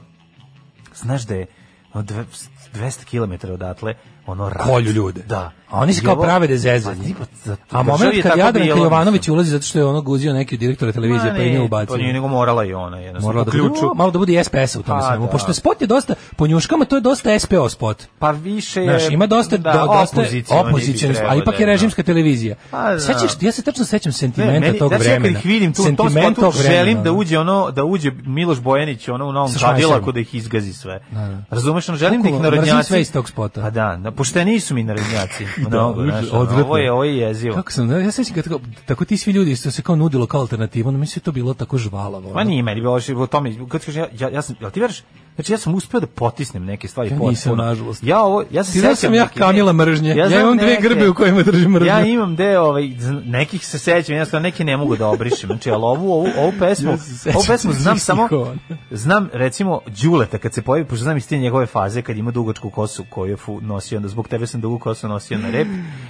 znaš da je ono, dve- 200 km odatle ono rat. kolju ljude. Da. A oni se I kao ovo- prave da zezaju. Pa, tipa, za- A državi moment je kad tako Jadranka bilo, Jovanović mislim. ulazi zato što je ono guzio neki direktora televizije Ma pa je ne, nju Pa nije ubacio. nego morala i ona jednostavno. Morala da bude, ključu. o, malo da bude i SPS u tome Pa, svemu. da. Pošto spot je dosta, po njuškama to je dosta SPO spot. Pa više je... Znaš, ima dosta da, dosta opozicioni, a ipak je režimska televizija. Pa, da. Sećaš, ja se tačno sećam Ne, sentimenta meni, tog znači, ja kad vremena. ih vidim tu, u tom Sentiment spotu vremena, želim da ono. uđe ono, da uđe Miloš Bojanić ono u novom Sa čadilaku švajserom. da ih izgazi sve. da. Razumeš, ono, želim da ih Bukvalno, mrzim narodnjaci... sve iz tog spota. Pa da, da pošteni su mi narodnjaci. mnogo, Da, znaš, ono, odvratno. ovo je, ovo je jezivo. Kako sam, ja sećam kad tako, tako ti svi ljudi isto se kao nudilo kao alternativu, no mi se to bilo tako žvalavo. Ma ono. nije meni bilo loše, o tome, kad kažem, ja, ja, ja sam, jel ti veriš, znači ja sam uspeo da potisnem neke stvari. Ja potpuno. nisam, nažalost. Ja ovo, ja se Ti znaš sećam sam ja neke- Kamila mržnje. Ja znam imam dve neke- grbe u kojima držim mržnju. E, Ja imam deo, ovaj, zn- nekih se sećam, jednostavno neke ne mogu da obrišem. Znači, ali ovu, ovu, ovu pesmu, Ja se sećam ovu pesmu znam svih samo, ikona. znam recimo Đuleta kad se pojavi, pošto znam iz te njegove faze kad ima dugačku kosu koju je fu- nosio, onda zbog tebe sam dugu kosu nosio na rep,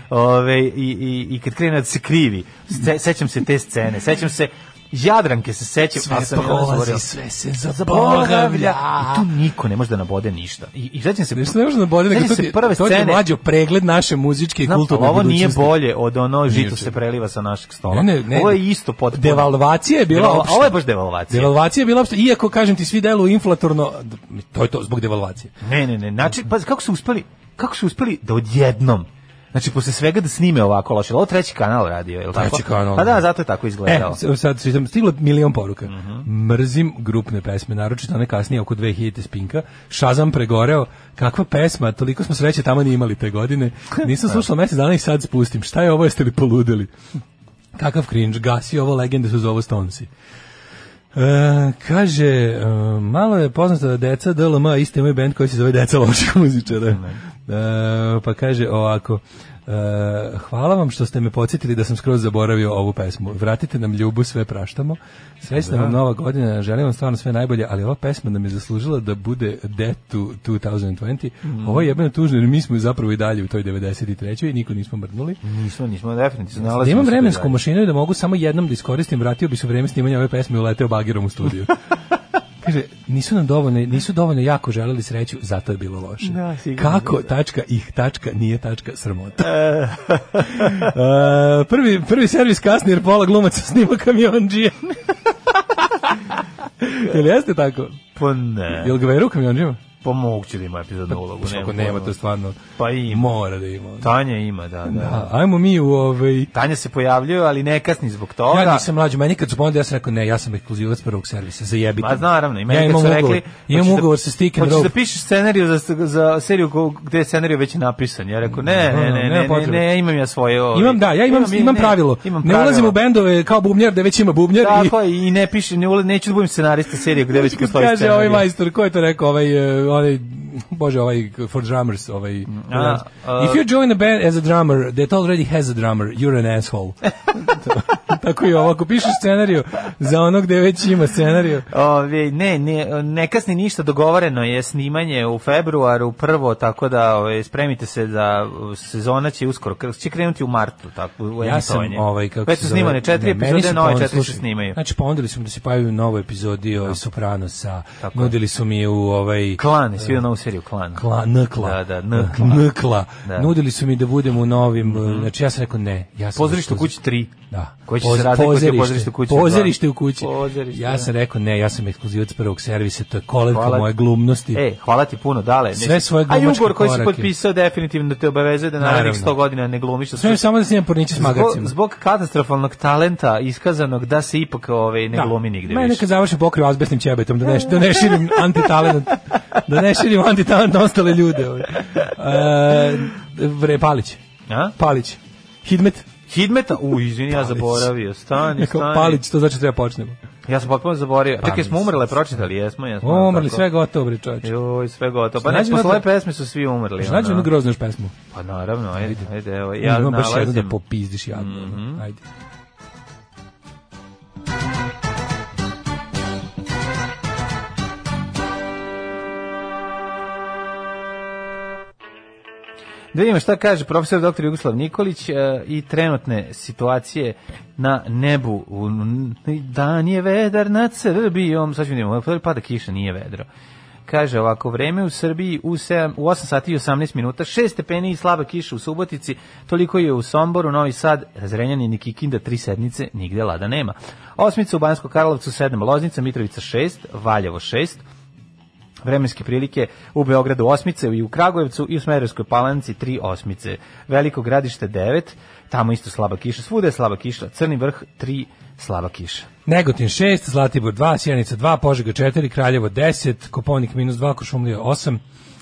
Ove, i, i, i kad krene da se krivi, se, sećam se te scene, sećam se Jadranke se sećam, sve ali sam i onda prolazi, zaboravio. sve se Zaboravlja. zaboravlja. E, I tu niko ne može da nabode ništa. I, i sećam se... Nešto ne može da bolje, nego sećam to se ti, prve to ti je scene- mlađo pregled naše muzičke i Znam, kulturne ali ovo nije budućnosti. bolje od ono žito čega. se preliva sa našeg stola. Ne, ne, ne. Ovo je isto potpuno. Devalvacija je bila Devalva- opšta. Ovo je baš devalvacija. Devalvacija je bila opšta, iako kažem ti svi deluju inflatorno, d- to je to zbog devalvacije. Ne, ne, ne. Znači, pazi, kako su uspeli, kako su uspeli da odjednom Znači, posle svega da snime ovako loše. Ovo treći kanal radio, je li tako? Treći kanal, Pa da. da, Mhm. zato je tako E, izgledalo. s- sad sam stiglo milion poruka. Mrzim grupne pesme, naročito one kasnije oko 2000 spinka. Šazam pregoreo, kakva pesma, toliko smo sreće tamo ni imali te godine. Nisam slušao mesec dana i sad spustim. Šta je ovo, jeste li poludeli? Kakav cringe, gasi ovo, legende su zovu Stonesi. E, kaže, e, malo je poznato da deca DLM isto imaju band koji se zove Deca loših muzičara. E, pa kaže ovako, e, hvala vam što ste me podsjetili da sam skroz zaboravio ovu pesmu. Vratite nam ljubu, sve praštamo. Srećna vam nova godina, želim vam stvarno sve najbolje, ali ova pesma nam je zaslužila da bude Dead to 2020. Ovo je jebeno tužno, jer mi smo zapravo i dalje u toj 93. i niko nismo mrnuli. Nismo, nismo definitivno nalazimo. Da imam se vremensku dalje. mašinu i da mogu samo jednom da iskoristim, vratio bi se u vreme snimanja ove pesme i uleteo bagirom u studiju. Kaže, nisu nam dovoljno, nisu dovoljno jako želeli sreću, zato je bilo loše. Da, sigurno. Kako tačka ih tačka nije tačka sramota. E, prvi, prvi servis kasni jer pola glumaca snima kamionđije. Jel jeste tako? Pa ne, Jel ga veru kamionđima? pomoguću da ima epizodnu ulogu. Ako nemam nema, pojma. to stvarno Pa ima. mora da ima. Tanja ima, da, da. A, ajmo mi u ovaj... Tanja se pojavljuje, ali ne kasni zbog toga. Ja nisam mlađi, meni kad su ponudili, ja sam rekao ne, ja sam ekskluzivac prvog servisa, zajebite. Ma me. Pa naravno, i meni ja kad imam su ugovor, rekli... imam "Hoćeš da- ugovor sa Stick and Hoćeš Rope. da pišeš scenariju za, za seriju ko- gde je scenariju već napisan. Ja rekao, ne, Ne, ne, ne, ne, nema ne, ne, potrebe. ne, imam ja svoje... ovi- Imam da, ja imam imam, i- ne, pravilo. Imam ne ulazim pravilo. u bendove kao bubnjar da već ima bubnjar i Tako je, i ne piše, ne ula- neću da budem scenarista serije gde već Kad postoji kaže scenarij. ovaj majstor, ko je to rekao, ovaj, eh, onaj, bože, ovaj, for drummers, ovaj, A, If you join a band as a drummer that already has a drummer, you're an asshole. To- Tako i ovo, ako pišeš scenariju za ono gde već ima scenariju. Ove, ne, ne, ne kasni ništa, dogovoreno je snimanje u februaru prvo, tako da ove, spremite se da sezona će uskoro, kr- će krenuti u martu, tako, u Ja sam emitovanje. ovaj kako Već se su zove, snimane četiri ne, meni epizode, su nove ponudili, četiri se slušaj, snimaju. Znači ponudili su mi da se pojavim u novoj epizodi o Sopranosa. Tako je. Nudili su mi u ovaj Klan, svi u novu seriju Klan. Kla, nkla. Da, da, nkla. Nkla. Da. Mhm. Nudili su mi da budem u novim, znači ja sam rekao ne. Ja sam Pozorište u poz- kući 3. Da. Koje će Poz- se razlikovati od pozorište u kući dva. Pozorište u kući. Pozorište, ja da. sam rekao ne, ja sam ekskluzivac prvog servisa, to je kolevka Hvala ti. moje glumnosti. E, hvala ti puno, dale. Sve svoje A i glumačke ugovor koji si korake. potpisao definitivno te obavezuje da narednih Naravno. 100 godina ne glumiš. da Sve su- samo da snimam porniće s Zbog, magarcima. zbog katastrofalnog talenta iskazanog da se ipak ove, ne glumi nigde Mene više. kad završi pokriju azbestnim ćebetom, da ne, da ne širim antitalent, da ne širim antitalent na ostale ljude. Ovaj. E, vre, Palić. A? Palić. Hidmet. Hidmeta? U, izvini, ja Palić. zaboravio. Stani, Neko, stani. Palić, to znači treba počnemo. Ja sam potpuno zaboravio. Čekaj, mislim. smo umrle, pročitali, jesmo, jesmo. O, Umrli, tako? sve gotovo, bre čovječe. Joj, sve gotovo. Pa Šta ne, nađemo posle ove da- pesme su svi umrli. Znači ono. jednu groznu još pesmu. Pa naravno, ajde, ajde, evo, ja Ima baš jednu da nalazim. Mhm. popizdiš jadno. ono. Ajde. Da vidimo šta kaže profesor dr. Jugoslav Nikolić e, i trenutne situacije na nebu. U- Dan je vedar nad Srbijom. Sad ćemo vidimo, pada kiša, nije vedro. Kaže ovako, vreme u Srbiji u, 7, u 8 sati i 18 minuta, 6 stepeni i slaba kiša u Subotici, toliko je u Somboru, Novi Sad, Zrenjanin i Kikinda, 3 sednice, nigde lada nema. Osmica u Bansko Karlovcu, 7, Loznica, Mitrovica 6, Valjevo 6, vremenske prilike u Beogradu osmice i u Kragujevcu i u Smederevskoj palanci tri osmice. Veliko gradište 9, tamo isto slaba kiša, svuda je slaba kiša, Crni vrh 3, slaba kiša. Negotin 6, Zlatibor 2, Sjenica 2, Požega 4, Kraljevo 10, Koponik minus 2, Košumlija 8,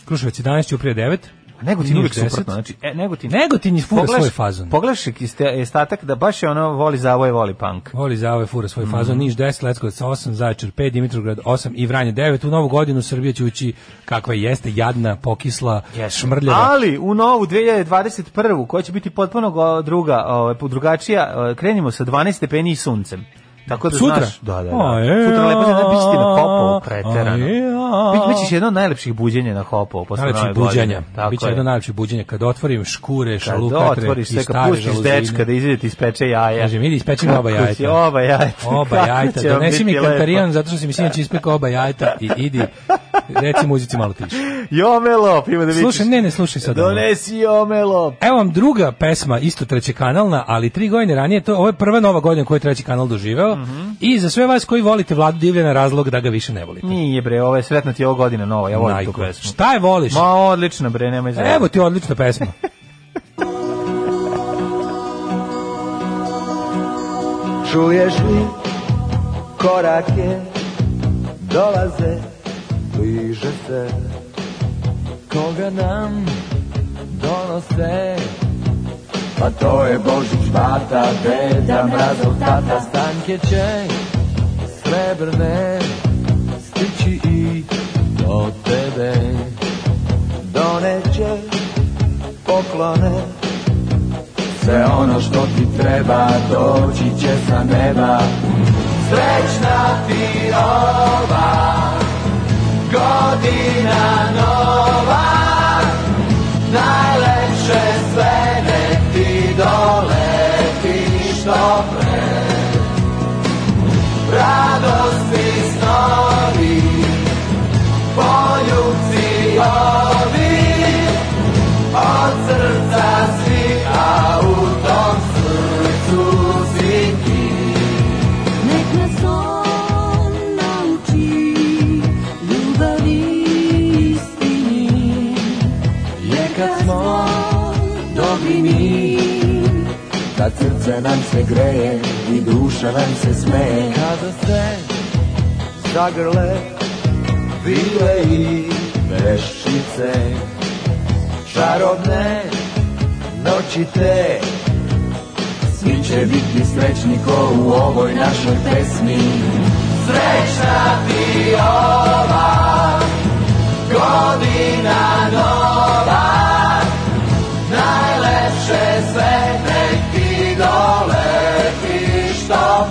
Kruševac 11, Ćuprija 9. A Negotin Niš uvijek 10. suprotno, znači, e, Negotin... Negotin je fura Pogledaš- svoj fazon. Pogledaš iste- statak da baš je ono voli zavoje, voli punk. Voli za ove fura svoj Mhm. fazon, Niš 10, Leskovac 8, Zaječar 5, Dimitrovgrad 8 i Vranje 9. U novu godinu Srbija će ući kakva jeste, jadna, pokisla, Jeste. šmrljava. Ali u novu 2021. koja će biti potpuno go- druga, ovaj drugačija, ovaj, krenimo sa 12 stepeni i suncem. Tako da Sutra? znaš, da, da, da. A je, Sutra lepo će da biće ti na a, hopovu preterano. a je, a. Bit- Bićeš jedno od najlepših buđenja na hopovu posle Najlepši nove Oh. buđenja. godine. Tako Biće je. jedno najlepši buđenja. Kad otvorim škure, Kad šalupatre i otvoriš sve, kad stare pustiš žaluzine. dečka da izađe ti ispeče jaja. Kažem, idi ispeči mi oba Kako će- jajeta. Oba jajeta. Oba Kako jajta, će vam donesi mi biti lepo. kantarijan zato što si mi sinoć ispekao oba jajta i idi, reci muzici malo tiše. Jomelop, ima da vidiš. Slušaj, ne, ne, slušaj sad. ovo. Donesi jomelop. Evo vam druga pesma, isto treće kanalna, ali tri godine ranije, to, ovo je prva nova godina koju je treći kanal doživeo Mhm. i za sve vas koji volite Vladu Divljana razlog da ga više ne volite. Nije bre, ovo je sretna ti je ovo godina nova, ja volim tu Najko. pesmu. Šta je voliš? Ma odlično bre, nemoj za. Evo ti odlična pesma. Čuješ li korake dolaze, bliže se Koga nam donose Pa to je Božić, bata, deda, mrazov, tata Stanke će srebrne stići i do tebe Doneće poklone sve ono što ti treba doći će sa neba Srećna ti ova godina nova Najlepše sve nek ti doleti što pre Radosti snovi, poljubci ovi od srca si, a u tom srcu si ti. Nek nas on nauči ljubavi istini, Je kad smo dobri mi, kad srce nam se greje i duša nam se smeje. Kada se zagrle vile i veščice, čarobne noći te, svi će biti srećni ko u ovoj našoj pesmi. Srećna ti ova godina nova, najlepše sve nek ti doleti što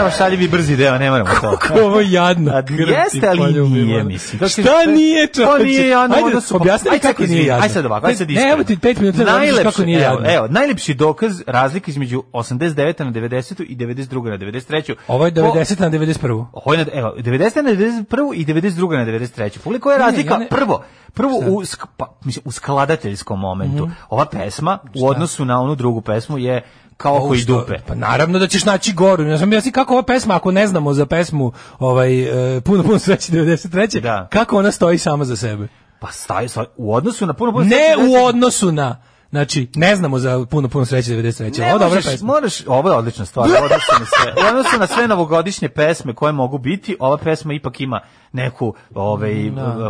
Evo šalji mi brzi deo, ne moramo to. Kako ovo je jadno. A, krti, jeste, ali poljubi, nije, Ivane. mislim. Kako Šta se- nije, čoveče? To nije, ono, Ajde, onda su- objasni mi Ajde, kako čekaj, nije izvini, jadno. Ajde sad ovako, ajde sad Ne, iskreno. evo ti pet minuta da razmišljaš Najlepše- kako nije evo, jadno. Evo, najlepši dokaz razlike između 89. na 90. i 92. na 93. Ovo je Po- 90 na 91. Ovo je na, evo, 90. na 91. i 92. na 93. Koliko je Ne, razlika? ja ne- Prvo, prvo u, sk, pa, mislim, u skladateljskom Mhm. momentu. Ova pesma u odnosu na onu drugu pesmu je kao oko i što- dupe. Pa naravno da ćeš naći goru. Ja sam jasni kako ova pesma, ako ne znamo za pesmu ovaj, e, puno, puno sreće 93. Da. Kako ona stoji sama za sebe. Pa staje, staje u odnosu na puno... puno Ne Pa sreće, u odnosu na... Znači, ne znamo za puno, puno sreće 93. Ne Ovo je dobra možeš, pesma. moraš, ovo je odlična stvar, u odnosu na sve, u odnosu na sve novogodišnje pesme koje mogu biti, ova pesma ipak ima neku ovaj,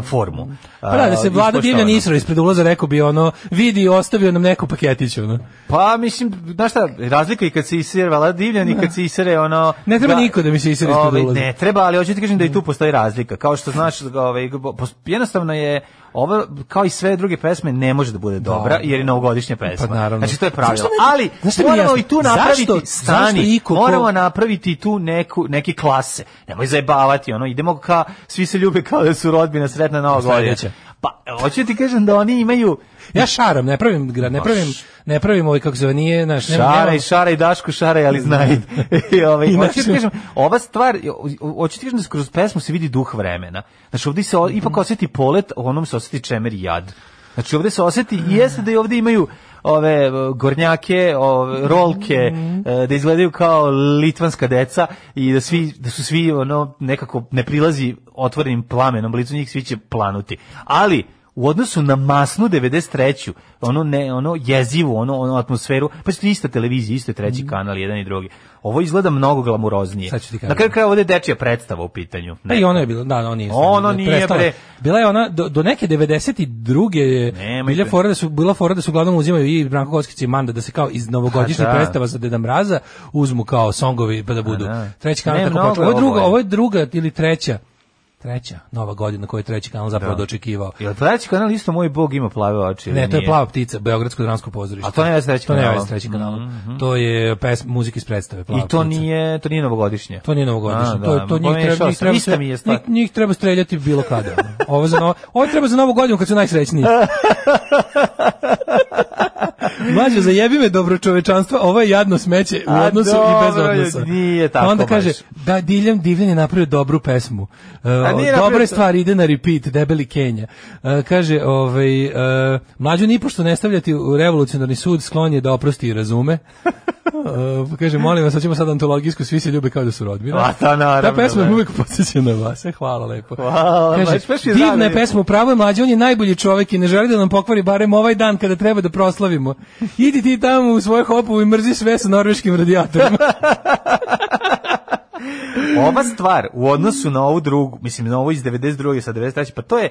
formu. Pa da, da se A, vlada divlja ispoštovanu. nisra ispred ulaza rekao bi ono, vidi, ostavio nam neku paketiću. Ono. Pa, mislim, znaš šta, razlika je kad se isere Vlada Divljan i kad se isere ono... Ne treba niko da mi se isere ispred Ovaj, ulaza. Ne treba, ali hoću ti kažem da Mm. i tu postoji razlika. Kao što znaš, ovaj, pos- jednostavno je, ovo, kao i sve druge pesme, ne može da bude dobra, jer je novogodišnja pesma. Pa naravno. Znači, to je pravilo. Zašto ne- ali, znaš šta mi je moramo jasno? i tu Zašto- napraviti, zašto stani, iko ko- moramo napraviti tu neku, neke klase. Nemoj zajebavati, ono, idemo ka, svi se ljube kao da su rodbina sretna nova godina. Sledeća. Pa, hoću ti kažem da oni imaju... Ja šaram, ne pravim, gra- ne pravim, ne pravim ovaj, kako se zove, nije, znaš, nema, Šaraj, nema- šaraj, Dašku, šaraj, ali znaj. I ovaj, Inače- hoću ti kažem, ova stvar, hoću ti kažem da kroz pesmu se vidi duh vremena. Znači, ovdje se o- ipak osjeti polet, a onom se osjeti čemer i jad. Znači, ovdje se osjeti, i jeste da i ovdje imaju ove e, gornjake, ove, rolke, e, da izgledaju kao litvanska deca i da svi da su svi ono nekako ne prilazi otvorenim plamenom blizu njih svi će planuti. Ali u odnosu na masnu 93. ono ne ono jezivu ono ono atmosferu pa su ista televizija isto je treći kanal jedan i drugi ovo izgleda mnogo glamuroznije Mhm. Sad ću ti kažem. na kraju kraja ovde je dečija predstava u pitanju Pa ne i ona je bila, da, ona nije. Ono ne, nije, prestala. bre. Bila je ona do, do neke 92. je Nemojte. bila fora da su bila fora da su uglavnom uzimaju i Branko Kockić i Manda da se kao iz novogodišnje Pa da. predstava za Deda Mraza uzmu kao songovi pa da budu. da. Treći kanal Ne, tako mnogo počeo. je Ovo je druga, oboje. ovo je druga ili treća. Treća Nova godina koju je treći kanal zapravo dočekivao. jel treći kanal isto moj bog ima plave oči ili Ne, to je nije? Plava ptica, Beogradsko dramsko pozorište. A to ne veze s trećim To ne kanalom. Mhm. veze s trećim kanalom. To je pes, muzika iz predstave Plava i to ptica. nije to nije novogodišnje To nije novogodišnje. A, to da, to njih pomešao treba njih sam. treba Ista se- mi je stvar. njih, njih treba streljati bilo kada. ono. Ovo za novo, ovo treba za novu godinu kad su najsrećniji. Mlađe zajebi me dobro čovečanstvo, ovo je jadno smeće u A, odnosu i bez dobro, odnosa. nije A tako Onda kaže baš. da Diljem Divljan je napravio dobru pesmu. Uh, nije dobre napravio to. stvari ide na repeat, debeli Kenja. Uh, kaže, ovaj uh, mlađu nipošto ne stavljati u revolucionarni sud, sklon je da oprosti i razume. Uh, kaže, molim vas, sad ćemo sad antologijsku, svi se ljube kao da su rodbina. A, to naravno, Ta pesma da. me uvek podsjeća na vas. E, hvala lepo. Hvala, Kaže, baš- baš mi je divna zadovoljno. je pesma, pravo je mlađi, on je najbolji čovjek i ne želi da nam pokvari barem ovaj dan kada treba da proslavimo. Idi ti tamo u svoje hopovu i mrzi sve sa norveškim radijatorima. ova stvar u odnosu na ovu drugu, mislim na ovo iz 92. sa 93. pa to je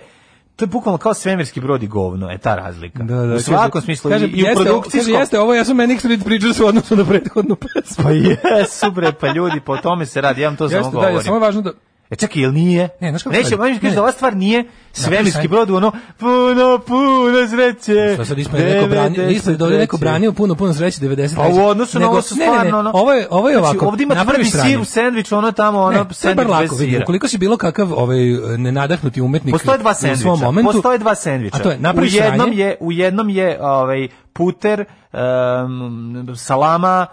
to je bukvalno kao svemirski brod i govno, je ta razlika. u svakom kaže- smislu kaže, i, i u jeste, produkcijskom. Kaže, jeste, ovo ja sam Manic Street Preachers u odnosu na prethodnu pesmu. Pa jesu bre, pa ljudi, po tome se radi, ja vam to samo Jeste, da, govorim. je samo važno da... E čekaj, jel nije? Ne, znaš kako se Neće, radi? možeš kažeš Ne. da ova stvar nije svemirski sad. brod, u ono, puno, puno sreće. Sad sad ispred neko branio, 93. ispred ovdje neko branio puno, puno sreće 90. Pa u odnosu na Nego- ovo su ne, ne, ne, stvarno, ono... Ovo je, ovo je znači, ovako. Ovdje ima tvrdi napraviš sir sranju. u sandvič, ono tamo, ono, Ne, to je bar sandvič bez lako, vidi, sira. ukoliko si bilo kakav ovaj, nenadahnuti umetnik Postoje dva u sendviča. svom momentu, Postoje dva sendviča. A to je, u napraviš jednom sranje. je u jednom je ovaj puter, em, salama,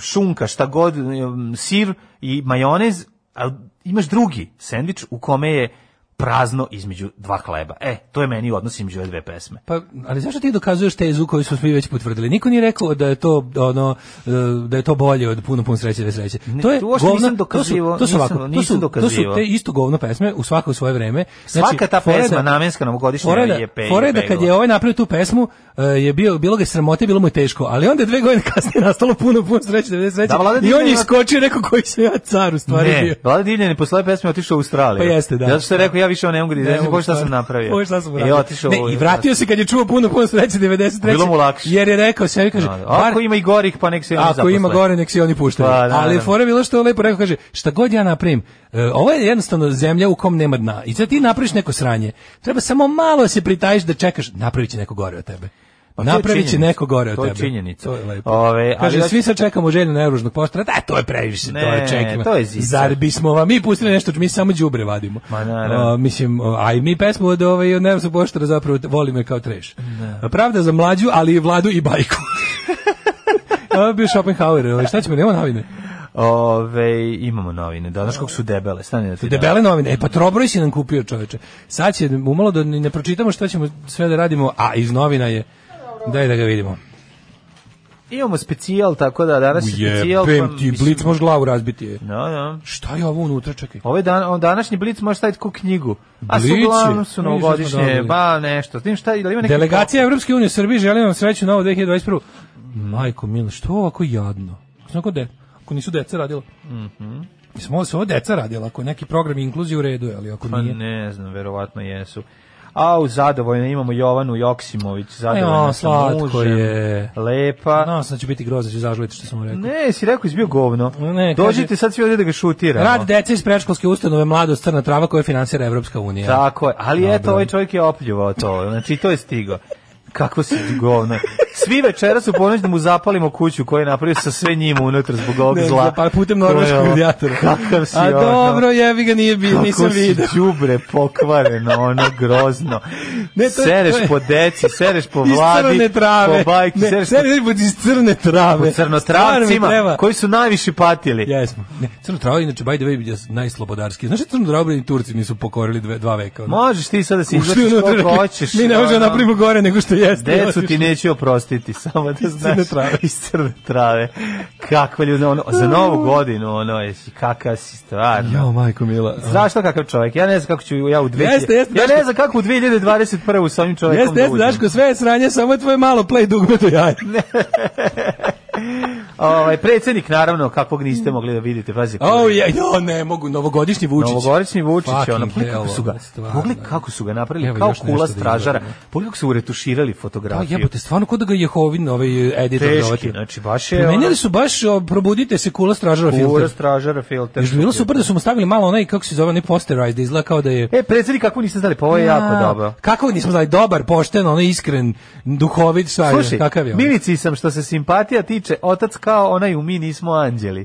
šunka, šta god, em, sir i majonez, a imaš drugi sendvič u kome je prazno između dva hleba. E, to je meni odnos između ove dve pesme. Pa, ali zašto ti dokazuješ tezu koju smo svi već potvrdili? Niko nije rekao da je to ono e, da je to bolje od puno puno sreće i sreće. Ne, To je tu uopšte govno- nisam to su, dokazivao, to su nisam- ovako, to nisam su, to su dokazivao. te isto govno pesme u svako u svoje vreme. Znači, Svaka ta fora je- pesma namenska novogodišnja fora je da- je pe- fora je da pegla. kad je ovaj napravio tu pesmu, e, je bio bilo ga je sramote, bilo mu je teško, ali onda je dve godine kasnije nastalo puno puno sreće i sreće. Da, Vlada I on Dimljana- je iskočio i rekao koji se ja car u stvari bio. Ne, Vlada Divljan je posle ove pesme otišao u Australiju. Pa jeste, da. Zato što je rekao, ja više ovo ne mogu da Ne idem, mogu pošto šta sam stvarno. napravio. Ovo šta sam I uradio. otišao Ne, u- i vratio se kad je čuo puno puno sreće 93. Bilo mu lakše. Jer je rekao sebi kaže, Da, da. Ako bar- ima i gorih, pa nek se i oni Ako ima zaposle. gore, nek se i oni puštaju. Pa, da, Ali da. fora je bilo što je lepo rekao, kaže, šta god ja napravim, e, ovo je jednostavno zemlja u kom nema dna. I sad ti napraviš neko sranje. Treba samo malo se pritajiš da čekaš, napravit će neko gore od tebe. Pa to je Napravit će činjenica. neko gore od To tebe. je činjenica. To je lepo. Ove, Kaže, ali ja- svi sad čekamo željno najoružnog poštara. Da, E, to je previše, to je Ne, čekima. to je zicer. Zar bismo vam mi pustili nešto, mi samo đubre vadimo. Ma, naravno. O, mislim, o, a i mi pesmu od ove, od Nervsa poštara zapravo volimo je kao treš. Pravda za mlađu, ali i vladu i bajku. Ovo je bio Schopenhauer, ovaj, šta ćemo, nema novine. Ove, imamo novine, da, znaš kako su debele, stani da ti dam. Debele novine, e pa Trobroj si nam kupio čoveče. Sad će, umalo da ni ne pročitamo šta ćemo sve da radimo, a iz novina je, daj da ga vidimo. Imamo specijal, tako da danas je specijal. pa Jebem ti, blic može glavu razbiti je. No, no. Šta je ovo unutra, čekaj. Ove dan, on današnji blic može staviti ko knjigu. A su Blic je. uglavnom su Mi smo novogodišnje, dobili. ba nešto. Tim šta, ili ima neki Delegacija Evropske unije u Srbiji želi vam sreću novu 2021. Majko mila, što je ovako jadno? Znaš ako, de, ako nisu deca radila? Mhm. Mislim, ovo su ovo deca radila, ako je neki program inkluzije u redu, je, ali ako Pa nije... ne znam, verovatno jesu. A u zadovoljno imamo Jovanu Joksimović, Ajmo, zadovoljna sa slatko mužem. je. Lepa. Nadam se da će biti grozno, da ću zažaliti što sam mu rekao. Ne, si rekao izbio govno. Ne, kaže- Dođite sad svi ovdje da ga šutiramo. Rad dece iz predškolske ustanove Mladost Crna Trava koje finansira Evropska unija. Tako je, ali eto, Dobro. ovaj čovjek je opljuvao to, znači i to je stigo. Kako si ti govno. Svi večeras u ponoć da mu zapalimo kuću koju je napravio sa sve njim unutra zbog ovog Ne, zla. Pa putem Koje je norveškog ovo- radijatora. Kakav si A ono. dobro, jevi ga nije bio, Kako nisam si vidio. đubre pokvareno, ono grozno. Ne, to je- sereš to je- po deci, sereš po Iz vladi, crne trave. po bajki, ne, sereš sereš po- iz crne trave. po crnotravcima, Stvarno mi treba- koji su najviše patili. Jesmo. Ne, Crnu Travu, inaču, by the way, je najslobodarski. Znaš da Crnu Travu i Turci nisu pokorili dve, dva veka? ono? Možeš ti sad da se Ušli izvršiš unutra, koliko rekli, hoćeš. Mi ne možemo ono. napravimo gore nego što jeste. Decu ti Otišli. neću oprostiti, samo da crne znaš. trave. Iz crne trave. Kakva ljudi, ono, za novu godinu, ono, jesi, kakav si Jo, stvarno. majko mila. Zašto kakav čovjek? Ja ne znam kako ću ja u 2000... Jeste, jeste, ja Daško. ne znam kako u 2021. sa ovim čovjekom Jeste, jeste, da uđem. Daško, sve je sranje, samo je tvoje malo play dugme do jaja. Ovaj, predsjednik, naravno, kakvog niste mogli da vidite, pazi. O, ja, jo, ne mogu, novogodišnji Vučić. Novogorični Vučić, ono, Fucking pogledaj kako hell, su ga, stvarno. pogledaj kako su ga napravili, Evo kao još nešto kula da stražara, izvadimo. pogledaj kako su uretuširali Pa fotografiju. jebote, stvarno kod da ga Jehovin ovaj editor Teški, dovatio. znači, baš je ono- Promenili su baš o, probudite se kula stražara Kula filter. stražara, filter. Još bi bilo super da su mu stavili malo onaj kako se zove, onaj posterized, da izgleda kao da je E, predsjednik, kako niste znali, pa ovo je A, jako dobro. Kako nismo znali, dobar, pošten, ono iskren, duhovit, šta je, Slušaj, kakav je on? Milici sam što se simpatija tiče, otac kao onaj u mi nismo anđeli.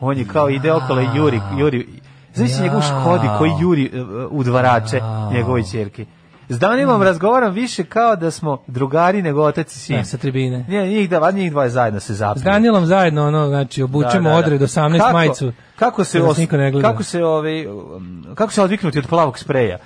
On je kao ide okolo i juri, juri. Znaš ja. Jao. njegov škodi koji juri e, e, udvarače Jao. njegove ćerke. S Danilom razgovaram više kao da smo drugari nego otac i sin. Mm. Da, sa tribine. Ne, njih, dva, njih dvoje zajedno se S zapravo. Danilom zajedno, ono, znači, obučemo odred 18 kako, majicu. Kako se da nas os- niko ne gleda. kako se ovaj um, kako se odviknuti od plavog spreja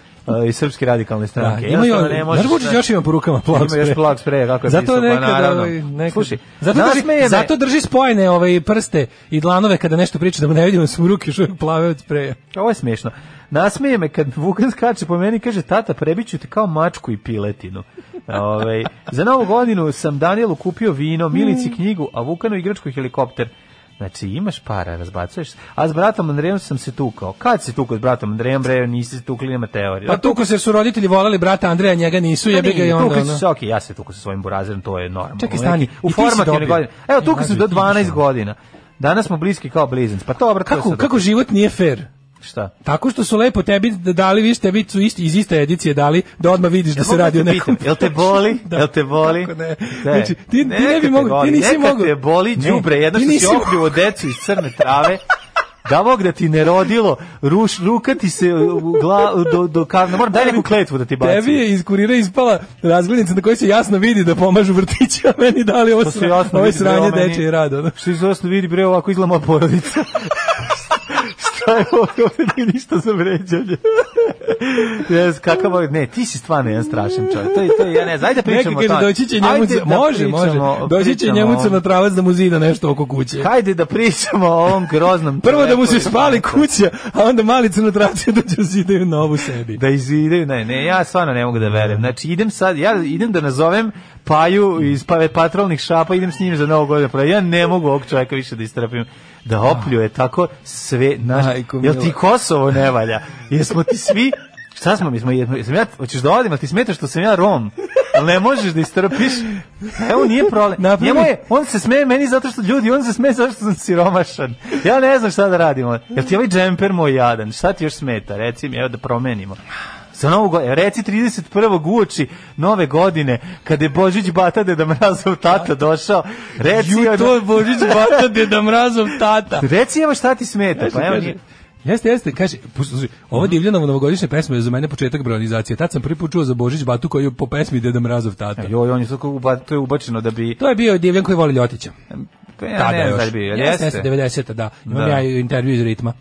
e, iz srpske radikalne Da, stranke. imaju, Jednostavno ne možeš, znaš Vučić znaš. još ima porukama plavog Ima još plavog spreja, kako je Zato pisao, pa nekad, naravno. ovaj, nekad- Slušaj, zato drži, nasmeje me- zato drži spojene ove prste i dlanove kada nešto priča da mu ne vidimo da su mu ruke još uvijek plave od spreja. Ovo je smiješno. Nasmije me kad Vukan skače po meni i kaže tata prebiću te kao mačku i piletinu. Ove, za novu godinu sam Danielu kupio vino, Mm. Milici knjigu, a Vukanu igračku i helikopter. Znači imaš para, razbacuješ. se. A s bratom Andrejom sam se tukao. Kad se tukao s bratom Andrejom, bre, nisi se tukli, nema teorije. Pa tuko se jer su roditelji volali brata Andreja, njega nisu, jebe ga i onda. Tukli su ono. se, okej, ja se tukao sa svojim burazerom, to je normalno. Čekaj, stani, Neki- U i ti si formativne dobio. godine. Evo, tukao Mlađe, se do ti si 12 ono. godina. Danas smo bliski kao bliznac. Pa dobro, to je Kako, sad- kako život nije fair? Šta? Tako što su lepo tebi dali, viš, tebi su isti, iz iste edicije dali, da odmah vidiš da Jel se mogu radi o te nekom. Znači, pitam, Jel te boli? Da. Jel te boli? Kako ne? Znači, ti- ti ne bi mogao, ti nisi mogao. Neka te boli, Ne, đubre, jedno ti što si nisi mogao. opljuo decu iz crne trave. Da Bog da ti ne rodilo, ruš, ruka ti se u gla, do, do kavna. Moram daj neku kletvu da ti bacim. Tebi je iz kurira ispala razglednica na kojoj se jasno vidi da pomažu vrtići, a meni dali ovo, To se sra, jasno ovo je vidi, bre, sranje ono. ovo meni- deče i rada. ono. Što se jasno vidi, bre, ovako izgleda moja porodica. Ajmo, ovdje nije ništa za vređanje. Jes, kakav ovo- ne, ti si stvarno jedan strašan čovjek. To je, to je, ja ne znam, ajde da Neka pričamo o kaže tome. doći će Ajde njemu, da može, može. pričamo- Doći će pričamo o njemu ovom. na travac da mu zida nešto oko kuće. Hajde da pričamo o ovom groznom Prvo da mu se čoveku. spali kuća, a onda mali crnotravci dođu zidaju novu sebi. da izidaju, ne, ne, ja stvarno ne mogu da verujem. Znači, idem sad, ja idem da nazovem Paju iz pa- patrolnih šapa, idem s njim za novu godinu. Pa ja ne mogu ovog čovjeka više da istrpim. Da opljuje tako sve, znaš, Majko jel ti mila. Kosovo ne valja? Jesmo ti svi, šta smo mi, smo, jesmo, ja, hoćeš da odim, ali ti smeta što sam ja Rom? Ali ne možeš da istrpiš? Evo, nije problem. Napravi- Njemu je, on se smeje meni zato što ljudi, on se smeje zato što sam siromašan. Ja ne znam šta da radimo. Jel ti ovaj džemper moj jadan? Šta ti još smeta? Reci mi, evo da promenimo. Za novu godinu, reci 31. uoči nove godine, kada je Božić Bata Deda Mrazov tata došao, reci, Ju, ono- to je Božić Bata, Deda Mrazov tata. reci evo šta ti smeta. Pa evo, Kaže, nije- Jeste, jeste, kaže, poslušaj, ova Mhm. divljana novogodišnja pesma je za mene početak bronizacije. Tad sam prvi put čuo za Božić Batu koji je po pesmi Deda Mrazov tata. Joj, on je tako uba, to je ubačeno da bi... To je bio divljan koji voli Ljotića. Pa ja Tada ne znam još. da li bi, jel Jeste, jeste? jeste, 90-ta, da. Imam Da. ja intervju iz ritma.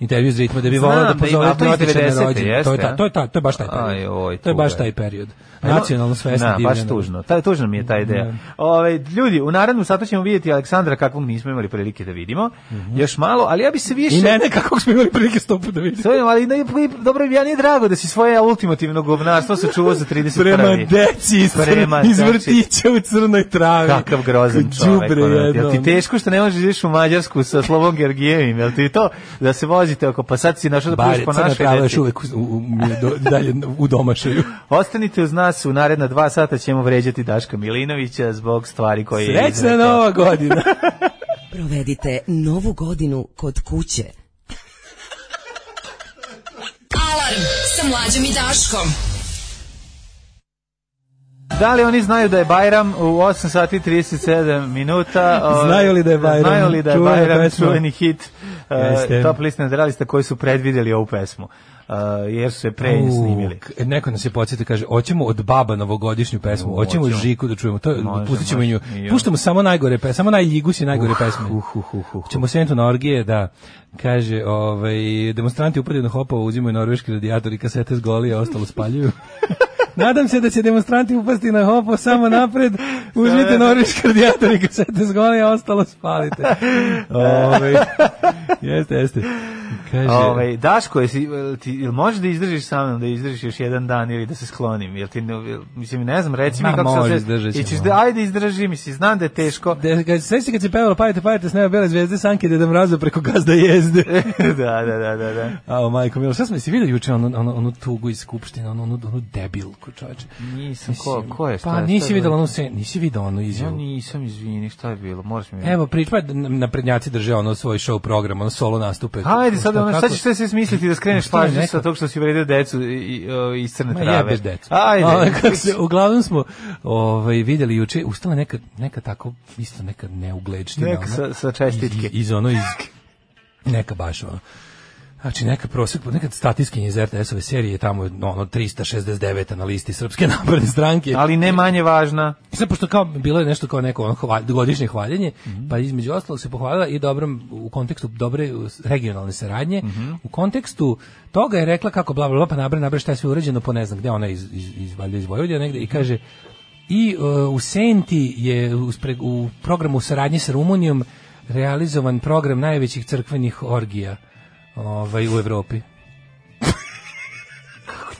Intervju iz ritma da bi Znam volao da da ima, pozove to je iz Ljotića na 90-te, rođendan. To je jeste, ta, to je ta, to je baš taj period. Aj, oj, to je baš tuga je. taj period. Nacionalno svesni Da, baš divljana. tužno. Taj tužno mi je taj ideja. Da. Ovaj ljudi, u narednom satu ćemo vidjeti Aleksandra kakvog nismo imali prilike da vidimo. Još malo, ali ja bi se više Mhm. I mene kako smo imali prilike stopu da vidimo. Sve, ali ne, dobro, ja nije drago da si svoje ultimativno govnarstvo sačuvao za 31. Prema deci iz, crn- Prema iz deci. vrtića u crnoj travi. Kakav grozan čovek. Đubre ono, jedno, Jel ti ono. teško što ne možeš da ideš u Mađarsku sa Slovom Gergijevim? Jel ti to da se vozite oko? Pa sad si našao da Bar budeš je po crna našoj trava još deci. uvek u, u, mi je do- dalje u domašaju. Ostanite uz nas, u naredna dva sata ćemo vređati Daška Milinovića zbog stvari koje je... Srećna izrekao. nova godina. Provedite novu godinu kod kuće. Alarm sa mlađom i Daškom. Da li oni znaju da je Bajram u 8 sati 37 minuta? Ovaj, Znaju li da je Bajram? Znaju li da je Čuvena Bajram pesma. čuveni hit uh, Jeste. top list nadrealista koji su predvideli ovu pesmu? Uh, jer su je pre U, snimili. k- e, neko nas je podsjetio, kaže, hoćemo od baba novogodišnju pesmu, U, hoćemo od hoćemo. Žiku da čujemo, to je- Može, pustit ćemo i nju. može, i ja. Puštamo samo najgore pesme, samo najljigus i najgore pesme. uh, uh, uh, uh. Ćemo sentu na orgije, da. Kaže, ovaj, demonstranti upadaju na hopova, uzimaju norveški radijator i kasete s golija, ostalo spaljuju. Nadam se da će demonstranti upasti na hopo samo napred, uzmite norveški radijator i kasete s golija, ostalo spalite. Ovaj, jeste, jeste. Kaže, Ove, Ovaj, Daško, jesi, e, ti, ili možeš da izdržiš sa mnom, da izdržiš još jedan dan ili da se sklonim? Jel ti, ne- jel- mislim, ne znam, reci mi Ma, kako sam može, se... izdržat ćemo. Ićeš da, ajde, izdrži, mislim, znam da je teško. Da, kad se sećate kad se pevalo pajte pajte s neba bele zvezde sanke da mraza preko gazda jezde. da, da, da, da, da. A majko milo, šta smo se videli juče onu onu onu tugu iz skupštine, onu onu, onu debilku, čoveče. Nisam, ko, ko je? Šta, Pa je, šta nisi je videla bilo? onu se, nisi videla onu Ja izjavu. nisam, izvini, šta je bilo? Moraš mi... Evo priča na prednjaci drže ono svoj show program, ono solo nastupe. Hajde sad, ono, kako- sad ćeš sve se smisliti da skreneš Što je pažnju neko? sa tog što si uvredio decu i, i, o, iz crne Ma trave. jebeš decu. Ajde. A, kako se, uglavnom smo ovaj, vidjeli juče, ustala neka, neka tako, isto neka neugledština. Neka ono, sa- sa čestitke. Iz, iz ono, iz, neka baš ono. Znači, neka prosek, neka statiskinja iz RTS-ove serije je tamo ono, 369 na listi Srpske napredne stranke. Ali ne manje važna. I sad, pošto kao, bilo je nešto kao neko ono, hvalj, godišnje hvaljenje, pa između ostalog se pohvalila i dobrom, u kontekstu dobre uh, regionalne saradnje, u kontekstu toga je rekla kako bla bla bla, pa nabra, nabra šta je sve urađeno, po ne znam gde, ona je iz, iz, iz, valjda iz Vojvodina negde, i kaže, i uh, u Senti je u, spre- u programu saradnje sa Rumunijom realizovan program najvećih crkvenih orgija ovaj, u Evropi.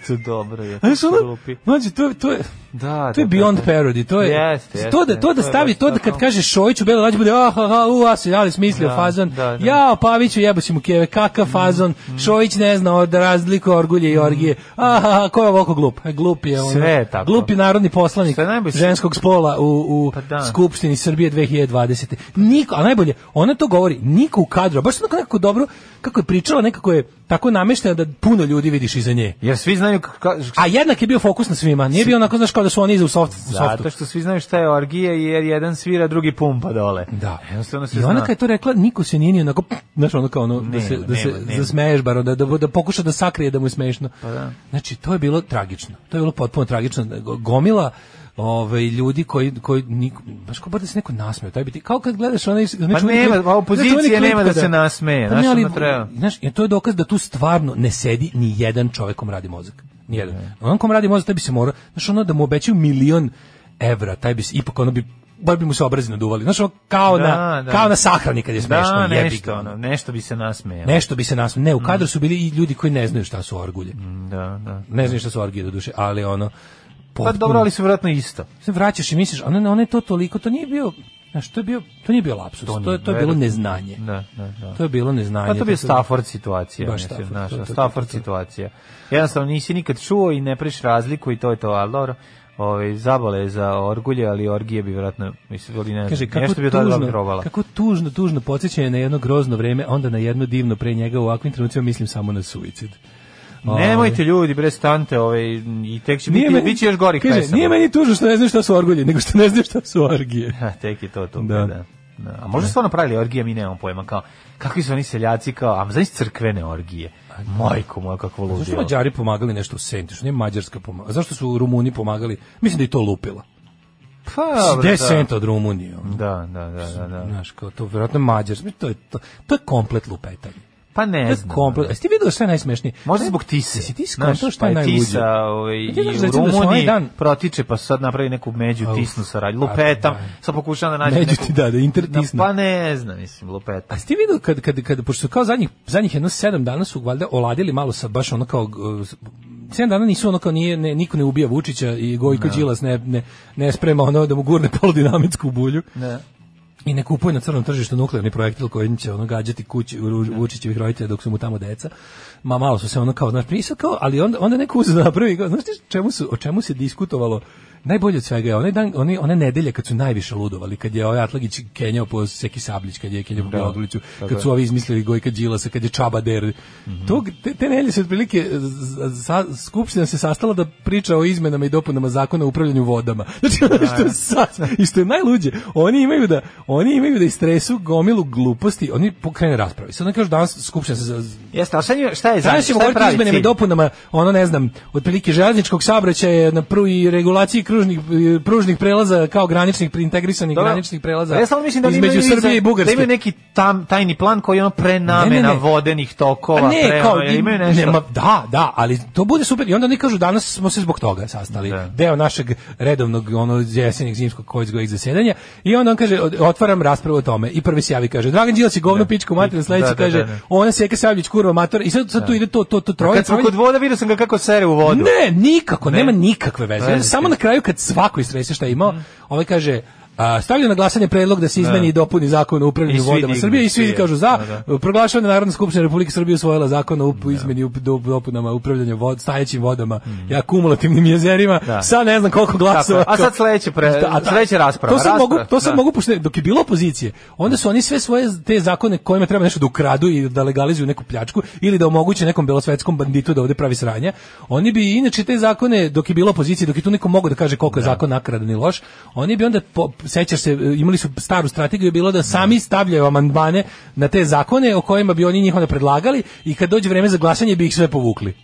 To dobro je. Znaš, ono, Glupi. mlađe, to, je- to je, Da, to je da, beyond da, da. parody, to je, Jeste, jeste. to da, to da To je stavi, baš to da tako. kad kaže Šojić u Beloj lađi bude, ah, ah, ah, u, a se, ali smislio Da, fazon, da, Mm, da. jao, Paviću jebaš mu keve, kakav fazon, Šojić ne zna od razliku orgulje i orgije, ah, ah, ah, ko je ovako glup, E, glup je, ono, Mm. Sve je tako. glup je narodni poslanik Što je najbolje- ženskog spola u, u Pa da. Skupštini Srbije 2020. Niko, a najbolje, ona to govori, niko u kadru, a baš onako nekako dobro, kako je pričala, nekako je tako nameštena da puno ljudi vidiš iza nje. Jer svi znaju kako... A jednak je bio fokus na svima, nije bio onako, znaš, kao da su oni iza u soft, u softu. Zato što svi znaju šta je orgija jer jedan svira, drugi pumpa dole. Da. Jednostavno se I ona zna. kad je to rekla, niko se nije ni onako, znaš, ono kao ono, da se, Nema, da se nema, nema. zasmeješ bar, da, da, da pokuša da sakrije da mu je smešno. Pa da. Znači, to je bilo tragično. To je bilo potpuno tragično. Gomila ovaj ljudi koji koji niko baš kao bar da se neko nasmeo taj bi ti kao kad gledaš onaj onaj Pa čuveni nema, klip- a opozicije znaš, čuveni klip nema da kada- se Pa nasmeje, znaš, ne, ali, ono treba. znaš, jer to je dokaz da tu stvarno ne sedi ni jedan čovjek kom radi mozak. Ni jedan. Onom kom radi mozak, taj bi se morao, znaš, ono da mu obećaju milion evra, taj bi se, ipak ono bi, bar bi mu se obrazi naduvali. Znaš, ono kao, Da, na, da. kao na sahrani kad je smešno, Da, jebi nešto, ga. ono, Mm. nešto bi se nasmejao. Nešto bi se nas... Ne, u kadru su bili i ljudi koji ne znaju šta su orgulje. Da, da. Ne znaju šta su orgije do duše, ali ono... Mm. Pa potpuno- dobro, ali su vjerojatno isto. se vraćaš i misliš, a ne, ne, ono je to toliko, to nije bio, znaš, to je bio, to nije bio lapsus, to, To nije, je, to je bilo verujem. neznanje. Da, da, da. To je bilo neznanje. Pa to bi je je Stafford situacija, Baš mislim, Stafford, znaš, to, to, to, Stafford to, to. situacija. Jednostavno nisi nikad čuo i ne praviš razliku i to je to, ali dobro, ovaj, zabole je za orgulje, ali orgije bi vjerojatno, mislim, ili ne Kaže, znam, kako nešto bi tada tužno, probala. kako tužno, tužno podsjećanje na jedno grozno vreme, a onda na jedno divno pre njega u ovakvim trenucima mislim samo na suicid. Ovaj, Nemojte ljudi, bre, stante, ovaj, i tek će biti, meni- bit će još gorih kaže, pesama. Nije meni tužno što ne znaš šta su orgulje, nego što ne znaš šta su orgije. Ha, tek je to to. Da. Da. da. A možda su stvarno pravili orgije, mi nemamo pojma kao, kakvi su oni seljaci kao, a znaš crkvene orgije? Majko moja, kakvo Zašto su ludilo. Mađari pomagali nešto u Senti? Što nije Mađarska pomagala? Zašto su Rumuni pomagali? Mislim da je to lupila. Pa, Gde je da. Senta od Rumunije? ono? Da, da, da, da, da. Znaš, kao to vjerojatno Mađar. To je, to, to je komplet lupetanje. Pa To ne je znam. komplet. Jesi ti vidio šta je najsmešnije? Možda zbog tise. Jesi ti Znaš, skontao šta je pa najluđe? Tisa ovaj, Pa ti i znaš, u recimo, da su onaj Rumuniji dan- protiče, pa sad napravi neku među Au, tisnu saradnju. pa, Lupetam, da. sad pokušavam da nađem Među neku... ti, da, da, intertisnu. Pa ne znam, mislim, lupetam. A ste vidio kad, kad, kad, pošto su kao zadnjih, zadnjih jedno sedam dana su valjda oladili malo sa baš ono kao, uh, sedam dana nisu ono kao nije, ne, niko ne ubija Vučića i Gojko Đilas ne, ne, ne sprema ono da mu gurne poludinamitsku bulju. Ne. i ne kupuje na crnom tržištu nuklearni projektil koji će ono gađati kući Ru- Vučićevih roditelja dok su mu tamo deca. Ma malo su se ono kao, znaš, nisu kao, ali onda, onda neko uzeo da napravi, i kao, znaš ti čemu su, o čemu se diskutovalo? Najbolje od svega je onaj dan, one, one nedelje kad su najviše ludovali, kad je ovaj Atlagić kenjao po Seki Sablić, kad je kenjao po Da. Beogrliću, Tako kad je. Mhm. su ovi izmislili Gojka Đilasa, kad je Čaba Der. Tog, te, te nedelje se otprilike, z- z- sa, skupština se sastala da priča o izmenama i dopunama zakona o upravljanju vodama. Znači, ono što sad, i što je najluđe, oni imaju da, oni imaju da istresu gomilu gluposti, oni pokrene rasprave. Sad ne kažu danas skupština se za- Jeste, ali šta je- šta je za Danas ćemo šta je govoriti o pravi izmenama i cilj? dopunama, ono ne znam, otprilike željezničkog saobraćaja na pru i regulaciji kružnih e, pružnih prelaza kao graničnih integrisanih Dobro. Pa graničnih prelaza Ja samo mislim da oni između imaju iza- Srbije i Da Bugarske. imaju neki tam, tajni plan koji je ono prenamena Ne, ne, ne. vodenih Pa tokova. ne, pre, kao, ono, jel imaju nešto. nema- da, da, ali to bude super. I onda oni kažu danas smo se zbog toga sastali. Da. Deo našeg redovnog ono jesenjeg zimskog kojeg zasedanja. I onda on kaže od- otvaram raspravu o tome. I prvi se javi kaže Dragan Đilas je govno pičku mater, sledeći Da, da, kaže da, da. ona Seka Savljić kurva mater. I sad, sad tu ide to to to troje. Kad smo troje- kod voda, vidio sam ga kako sere u vodu. ne, nikako, Ne. nema nikakve veze. Veze. Mhm. Samo na kraju kad svako istrese šta je imao, ovaj kaže A, stavljam na glasanje predlog da se izmeni i dopuni zakon o I upravljanju svi vodama dignu, Srbije i svi svi, kažu za. da, Proglašava da Narodna skupština Republike Srbije usvojila zakon o up- izmeni i up- do- dopunama upravljanja vod, stajećim vodama i akumulativnim jezerima Mhm. Da. sa ne znam koliko glasova. Tako je. A sad sledeće pre- sledeća rasprava. To sad Rasprava, mogu, to sad da. mogu pošto dok je bilo opozicije, onda su oni sve svoje te zakone kojima treba nešto da ukradu i da legalizuju neku pljačku ili da omoguće nekom belosvetskom banditu da ovde pravi sranja. Oni bi inače te zakone dok je bilo opozicije, dok je tu neko mogao da kaže koliko je zakon nakradan i loš, oni bi onda po, sećaš se e, imali su staru strategiju je bilo da sami stavljaju amandmane na te zakone o kojima bi oni njih onda predlagali i kad dođe vreme za glasanje bi ih sve povukli.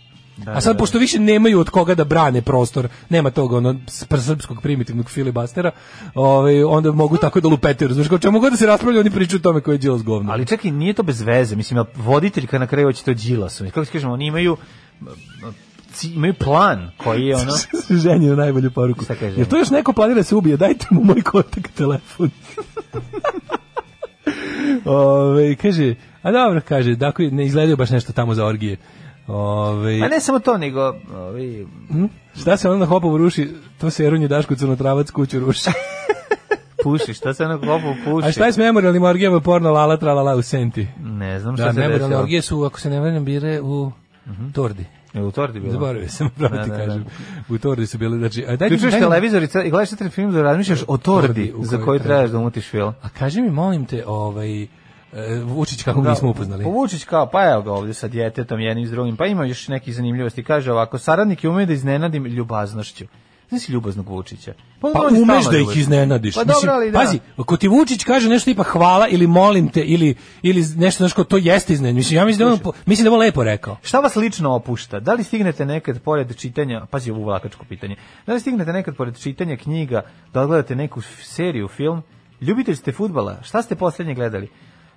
A sad, pošto više nemaju od koga da brane prostor, nema tog ono, spr- srpskog primitivnog filibastera, ovaj, onda mogu tako da lupetaju, znaš, kao čemu god da se raspravlja, oni pričaju o tome koji je Đilas govno. Ali čekaj, nije to bez veze. Mislim, jel voditelj kad na kraju hoće to Đilasom. Kako se kažemo, oni imaju ci- imaju plan koji je ono Ženje na najbolju poruku. Šta kaže? Jer to još neko planira da se ubije, dajte mu moj kontakt telefon. Ove, kaže, a dobro, kaže, dakle, ne izgledaju baš nešto tamo za orgije. Ove, a ne samo to nego ovi, šta se ono na hopovu ruši, to se Jerunje Daško Crnotravac kuću ruši. puši, šta se ono gopu puši. A šta je s memorialnim orgijama porno lala tralala u Senti? Ne znam šta Da, se memorialne desilo. orgije su, ako se ne varam, bile u Tordi. Je E, u torti bilo. Zaboravio sam, pravo Da, ti da, da. kažem. U Tordi su bile, znači... A, daj, mi- Ključuješ daj mi- televizor i ce- i gledaš četiri film da razmišljaš o Tordi, tordi u za kojoj koju treba. trebaš da umutiš film. A kaži mi, molim te, ovaj, e, Vučić kako ga nismo upoznali. Povučić kao, pa evo ga ovdje sa djetetom jednim s drugim, pa ima još nekih zanimljivosti. Kaže ovako, saradnik je ume da iznenadim ljubaznošću. Znaš ljubaznog Vučića. Pa on je umeš stalno da ih ljubazan. iznenadiš. Pa dobro, ali da. Pazi, ako ti Vučić kaže nešto tipa hvala ili molim te ili, ili nešto znaš kao to jeste iznenadiš. Mislim, ja mislim da, je on, po- mislim da je on lepo rekao. Šta vas lično opušta? Da li stignete nekad pored čitanja, pazi ovo vlakačko pitanje, da li stignete nekad pored čitanja knjiga da odgledate neku f- seriju, film? Ljubitelj ste futbala, šta ste poslednje gledali?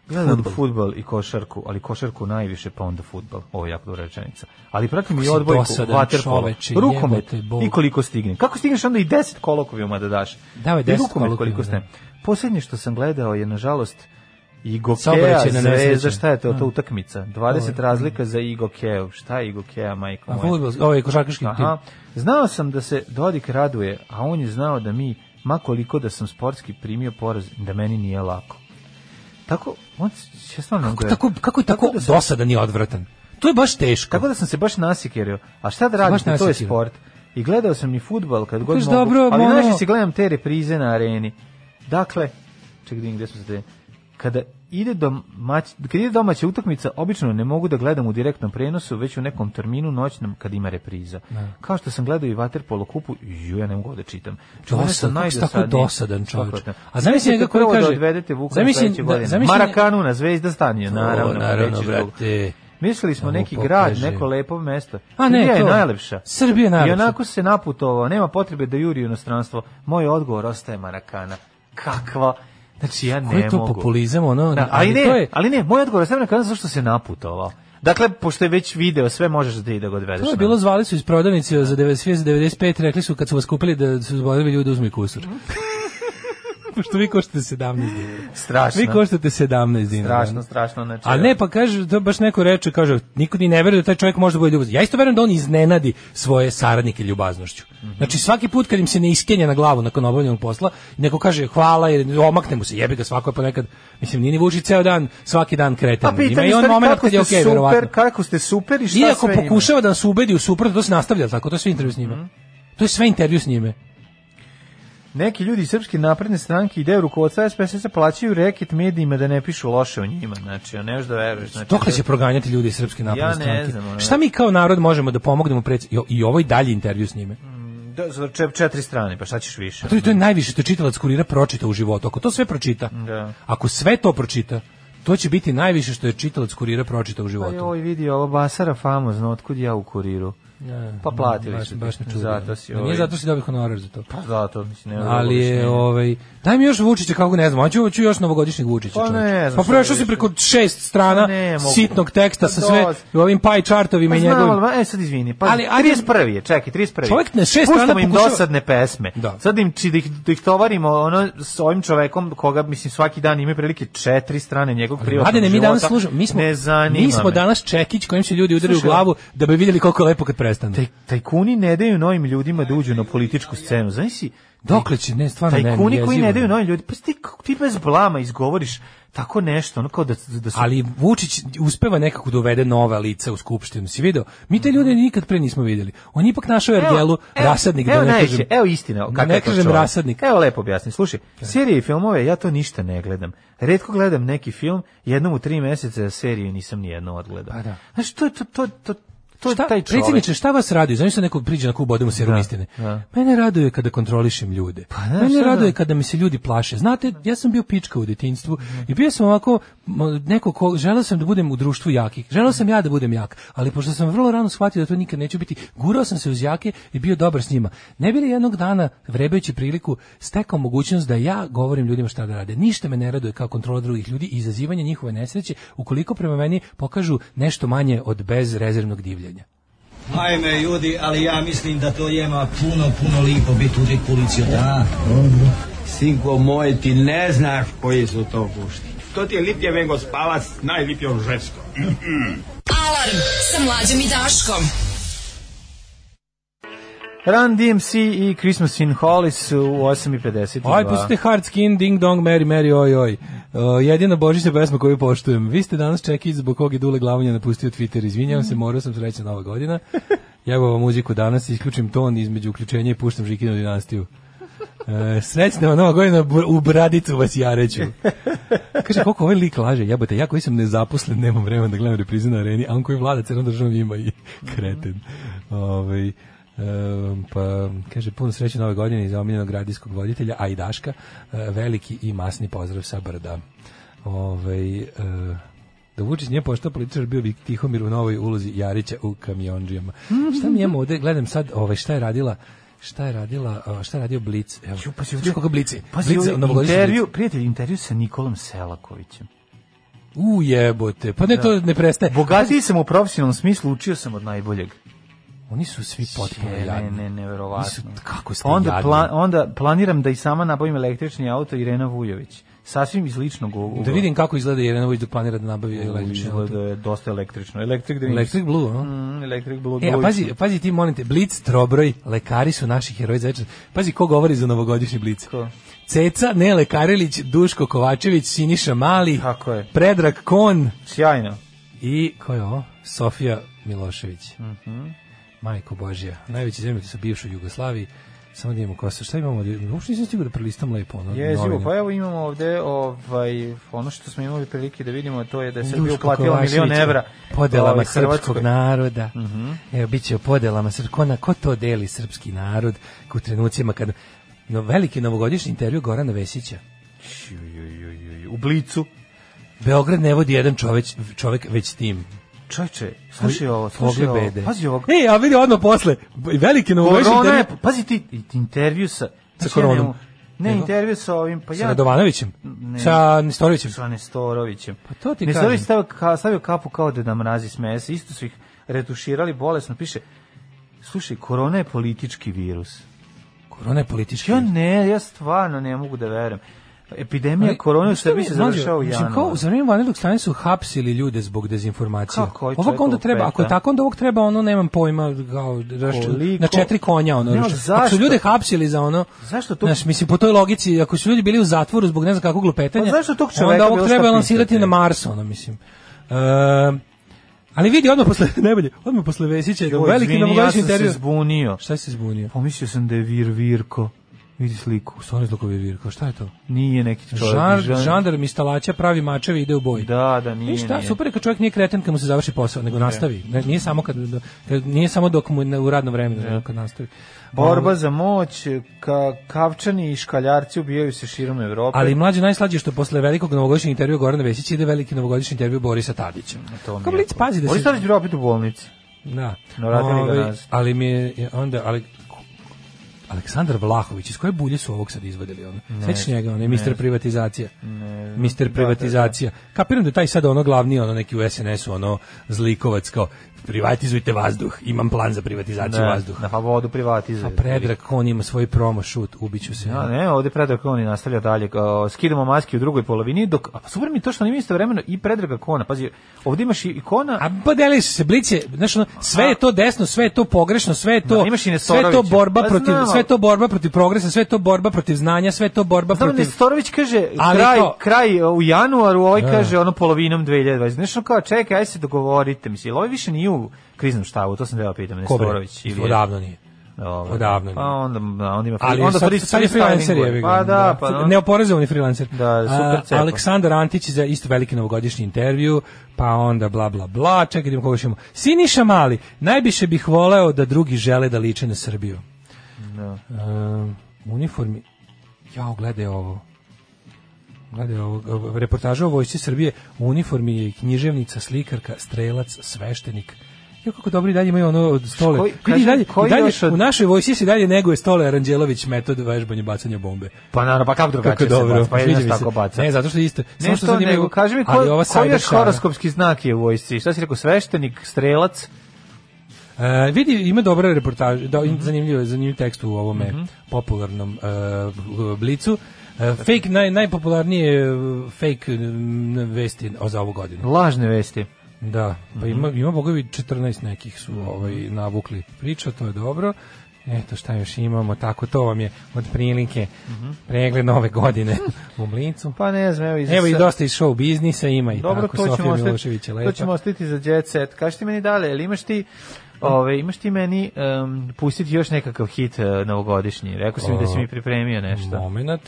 Gledam Fudbal. futbal i košarku, ali košarku najviše, pa onda futbal. Ovo je jako dobra rečenica. Ali pratim Kako i si odbojku, dosadan vaterpolo, čoveče, rukomet jebote Bog. i koliko stigne. Kako stigneš onda i 10 kolokvijuma da daš? Davaj I 10 rukomet koliko kolokvijuma, ste. Posljednje što sam gledao je, nažalost, Igokea, Saobraćajna Zvezda, nesreća. šta je to, to A. utakmica? 20 razlika za Igokeu. Šta je Igokea, majko A moja? fudbal, ovaj košarkaški tim. Aha. Znao sam da se Dodik raduje, a on je znao da mi, makoliko da sam sportski primio poraz, da meni nije lako. Tako, on s- ja stvarno Kako, ga- tako, kako je tako, da sam- dosadan i odvratan? To je baš teško. Tako da sam se baš nasikerio. A šta da Se baš radim, to je nasikirao. sport. I gledao sam i futbal kad god Kažeš, mogu. dobro, ali ono- najviše si gledam te reprize na areni. Dakle, ček da vidim gde smo se... Kada ide, domać, kada ide domaća utakmica, obično ne mogu da gledam u direktnom prenosu, već u nekom terminu noćnom kad ima repriza. Kao što sam gledao i Waterpolo kupu, ju, ja ne mogu da čitam. Čovjek, ja sam dosadan, kako si tako najdosadniji. dosadan čovjek. Tako je. A zamisli njega koji prvo kaže... Da odvedete Vuka zamisli- sledeće da- godine. zamisli- Marakanu na zvezda stanije, naravno. O, naravno, reći drugog. brate. Mislili smo Da mu neki grad, pokaže. neko lepo mesto. A ne, Srbija je to. najlepša. Srbija je najlepša. I onako se naputovao, nema potrebe da juri u inostranstvo. Moj odgovor ostaje Marakana. Kakva? Znači ja ne Koji je to mogu. populizam, ono, Da, ali, ali ne, to je- ali ne, moj odgovor ostaje Marakana zašto se naputovao. Dakle, pošto je već video, sve možeš da i da ga odvedeš. To je na- bilo zvali su iz prodavnice za 96 za 95, rekli su kad su vas kupili da su zbogavili ljudi uzmi kusur. Pošto vi koštate 17 dinara. ono. strašno. Vi koštate 17 dinara. strašno, strašno. Znači, A ne, pa kaže, to baš neko reče, kaže, niko ni ne veruje da taj čovjek može da bude ljubazan. Ja isto verujem da on iznenadi svoje saradnike ljubaznošću. Mhm. Znači, svaki put kad im se ne iskenja na glavu nakon obavljenog posla, neko kaže hvala, jer omakne mu se, jebi ga, svako je ponekad, mislim, nije ni vuči ceo dan, svaki dan Pa kretan. Ima pitanje i on stvari, moment kako kad je ste okej, super, verovatno. kako ste super i šta Iako sve ima. Mhm. pokušava da nas ubedi u suprotno, to se nastavlja, tako, to je sve intervju s njime. To je sve intervju s njime. Znači, Neki ljudi iz Srpske napredne stranke ideju rukovodstva SPS-a plaćaju reket medijima da ne pišu loše o njima. Znači, a ne možeš da veruješ. Znači, Dokle će proganjati ljudi iz Srpske Ja napredne ne stranke? znam, ono. Šta mi kao narod možemo da pomognemo preds... i o- i ovo i dalje intervju s njime? Mhm. Da, za čep- četiri strane, pa šta ćeš više? To je, to je najviše što je čitalac kurira pročita u životu. Ako to sve pročita, Da. ako sve to pročita, to će biti najviše što je čitalac kurira pročita u Pa životu. joj, vidi, ovo Basara famozno, otkud ja u kuriru? Pa platili baš, su ti. baš me čudi. Zato si Da, Pa ovaj- Nije zato si dobio honorar za to. Pa zato, mislim, ne Ali je, ovo... ovaj, daj mi još Vučića, kako ga ne znam, hoću, hoću još novogodišnjeg Vučića. Pa ne čoveče. znam pa šta prešao više. si preko šest strana Pa ne mogu. sitnog teksta Pa sa sve dosta. ovim pie chartovima Pa i znam, njegovim. ali, e, sad izvini, pa Ali, ajde- 31. je, čekaj, 31. Čovjek na šest Puštamo strana im pokušava- dosadne pesme. Da. Sad im, či, da, ih, da ih tovarimo ono, s ovim čovekom koga, mislim, svaki dan ima prilike četiri strane njegovog privatnog Mladene, mi života. danas služamo, mi smo, ne zanima mi smo me. danas čekić kojim će ljudi udari u Slušaj, glavu da bi vidjeli koliko je lepo kad prestane. Taj, tajkuni ne daju novim ljudima da uđu na političku scenu. Znaš si, Dokle će, ne, stvarno ne, tajkuni koji jezivo ne je. daju novim ljudima, pa ti, kako ti bez blama izgovoriš tako nešto, ono kao da, da su... Ali Vučić uspeva nekako da uvede nova lica u skupštinu. Si video? Mi te ljude nikad pre nismo vidjeli. On je ipak našao Ergelu rasadnik, evo, da ne najveće, kažem. Evo istina, da kakav ne je to kažem čovjek. rasadnik. Evo lepo objasni. Slušaj, serije i filmove, ja to ništa ne gledam. Redko gledam neki film, jednom u tri meseca seriju nisam ni jedno odgledao. Pa da. Znaš, to, je- to, to, to, to je Šta, taj čovjek. predsjedniče, šta vas raduje? Znam se neko priđe na kubu, odemo serum istine. da. Pa Mene raduje kada kontrolišem ljude. da, Mene šta da? raduje kada mi se ljudi plaše. Znate, ja sam bio pička u detinjstvu i bio sam ovako m, neko ko želeo sam da budem u društvu jakih. Želeo sam ja da budem jak, ali pošto sam vrlo rano shvatio da to nikad neću biti, gurao sam se uz jake i bio dobar s njima. Ne bi li jednog dana vrebajući priliku stekao mogućnost da ja govorim ljudima šta da rade. Ništa me ne raduje kao kontrola drugih ljudi i izazivanje njihove nesreće ukoliko prema meni pokažu nešto manje od bezrezervnog divljenja. Ajme ljudi, ali ja mislim da to jema puno, puno lipo biti u dekuliciju. Da, Sinko moj, ti ne znaš koji su to gušti. To ti je lipjevengo spavac, najlipje od žensko. Alarm sa mlađom i Daškom. Run DMC i Christmas in Hollis u 8.52. Aj, pustite hard skin, ding dong, Mary, Mary, oj, oj. O, jedina božićna pesma koju poštujem. Vi ste danas čekić zbog kog je Dule Glavanja napustio Twitter. Izvinjavam se, morao sam sreća nova godina. Jebo vam muziku danas, isključim ton između uključenja i puštam Žikinu dinastiju. E, srećna vam nova godina, br- u bradicu vas ja reću. Kaže, koliko ovaj lik laže, jebote, ja koji sam nezaposlen, nemam Mhm. vremena da gledam reprize na areni, a on koji vlada crnom državom ima i kreten. Ovaj, Um, pa kaže puno sreće nove godine iz omiljenog radijskog voditelja a i Daška E, veliki i masni pozdrav sa brda ovaj e, da Vučić nije postao političar bio bi Tihomir u novoj ulozi Jarića u kamionđijama šta mi imamo ovde gledam sad ovaj šta je radila šta je radila a, šta je radio Blic evo Ju, pa pa si se ovdje- koga Blici Pa si Blic, ovaj novogodišnji intervju, prijatelj, intervju sa Nikolom Selakovićem. Blic. u jebote pa ne to ne prestaje Bogatiji sam u profesionalnom smislu, učio sam od najboljeg. oni su svi potpuno Ne, jadni ne, neverovatno. Nisu- kako ste onda, jadni. onda planiram da i sama nabavim električni auto Irena Vujović. Sasvim iz ličnog ugla. da vidim kako izgleda Jelena Vujić dok planira da nabavi električni auto. Izgleda je dosta električno. Electric Dreams. Electric Blue, no? Mm, electric Blue. E, a Blue. pazi, pazi ti, molim te, Blic, Trobroj, lekari su naši heroji za večer. Pazi ko govori za novogodišnji Blic. Ko? Ceca, Nele Karelić, Duško Kovačević, Siniša Mali, Tako je. Predrag Kon Sjajno. i, ko je ovo? Sofija Milošević. Mhm. Majko Božja, najveći zemljati sa bivšoj Jugoslaviji. Samo da imamo kosa. Šta imamo? ovdje? Uopšte nisam stigao da prelistam lepo. Ono, Jezivo, novine. pa evo imamo ovde ovaj, ono što smo imali prilike da vidimo, to je da je Srbija Duško uplatila milion Kovačević, evra podelama ovaj, srpskog Hrvatskoj. Mhm. naroda. Evo biće o podelama srpskog ko, na- ko to deli srpski narod u trenucima kad no, veliki novogodišnji intervju Gorana Vesića. Ju, ju, ju, ju, ju. U blicu. Beograd ne vodi jedan čovek, čovek već tim. Čovječe, slušaj ovo, slušaj ovo. Pogled bede. Pazi ovog. E, a vidi odmah posle. b- Veliki novogodišnji Korona je, intervju pazi ti, i- intervju sa... Sa znači, ja koronom. nemam- Ne, Nego? intervju sa ovim, pa sa ja... Radovanovićem, Ne. sa Nestorovićem. Sa Nestorovićem. Pa to ti Nestorović kažem. stavio, ka, stavio kapu kao da nam razi smeje se. Isto su ih retuširali bolesno. Piše, slušaj, korona je politički virus. Korona je politički. Ja ne, ja stvarno ne mogu da verujem. Epidemija Ali, korone u znaš šta Srbiji mi- se mlađo, završava u mislim, januaru. Kao, za vreme vanrednog stanja su hapsili ljude zbog dezinformacije. Kako, ovaj čovjek Ovako onda treba, lupeta. ako je tako, onda ovog treba, ono, nemam pojma, kao, raš- Koliko- na četiri konja, ono, Ne, raš- ali ako su zašto? ljude hapsili za ono, Zašto to- znaš, mislim, po toj logici, ako su ljudi bili u zatvoru zbog ne znam kakvog lupetanja, Pa zašto tog čoveka onda ovog bilo šta treba lansirati pitati? na Mars, ono, mislim. Ehm, ali vidi, odmah posle, najbolje, odmah posle Vesića, Joj, veliki izvini, novogodišnji Ja sam intervju. se zbunio. Šta si se zbunio? Pomislio sam da je Vir Virko. Vidi sliku. Stvarno zlokovi virko, šta je to? Nije neki čovjek. Žan, Žan- žandar mi stalaća pravi mačevi i ide u boj. Da, da, nije. I šta, nije. super je kad čovjek nije kreten kad mu se završi posao, nego nastavi. Ne, nije samo kad, kad nije samo dok mu je na- u radno vremenu, nego kad nastavi. Borba za moć, ka, kavčani i škaljarci ubijaju se širom Evrope. Ali mlađe najslađe što posle velikog novogodišnjeg intervjua Gorana Vesića ide veliki novogodišnji intervju Borisa Tadića. to mi Kao je Blic to. pazi da se... Boris Tadić bio opet u bolnici. Da. No, radili ga Ovaj, nazad. ali mi je onda... Ali, Aleksandar Vlahović, iz koje bulje su ovog sad izvadili? Ono? Sećaš njega, on je mister privatizacija. Mister privatizacija. Kapiram da je taj sad ono glavni, ono neki u SNS-u, ono zlikovac kao privatizujte vazduh, imam plan za privatizaciju vazduha. Da, pa vodu privatizuje. A Predrag on ima svoj promo šut, ubiću se. A ne, ovde Predrag Koni nastavlja dalje. kao, skidamo maske u drugoj polovini, dok a pa super mi je to što nam isto vremeno i Predraga Kona. Pazi, ovde imaš i ikona, A pa delili su se blice, znaš, ono, sve je to desno, sve je to pogrešno, sve je to Da, imaš i sve je to Nestorovića. borba Pa protiv znam, sve je to borba protiv progresa, sve je to borba protiv znanja, sve je to borba Znam, protiv Nestorović kaže Ali kraj, kao- kraj e, u januaru, ovaj Da. kaže ono polovinom 2020. Znaš, ono kao, čekaj, aj se dogovorite. Mislim, jel ovaj više nije u kriznom štabu, to sam da pitam, Ko bre? Nestorović. ili je- Odavno nije. Dobro. Odavno nije. Pa onda, da, onda ima Ali onda sad, free- sad je freestyling freelancer gore. je. Pa da, pa da. Neoporezovani freelancer. Da, super A, cepa. Aleksandar Antić za isto veliki novogodišnji intervju, pa onda bla bla bla, čekaj da vidimo koga ćemo. Siniša Mali, najviše bih voleo da drugi žele da liče na Srbiju. Um, uniformi. Jao, gledaj ovo. Gledaj ovo. Reportaža o vojsci Srbije u uniformi je i književnica, slikarka, strelac, sveštenik. Jo, kako dobri dalje imaju ono od stole. Koji- Vidi i kaži, dalje, koji i dalje još od- u našoj vojsci se i dalje neguje stole Aranđelović metod vežbanja bacanja bombe. Pa naravno, pa kako Kako drugačije se dobro. baca, pa sviđa jedino mi se. se tako baca. Ne, zato što je isto. Samo Ne što što sad imaju- nego, kaži mi, ali ko, ova koji sajda još šara. horoskopski znak je u vojsci? Šta si rekao, sveštenik, strelac? E, vidi, ima dobra reportaž, da, zanimljiv, zanimljiv tekst u ovome popularnom e, blicu. E, fake, naj, najpopularnije e, fake e, m, vesti o- za ovu godinu. Lažne vesti. Da, pa ima, ima bogovi 14 nekih su ovaj, navukli priča, to je dobro. Eto šta još imamo, tako to vam je od prilike pregled nove godine u Mlincu. Pa ne znam, evo i za Evo i sad. dosta iz show biznisa ima i Dobro, tako, to Sofija ćemo, Milošević ostati, je lepa. to ćemo ostati za jet set. Kaži ti meni dalje, ili imaš ti Ove, imaš ti meni um, pustiti još nekakav hit uh, novogodišnji? Rekao si mi da si mi pripremio nešto. Momenat,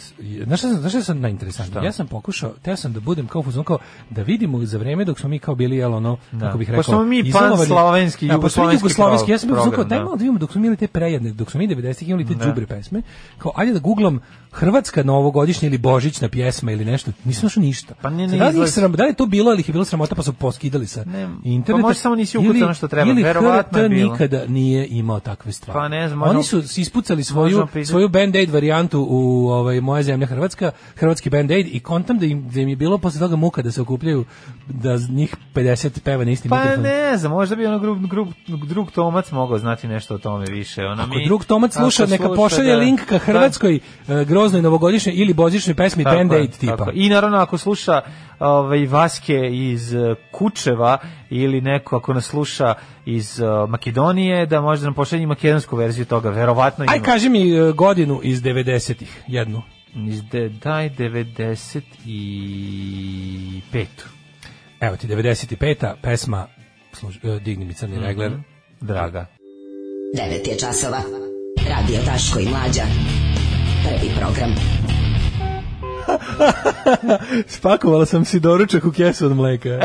znaš šta, sam- znaš šta sam najinteresantniji? Šta? Ja sam pokušao, teo sam da budem kao fuzon, kao da vidimo za vreme dok smo mi kao bili, jel ono, kako bih rekao, Pošto smo mi izamovani- panslovenski, Da, pošto smo mi jugoslovenski jugoslovenski, pro- ja sam bio fuzon kao, program, daj da. malo da vidimo dok smo mi imali te prejedne, dok smo mi 90-ih imali te Da. džubre pesme, kao, ajde da googlam Hrvatska novogodišnja ili Božićna pjesma ili nešto, nisam našao ništa. Pa nije Sad, ni da, li ih izlaz. sram, da li je to bilo ili ih je bilo sramota pa su poskidali sa Ne, pa interneta? možda samo nisi ukucao ili- ono što treba, Ili verovatno je HRT bilo. nikada nije imao takve stvari. Pa ne znam, Oni možda- su ispucali svoju, možda pitati- svoju Band-Aid varijantu u ovaj, moja zemlja Hrvatska, hrvatski Band-Aid i kontam da im, da im je bilo posle toga muka da se okupljaju, da z- njih 50 peva na isti Pa mikrofon. ne znam, možda bi ono grup, grup, drug Tomac mogao znati nešto o tome više. Ono, Ako mi- drug Tomac ako sluša, neka pošalje da. link ka hrvatskoj eh, groznoj novogodišnjoj ili božićnoj pesmi Tako je, Band-Aid tipa. tako je. I naravno ako sluša ovaj Vaske iz eh, Kučeva ili neko ako nas sluša iz eh, Makedonije da može da nam pošalje makedonsku verziju toga, verovatno ima. Aj kaži mi eh, godinu iz 90-ih, jednu. Iz de, daj 95. Evo ti 95-a pesma služ, eh, Digni mi crni regler. Mhm. Draga. 9 je časova. Radio Daško i Mlađa. Prvi program. Spakovala sam si doručak u kesu od mleka.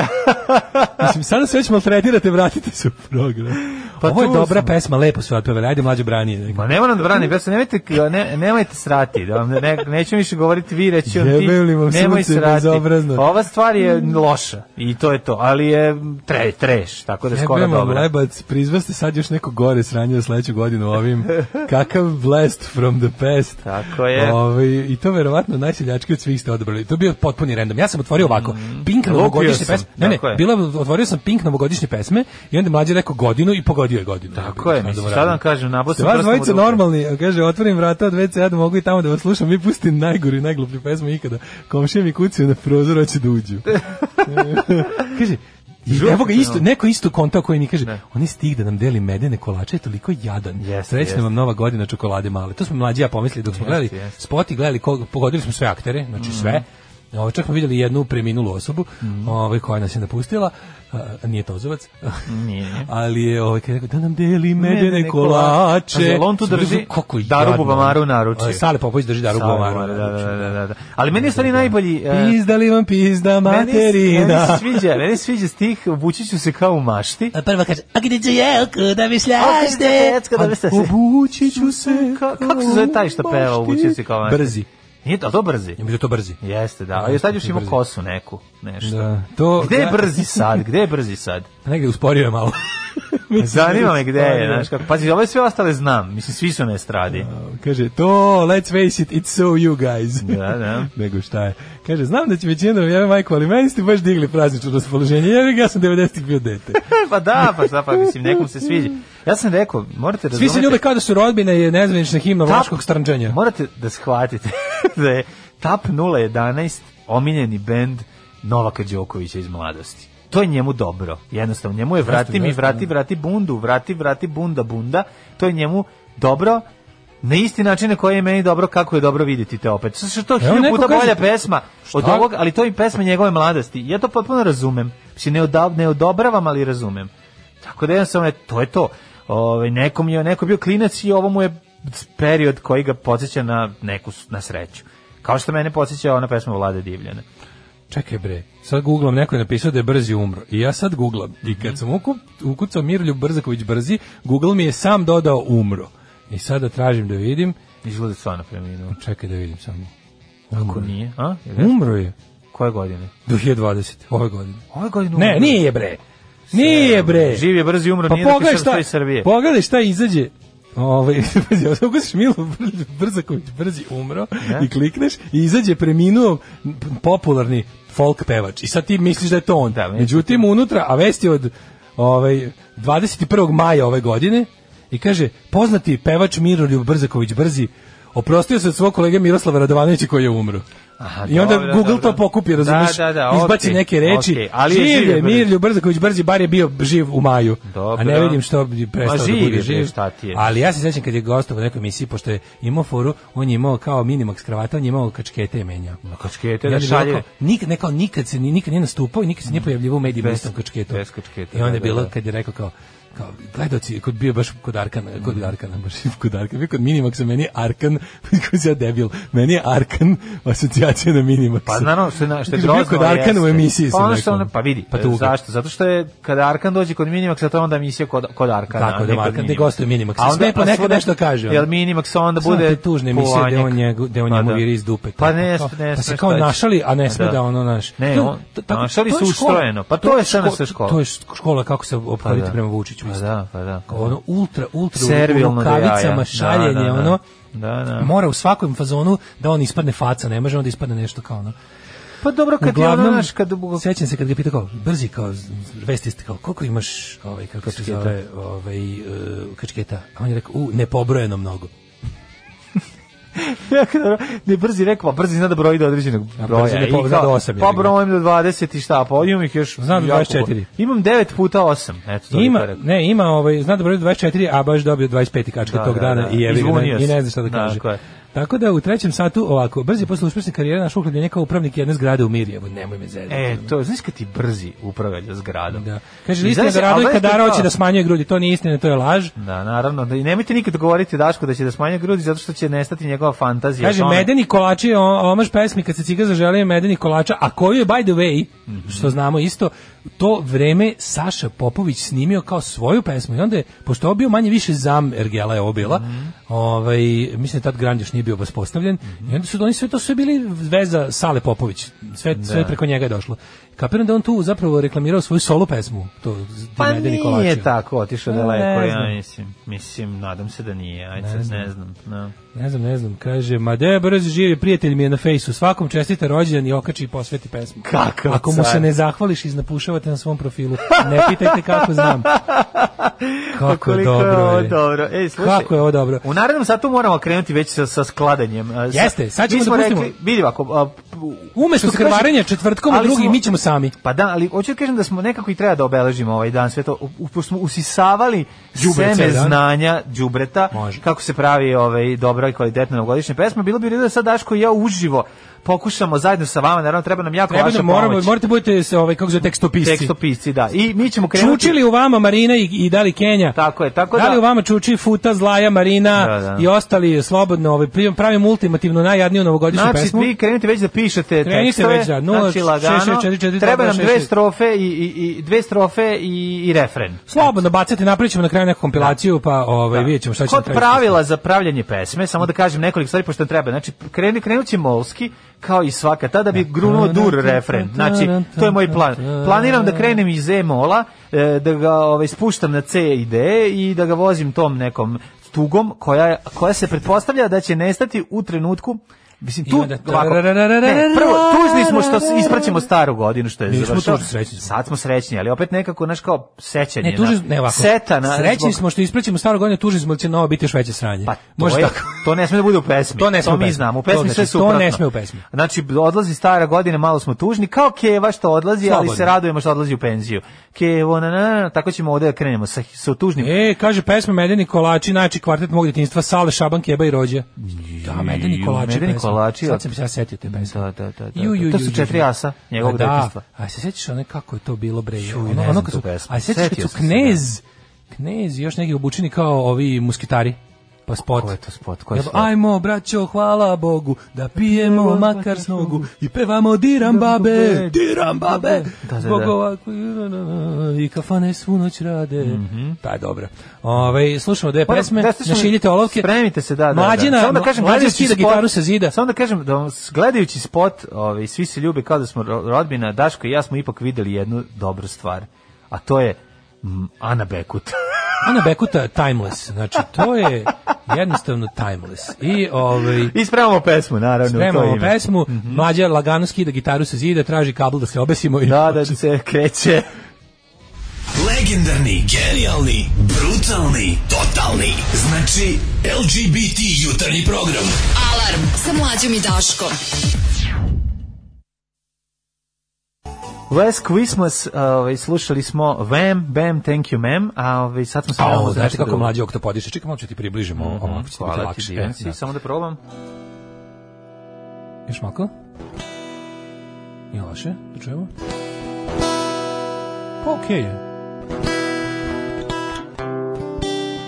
Mislim, sada se već maltretirate, vratite se u program. Pa Ovo je tu dobra sam. pesma, lepo su otpevali. Ajde, mlađe branije. Ma ne moram da branim, ja se nemojte, ne, nemojte srati, da vam ne, neću više govoriti vi, reći on ti, Jebem li vam nemoj sunce srati. bezobrazno. Ova stvar je loša i to je to, ali je tre, treš, tako da je skoro Jebem vam dobra. lebac, prizvaste sad još neko gore sranje za sledeću godinu ovim. Kakav blast from the past. Tako je. Ove, I to verovatno najseljački od svih ste odabrali. To je bio potpuni random. Ja sam otvorio ovako, Pink Mm. Lupio novogodišnje sam, pesme. Ne, ne, tako je. bila, otvorio sam Pink novogodišnje pesme i onda je mlađe rekao godinu i pogodio je godinu. Tako je, mislim, šta da vam kažem, nabod Ste sam vas prstom u dvojice dupe. normalni, a kaže, otvorim vrata od WC, ja da mogu i tamo da vas slušam, vi pustim najgoru i najgluplju pesmu ikada. Komšija mi kucaju na prozor, hoće da uđu. kaže, i Žuti, evo ga isto, no. neko isto konta koji mi kaže, Ne. oni stih da nam deli medene kolače, je toliko jadan. Jeste, Srećna jeste. vam nova godina čokolade male. To smo mlađi ja pomislili dok smo gledali jeste. Mhm. spot i gledali, ko, pogodili smo sve aktere, znači sve. Ovo, čak smo vidjeli jednu preminulu osobu, ovaj, koja nas je napustila, a, nije Tozovac, Nije. ali je ovaj, kada je rekao, da nam deli medene Medene kolače. kolače. Jel on tu Sam drži rekao, kako je Daru jadno. Bubamaru u naručju? A, Sale Popović drži Daru Sale Bubamaru. u Bubamaru, da, naručju, da, da, da, da. Ali meni je u stvari najbolji, e, Pizda li vam pizda Meni se- Meni se materina. sviđa, meni se sviđa stih, obući ću se kao u mašti. E, Prvo kaže, a gdje će jelku da mi šljašte? A Obući Pa, ću se. Ka- kako se zove taj što peva obući se kao u mašti? Brzi. Nije to, to brzi. Ja bih da to brzi. Jeste, da. Ali sad još Jeste, ima brzi. kosu neku, nešto. Da. To, Gde je brzi sad? Gde je brzi sad? Negde usporio je malo. Mislim, Zanima me gde je, usporio. znaš kako. Pazi, ove sve ostale znam. Mislim, svi su na estradi. Kaže, to, let's face it, it's so you guys. Da, da. Nego šta je. Kaže, znam da će većina da mi jave majko, ali meni ste baš digli praznično raspoloženje. Jevi ga, ja sam 90-ih bio dete. pa da, pa šta, pa mislim, nekom se sviđa. Ja sam rekao, morate Svi razumeti... se ljube kao da su rodbina je nezvanična himna Tap- vlaškog strančanja. Morate da shvatite da je Tap 011 omiljeni bend Novaka Đokovića iz mladosti. To je njemu dobro. Jednostavno, njemu je vrati mi, jasno, vrati, vrati bundu, vrati, vrati bunda, bunda. To je njemu dobro na isti način na koji je meni dobro kako je dobro vidjeti te opet. Sve što je to Evo, hiljadu neko puta kaže- bolja pesma od Šta? ovog, ali to je pesma njegove mladosti. Ja to potpuno razumem. Mislim, ne, odav, ne odobravam, ali razumem. Tako da jednostavno, je- to je to. Ove, nekom je, neko je bio klinac i ovo mu je period koji ga podsjeća na neku s- na sreću. Kao što mene podsjeća ona pesma Vlade Divljane. Čekaj bre, sad googlam, neko je napisao da je brzi umro. I ja sad googlam. I Mhm. kad sam ukup, ukucao Mirlju Brzaković brzi, Google mi je sam dodao umro. I sada tražim da vidim. Izgleda stvarno preminuo. Čekaj da vidim samo. Ako Mm. nije, a? Jel jeste? Umro je. Koje godine? 2020. Ove godine. Ove godine Ne, umro. nije bre. Nije bre. Živ je brzi umro, Pa nije da pogledaj piše šta, iz Srbije. pogledaj šta izađe. Ovaj, pazi, ako ukusiš Milo Br- Brzaković brzi umro i klikneš i izađe preminuo m, popularni folk pevač. I sad ti misliš da je to on. Da, mislim. Međutim, unutra, a vest je od ovaj, 21. maja ove godine i kaže, poznati pevač Miroljub Brzaković brzi oprostio se od svog kolege Miroslava Radovanovića koji je umro. Aha, I onda dobro, Google dobro. to pokupi, razumeš, Da, da, da, izbaci okej, neke reči. okej, ali je živ živ je je brzi. Mirlju Brzaković brzi, bar je bio živ u maju. Dobro. A ne vidim što bi prestao Ma živ da je, bude bre, živ. šta ti je? Ali ja se sećam kad je gostao u nekoj emisiji, pošto je imao foru, on je imao kao minimax kravata, on je imao kačkete je menjao. Na kačkete I onda da je bilo šalje. Mm. kao, nikad, ne, kao, nikad, se, ni- nikad nije nastupao i nikad se nije pojavljivao u medijima Bez- istom kačketom. bez kačketa, I onda je da, da, bilo da. kad je rekao kao, kao gledaoci kod bio baš kod Arkana, Mm. kod Arkana, baš kod Arkana, bio kod Minimaxa, meni je Arkan, kako se ja debil, meni je Arkan asocijacija na Minimaxa. Pa naravno što je, na- što je Bio grozno. kod Arkana u jeste. emisiji pa sam ono što rekao. ono- pa vidi, Pa pa tuga. zašto? Zato što je kada Arkan dođe kod Minimax, to je onda emisija kod, kod Arkana. Tako, a da ne kod Arkan, gde Minimaxa. gostuje Minimax. A onda- Sve ponekad a svuda- nešto kaže, ono. Jel Minimax onda Znam bude te tužne emisije gde on njegu- gde on njemu viri iz dupe. Pa ne, Kao- ne, pa se ne, kao šta će? našali, a ne sme da ono, znaš. Ne, To- on- to- tako- našali to je su škola- ustrojeno, pa to je SNS škola. To je škola kako se ophoditi da. prema Vučiću. Pa isto. da, pa da. Kao ono ultra, ultra u- u Servilno do jaja. rukavicama, Da, šaljenje, da, da. ono. Da, da. Mora u svakom fazonu da on ispadne faca, ne može on da ispadne nešto kao ono. Pa dobro, kad je ono, znaš, kad... sećam se kad ga pita kao, brzi kao, z- vesti ste kao, koliko imaš, ovaj, kako se Kačketa. zove, ovaj, e, kačketa? A on je rekao, u, nepobrojeno mnogo. Jako dobro. Ne brzi rekao, pa brzi zna da broji do određenog A broja. brzi ne I po- zna kao, do osam, Pa jebi ga. brojim do 20 i šta, pa imam ih još... Znam do jako 24. puno. Imam 9 puta 8. Eto, to ima, bih rekao. ne, ima, ovaj, zna da broj 24, a baš dobio 25. kačke Da, tog da, dana da. i, jebi ga, Izvunio ne, i ne se. zna šta da Da, kaže. tako je. Tako da u trećem satu ovako, brzi posle uspešne karijere naš uhljebljen je kao upravnik jedne zgrade u Mirjevu, nemoj me zezati. E, to, znaš kad ti brzi upravlja zgradom. Da. Kaže, I istina znaš, da a Radojka gledaj, Daro kao- hoće da smanjuje grudi, to nije istina, to je laž. Da, naravno. Da, I nemojte nikad govoriti Daško da će da smanje grudi zato što će nestati njegova fantazija. Kaže, o tome. medeni kolači je o- omaž pesmi kad se ciga zaželio medeni kolača, a koju je, by the way, što znamo isto, to vreme Saša Popović snimio kao svoju pesmu i onda je, pošto je ovo bio manje više zam Ergela je ovo bila, ovaj, mislim da tad Grand još nije bio vaspostavljen, i onda su oni sve to sve bili veza Sale Popović, sve, sve preko njega je došlo. Kapiram da je on tu zapravo reklamirao svoju solo pesmu, to z- Pa medeni nije kolači. tako otišao Pa, daleko, ne ja znam. mislim. Mislim, nadam se da nije. Ajde, sad ne znam. No. Ne znam, ne znam, kaže, ma de brzo živi, prijatelj mi je na fejsu, svakom čestite rođendan i okači i posveti pesmu. Kakav Ako mu se car. ne zahvališ, iznapušavate na svom profilu. Ne pitajte kako znam. Kako je Pa Koliko Pa dobro. je ovo je. dobro. Ej, slušaj. Kako je ovo dobro. U narednom satu moramo krenuti već sa, sa skladanjem. A, sa- Jeste, sad ćemo mi smo da pustimo. Rekli, vidi ovako, a, p- Umesto što kaže- krvarenja četvrtkom, a ali drugi smo- mi ćemo sami. Pa da, ali hoću da kažem da smo nekako i treba da obeležimo ovaj dan, sve to, u- u- smo usisavali Đubre seme cijeli dan. znanja đubreta, Može. kako se pravi ovaj, dobra i kvalitetna novogodišnja pesma, bilo bi u redu da sad Daško i ja uživo pokušamo zajedno sa vama, naravno treba nam jako Treba vaša nam, moramo, pomoć. morate budete se, ovaj, kako zove, tekstopisci. Tekstopisci, da. I mi ćemo krenuti... Čučili u vama Marina i, i da li Kenja? Tako je, tako da li da- u vama čuči Futa, Zlaja, Marina Da, da. i ostali slobodno, ovaj, pri- pravimo ultimativno najjadniju novogodišnju Znači, pesmu? vi krenite već da pišete Krenite tekstove. već da, nula, znači, lagano. šest, šest, četiri, četiri, treba dva, nam šest, dve šest. strofe i, i, i dve strofe i, i refren. Slobodno bacate, napravit ćemo na kraju neku kompilaciju, pa ovaj, vidjet ćemo šta ćemo Kod pravila za pravljanje pesme, samo da kažem nekoliko stvari, pošto treba, znači, kreni, krenut će Molski, kao i svaka, tada bi grunuo dur refren. Znači, to je moj plan. Planiram da krenem iz E mola, e, da ga ovaj, spuštam na C i D i da ga vozim tom nekom tugom koja, je- koja se pretpostavlja da će nestati u trenutku Mislim, tu, I onda ovako, ne, prvo, tužni smo što s- ispraćemo staru godinu, što je Nismo završao. tužni, srećni smo. Sad smo srećni, ali opet nekako, znaš, kao sećanje. Ne, tuži, na- ne ovako. Seta na, Srećni zbog- smo što ispraćemo staru godinu, tužni smo jer će novo biti još veće sranje. pa to, Može je, tako. to ne sme da bude u pesmi. To ne sme u mi pesmi. znamo. U To pesmi znači, sve to suprotno. ne sme u pesmi. Znači, odlazi stara godina, malo smo tužni, kao Keva što odlazi, Slobodno. ali se radujemo što odlazi u penziju. Kevo, na, na, na, tako ćemo ovde da krenemo sa, sa tužnim. E, kaže pesma Medeni kolači, najči kvartet mog djetinjstva, Sale, Šaban, Keba i Rođe. Da, Medeni kolači. Medeni pesma. kolači, Sad od- sam se ja setio te pesme. Da, da, da, da. Ju, ju, to ju, su ju, četiri ju. asa njegovog A da, detinjstva. A se sjećaš one kako je to bilo bre? Ju, ono, ne ono znam kad tu su, pesmu. a se sjećaš Setio kad su sam se, knez, knez i još neki obučeni kao ovi muskitari. Pa spot. Ko je to spot? Ko je Jel, spot? Ajmo, braćo, hvala Bogu, da pijemo makar snogu i pevamo diram babe, diram babe. Da, da, da. Zbog ovako i kafane svu noć rade. Pa dobro. Ovaj slušamo dve Moram- pesme, Mhm. Pa da ste se- našiljite olovke. Spremite se, da, da. Mlađina, da. Samo da kažem, Mlađa gledajući skida spot- gitaru sa zida. Samo da kažem, da vam s- gledajući spot, ovaj, svi se ljube kao da smo ro- rodbina, Daško i ja smo ipak videli jednu dobru stvar, a to je mm, Ana Bekut. Ana Bekuta timeless. Znači to je jednostavno timeless. I ovaj I spremamo pesmu, naravno, u to Spremamo ime. Mhm. pesmu, mlađa lagano skida gitaru sa zida, traži kabel da se obesimo i Da, da se kreće. Legendarni, genijalni, brutalni, totalni. Znači, LGBT jutarnji program. Alarm sa mlađom i Daškom. Last Christmas, ovaj, slušali smo Vam, Bam, Thank You, Ma'am, a ovaj, sad smo se A ovo, nalazili znate Pa, nešto kako drugo. Mhm, mlađi ok to podiše. Čekaj, malo ću ti približimo, mm ovako će ti biti Hvala ti, lakše. divan si, E, da. samo da probam. Još malo? Nije loše, da čujemo. Pa okej je.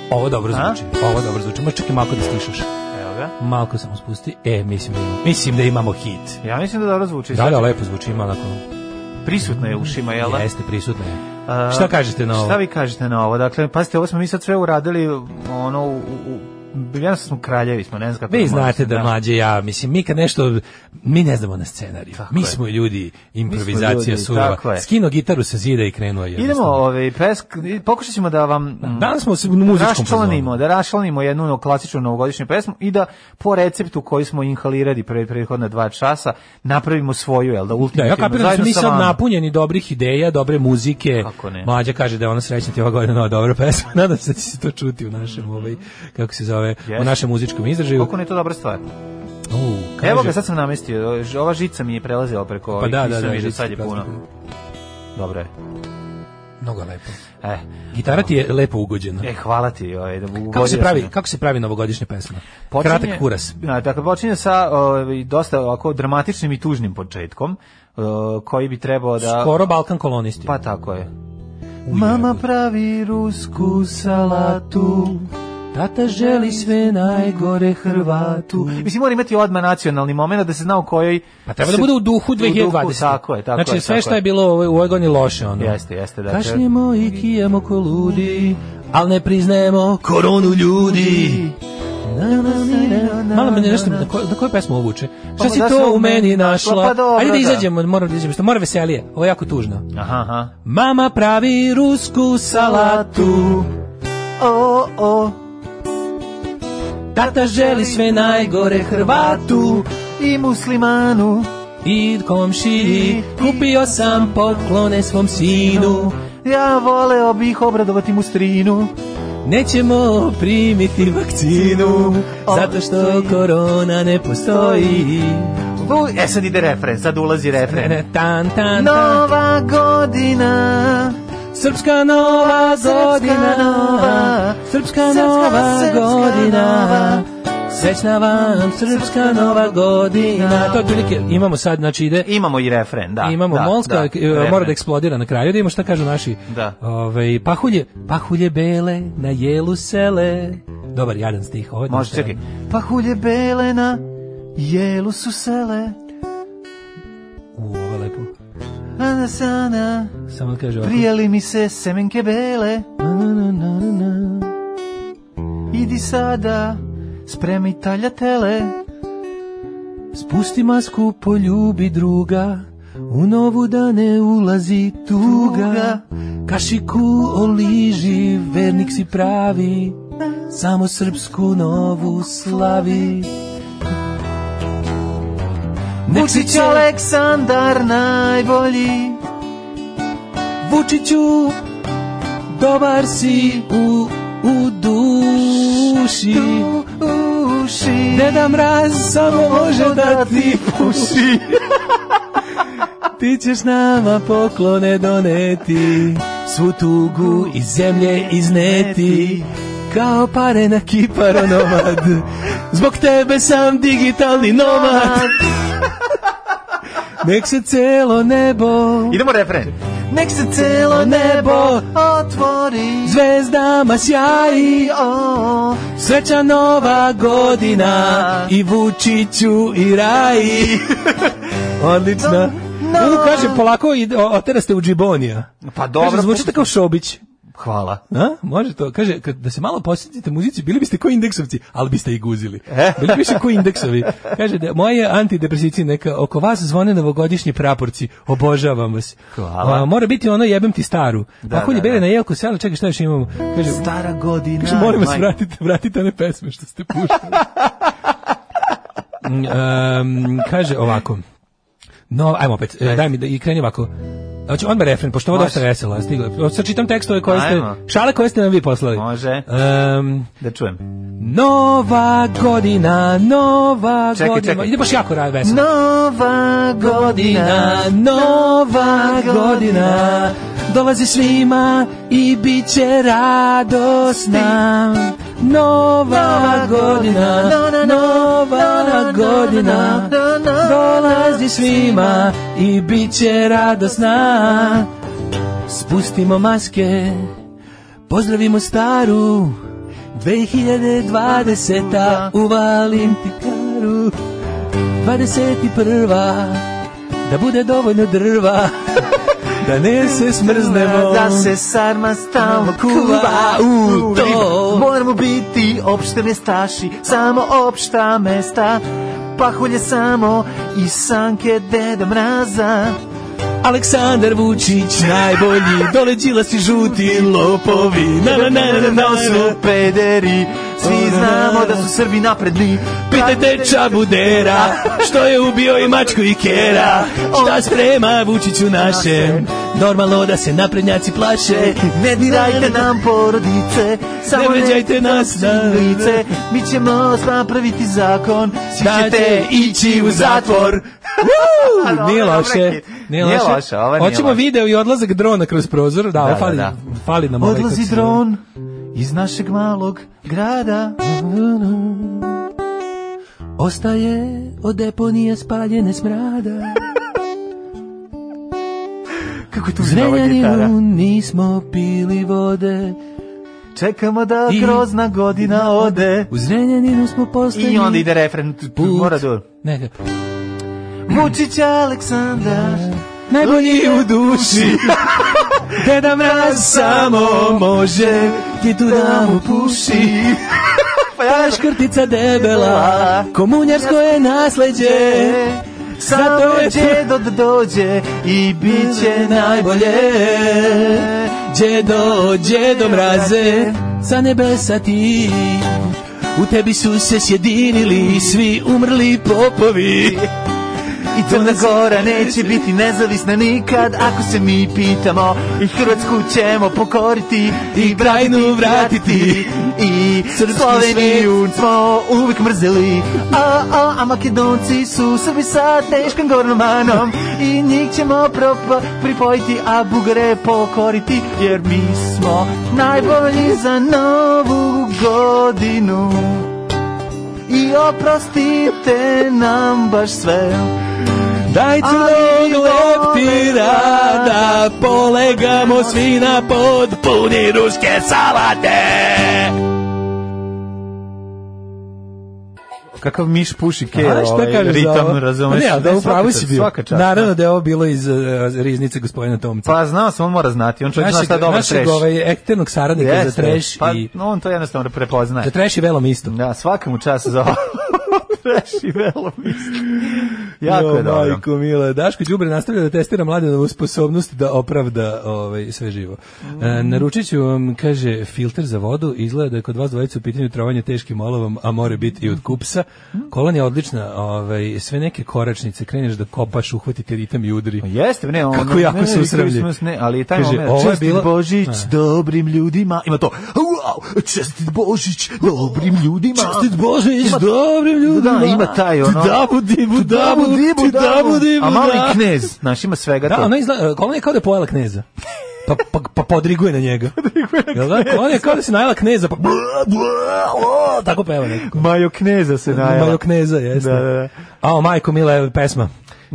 Ovo dobro A? zvuči. Ovo dobro zvuči. Možeš čak i malko da stišaš. Evo ga. Malko samo spusti. E, mislim da imamo, mislim da imamo hit. Ja mislim da dobro zvuči. Da, da, lepo zvuči, ima onako, Prisutna je ušima, znači? jel? da? jeste prisutno je. A, Šta kažete na ovo? Šta vi kažete na ovo? Dakle, pazite, ovo smo mi sad sve uradili, ono, u, u, u ja smo kraljevi, smo, ne znam kako. Vi možete, znate da mlađe ja, mislim, mi kad nešto, mi ne znamo na scenariju. mi je. smo ljudi, improvizacija ljudi, tako surova. je. Skino gitaru sa zida i krenuo je. Idemo, jednostavno. ovaj, pesk, pokušat ćemo da vam... mm, Danas smo se u muzičkom raščlanimo, da raščlanimo jednu no, klasičnu novogodišnju pesmu i da po receptu koji smo inhalirali pre prethodna dva časa napravimo svoju, jel da, Da, ultimativno, ja kapiram da smo zajedno mi sa sad vama. napunjeni dobrih ideja, dobre muzike. Kako ne? Mlađa kaže da je ona srećna ti ova godina nova dobra pesma. Nadam se da će se to čuti u našem, ovaj, kako se zove, u Jeste. našem muzičkom izražaju. Koliko ne je to dobra stvar. U, kaže- Evo ga, sad sam namestio, ova žica mi je prelazila preko Pa ovih, da, da, nisam da, vidio, žica sad je puno. prelazi. Dobro je. Mnogo je lepo. E, Gitara ti je lepo ugođena. e hvala ti. Ovaj, da Kako se ugodio pravi, sam je. kako se pravi novogodišnja pesma? Počinje- Kratak kuras. Da, dakle, počinje sa ovaj, dosta ovako dramatičnim i tužnim početkom, eh, koji bi trebao da... Skoro Balkan kolonisti. Pa tako je. Mama pravi rusku salatu, Tata želi sve najgore Hrvatu. Mislim, mora imati odmah nacionalni moment da se zna u kojoj... Pa treba da bude u duhu 2020. tako je, tako je. znači, sve tako što je bilo u ovoj- u ovoj godini loše, ono. Jeste, jeste, dakle. Kašnjemo i kijemo ko ludi, al ne priznajemo koronu ljudi. Na, na, na, na, Malo me nešto, na, ko, na koju pesmu ovo vuče? Šta Pa, si da se to u u meni meni našla? našla? Pa dobro, Ajde da da. izađemo, moram da izađemo, što mora veselije, ovo je jako tužno. Aha, aha. Mama pravi rusku salatu, O, o, tata želi sve najgore Hrvatu, i muslimanu, i komšiji kupio sam poklone svom sinu, ja voleo bih obradovati mu strinu. Nećemo primiti vakcinu Zato što korona ne postoji E, Bu, e, sad ide refren, sad ulazi refren. Tan, tan, tan Nova godina, Srpska nova Srpska godina nova, Srpska srpska, nova srpska godina nova. Srećna vam Srpska nova godina To je prilike, imamo sad, znači ide imamo i refren, da. imamo da, Molska, da, e, refren. mora da eksplodira na kraju, da imamo šta kažu naši. Da. Ovaj, pahulje, pahulje bele, na jelu sele. Dobar, jadan stih. Ovaj Može, dostajan. čekaj. Pa Pahulje belena, jelu su sele, U, ovo je lepo. ana sana, Samo da kaže ovako. prijeli mi se semenke bele, Na, na, na, na, na. idi sada, spremi taljatele. Spusti masku, poljubi druga, u novu da ne ulazi tuga. Kašiku oliži, vernik si pravi, samo srpsku novu slavi. Nek si Vučić će- Aleksandar najbolji, Vučiću, dobar si u, u duši. uši, Deda mraz samo može da ti puši. Ti ćeš nama poklone doneti Svu tugu iz zemlje izneti Kao pare na kiparo nomad Zbog tebe sam digitalni nomad Nek se celo nebo Idemo refren. Nek se celo nebo otvori, Zvezdama sjaji o, Sreća nova godina i Vučiću i Raji. Odlično. No. Ono kaže, polako ide, o- otera ste u džibonija. Pa dobro, Kaže, zvučite pusti. kao Šobić. Hvala. A? Može to. Kaže, kad, da se malo posjetite muzici, bili biste ko indeksovci, ali biste i guzili. E. Bili biste ko indeksovi. Kaže, da, moje antidepresici neka oko vas zvone novogodišnji praporci. Obožavam vas. Hvala. A, mora biti ono jebem ti staru. Da, Da, Ako da, da, bele da. na jelku sela, čekaj šta još imamo. Kaže, Stara godina. Kaže, molim vas, majko. vratite, vratite one pesme što ste puštali. um, kaže ovako. No, ajmo opet, e, daj mi da i kreni ovako. Znači, odmah refren, pošto ovo Može. dosta vesela. Stigla. je. Sad čitam tekstove koje ste, Ajmo. šale koje ste nam vi poslali. Može. Um, Da čujem. nova godina, nova Čekaj, godina. čekaj. Ide baš jako rad veselo. Nova godina, nova godina. Dolazi svima i bit će radosna. Nova godina, nova godina. Dolazi svima i bit će radosna. Spustimo maske, pozdravimo staru 2020. uvalim ti karu 21. Da bude dovoljno drva Da ne se smrznemo Da se sarma stalno kuva u to Moramo biti opšte mestaši Samo opšta mesta Pahulje samo i sanke deda mraza Aleksandar Vučić najbolji, dole đilasi žuti lopovi, na na na na na su pederi, svi znamo da su Srbi napredni. Pitajte Čabudera, što je ubio i mačku i kera, šta sprema Vučiću naše, normalno da se naprednjaci plaše, Ne dirajte nam porodice, samo Ne vređajte nas na lice, mi ćemo napraviti zakon, svi da ćete ići u zatvor. Uuu, Nije loše. Nije Nije loše. loše, ovo nije Hoćemo loše. video i odlazak drona kroz prozor. Da, ovo fali, da, fali nam ovaj Odlazi kad se- dron iz našeg malog grada. Ostaje od deponije spaljene smrada. Kako je tu ova gitara? Zrenjaninu nismo pili vode. Čekamo da I- grozna godina ode. U Zrenjaninu smo postali... I onda ide refren, tu- tu put. mora da... Neka. Vučić Aleksandar, Da, Najbolji u duši. Deda mraz samo može ti tu da mu puši. Păi pa ja Škrtica debela, komunjarsko je nasleđe. Samo Zato je- džedo da dođe i bit će najbolje. Đedo, đedo mraze, sa nebesa ti U tebi su se sjedinili svi umrli popovi I Crna Gora neće biti nezavisna nikad ako se mi pitamo i Hrvatsku ćemo pokoriti I krajnu vratiti i Srpski Sloveniju smo uvijek mrzeli a, a, a Makedonci su Srbi sa teškim gornomanom i njih ćemo propo- pripojiti a Bugare pokoriti jer mi smo najbolji za novu godinu i oprostite nam baš sve Daj crnog Ali leptira da polegamo svi na pod puni ruske salate Kakav miš puši ke, A, šta ovaj, kažeš za ritam, ovo? razumeš? Pa Ne, da Ne, u pravu svaka si čast, bio. svaka čast, Naravno da. da je ovo bilo iz uh, riznice gospodina Tomca. Pa znao sam, on mora znati, on čovjek zna Pa, šta je dobar našeg treš. ovaj, ekternog saradnika Jeste, za treš pa, i... no, on to jednostavno prepoznaje. Za treš i velom isto. Da, svaka mu čast za ovo. Treš i velo mislim. Jako je dobro. Majko Mila, Daško Đubre nastavlja da testira mladenovu sposobnost da opravda ovaj, sve živo. E, Mm. naručit ću vam, kaže, filter za vodu, izgleda da je kod vas dvojica u pitanju trovanje teškim olovom, a more biti i od kupsa. Mm. Kolan je odlična, ovaj, sve neke koračnice, kreneš da kopaš, uhvatite ritam i udri. Pa Jeste, ne, on Kako jako ne, se ne, usrvlji. Christmas, Ne, ali taj Kaže, moment, ovo je čestit bila- Božić Ne. dobrim ljudima. Ima to. Wow, čestit Božić dobrim ljudima. Čestit Božić, dobrim ljudima. Da, ima taj ono. Ti dabu dibu, Tu dabu, dibu, ti dabu dibu, A da. mali knez, znaš, ima svega Da, to. ona izgleda, kolona je kao da je pojela kneza. Pa, pa, pa podriguje na njega. Jel da? Kolona je kao da se najela kneza, pa... Tako peva nekako. Majo kneza se najela. Malo kneza, jeste. Da, da, da. Mhm. A, o, majko, mila je pesma.